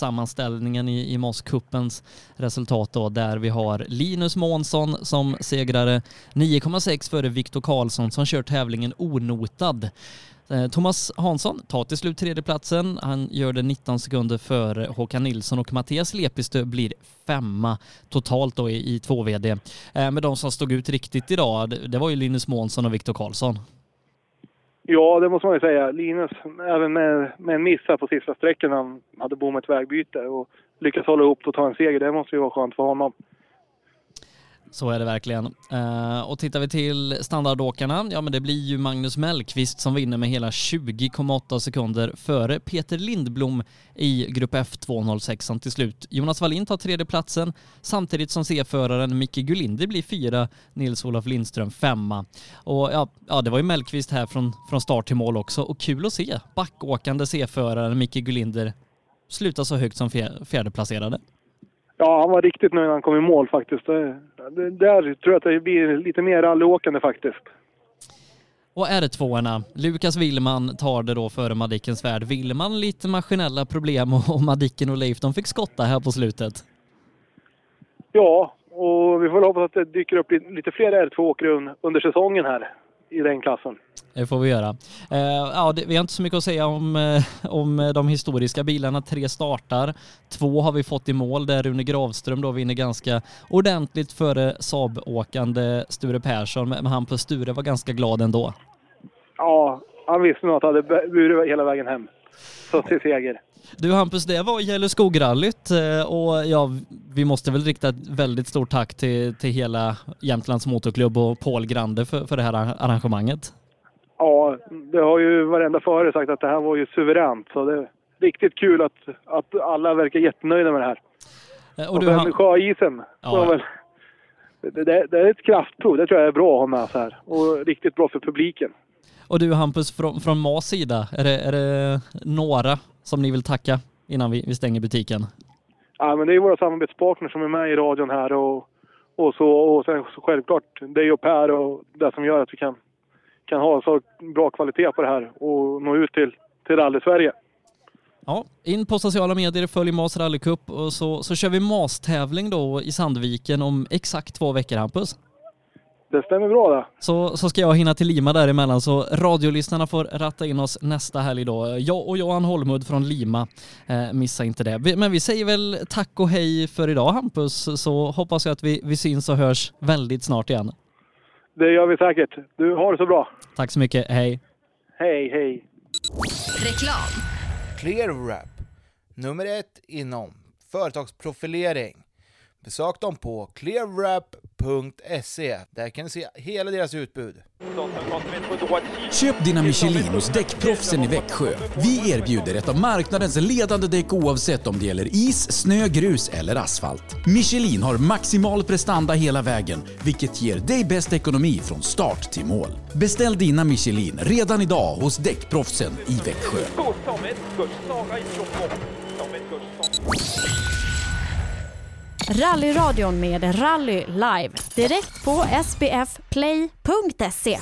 S5: totalsammanställningen i, i MOS-cupens resultat då, där vi har Linus Månsson som segrare, 9,6 före Viktor Karlsson som kör tävlingen onotad. Eh, Thomas Hansson tar till slut tredjeplatsen. Han gör det 19 sekunder före Håkan Nilsson och Mattias Lepistö blir femma totalt då i, i 2VD. Eh, Men de som stod ut riktigt idag, det, det var ju Linus Månsson och Viktor Karlsson.
S12: Ja, det måste man ju säga. Linus, även med, med en miss här på sista sträckan, han hade bommat ett vägbyte och lyckas hålla ihop och ta en seger. Det måste ju vara skönt för honom.
S5: Så är det verkligen. Eh, och tittar vi till standardåkarna, ja men det blir ju Magnus Mellqvist som vinner med hela 20,8 sekunder före Peter Lindblom i Grupp F206 till slut. Jonas Wallin tar tredjeplatsen samtidigt som C-föraren Micke Gulinder blir fyra, Nils-Olof Lindström femma. Och ja, ja, det var ju Mellqvist här från, från start till mål också och kul att se backåkande C-föraren Micke Gulinder sluta så högt som fjer- fjärdeplacerade.
S12: Ja, han var riktigt nöjd när han kom i mål faktiskt. Det, det, där tror jag att det blir lite mer rallyåkande faktiskt.
S5: Och R2-orna, Lukas Willman tar det då före Madicken Svärd. Willman lite maskinella problem och och Madicken och Leif de fick skotta här på slutet.
S12: Ja, och vi får väl hoppas att det dyker upp lite- lite fler R2-åkare un- under säsongen här i den klassen.
S5: Det får vi göra. Eh, ja, det, vi har inte så mycket att säga om, eh, om de historiska bilarna. Tre startar, två har vi fått i mål där Rune Gravström då vinner ganska ordentligt före Saab-åkande Sture Persson. Men han på Sture var ganska glad ändå.
S12: Ja, han visste nog att han hade b- burit hela vägen hem. Så till seger.
S5: Du Hampus, det var Gällöskograllyt eh, och ja, vi måste väl rikta ett väldigt stort tack till, till hela Jämtlands Motorklubb och Paul Grande för, för det här arra- arrangemanget.
S12: Ja, det har ju varenda förare sagt att det här var ju suveränt. Så det är riktigt kul att, att alla verkar jättenöjda med det här.
S5: Eh,
S12: Och,
S5: du,
S12: det här
S5: Han-
S12: med sjöisen.
S5: Ja.
S12: Ja. Väl, det, det, det är ett kraftprov. Det tror jag är bra att ha med så här. Och riktigt bra för publiken.
S5: Och du Hampus, från, från MAs sida, är det, är det några som ni vill tacka innan vi, vi stänger butiken?
S12: Ja, men det är ju våra samarbetspartners som är med i radion här och, och så. Och sen så självklart dig och Per och det som gör att vi kan, kan ha så bra kvalitet på det här och nå ut till, till rally-Sverige.
S5: Ja, in på sociala medier, följ MAS rallycup och så, så kör vi MAS-tävling då i Sandviken om exakt två veckor Hampus.
S12: Det stämmer bra det.
S5: Så, så ska jag hinna till Lima däremellan så radiolyssnarna får ratta in oss nästa helg då. Jag och Johan Holmud från Lima. Eh, missa inte det. Vi- Men vi säger väl tack och hej för idag Hampus så hoppas jag att vi, vi syns och hörs väldigt snart igen.
S12: Det gör vi säkert. Du, har det så bra.
S5: Tack så mycket, hej.
S12: Hej, hej.
S34: Reklam.
S3: ClearWrap. Nummer ett inom företagsprofilering. Besök dem på clearwrap.se. Där kan du se hela deras utbud.
S4: Köp dina Michelin hos Däckproffsen i Växjö. Vi erbjuder ett av marknadens ledande däck oavsett om det gäller is, snö, grus eller asfalt. Michelin har maximal prestanda hela vägen, vilket ger dig bäst ekonomi från start till mål. Beställ dina Michelin redan idag hos Däckproffsen i Växjö.
S1: E. Rallyradion med Rally Live. Direkt på sbfplay.se.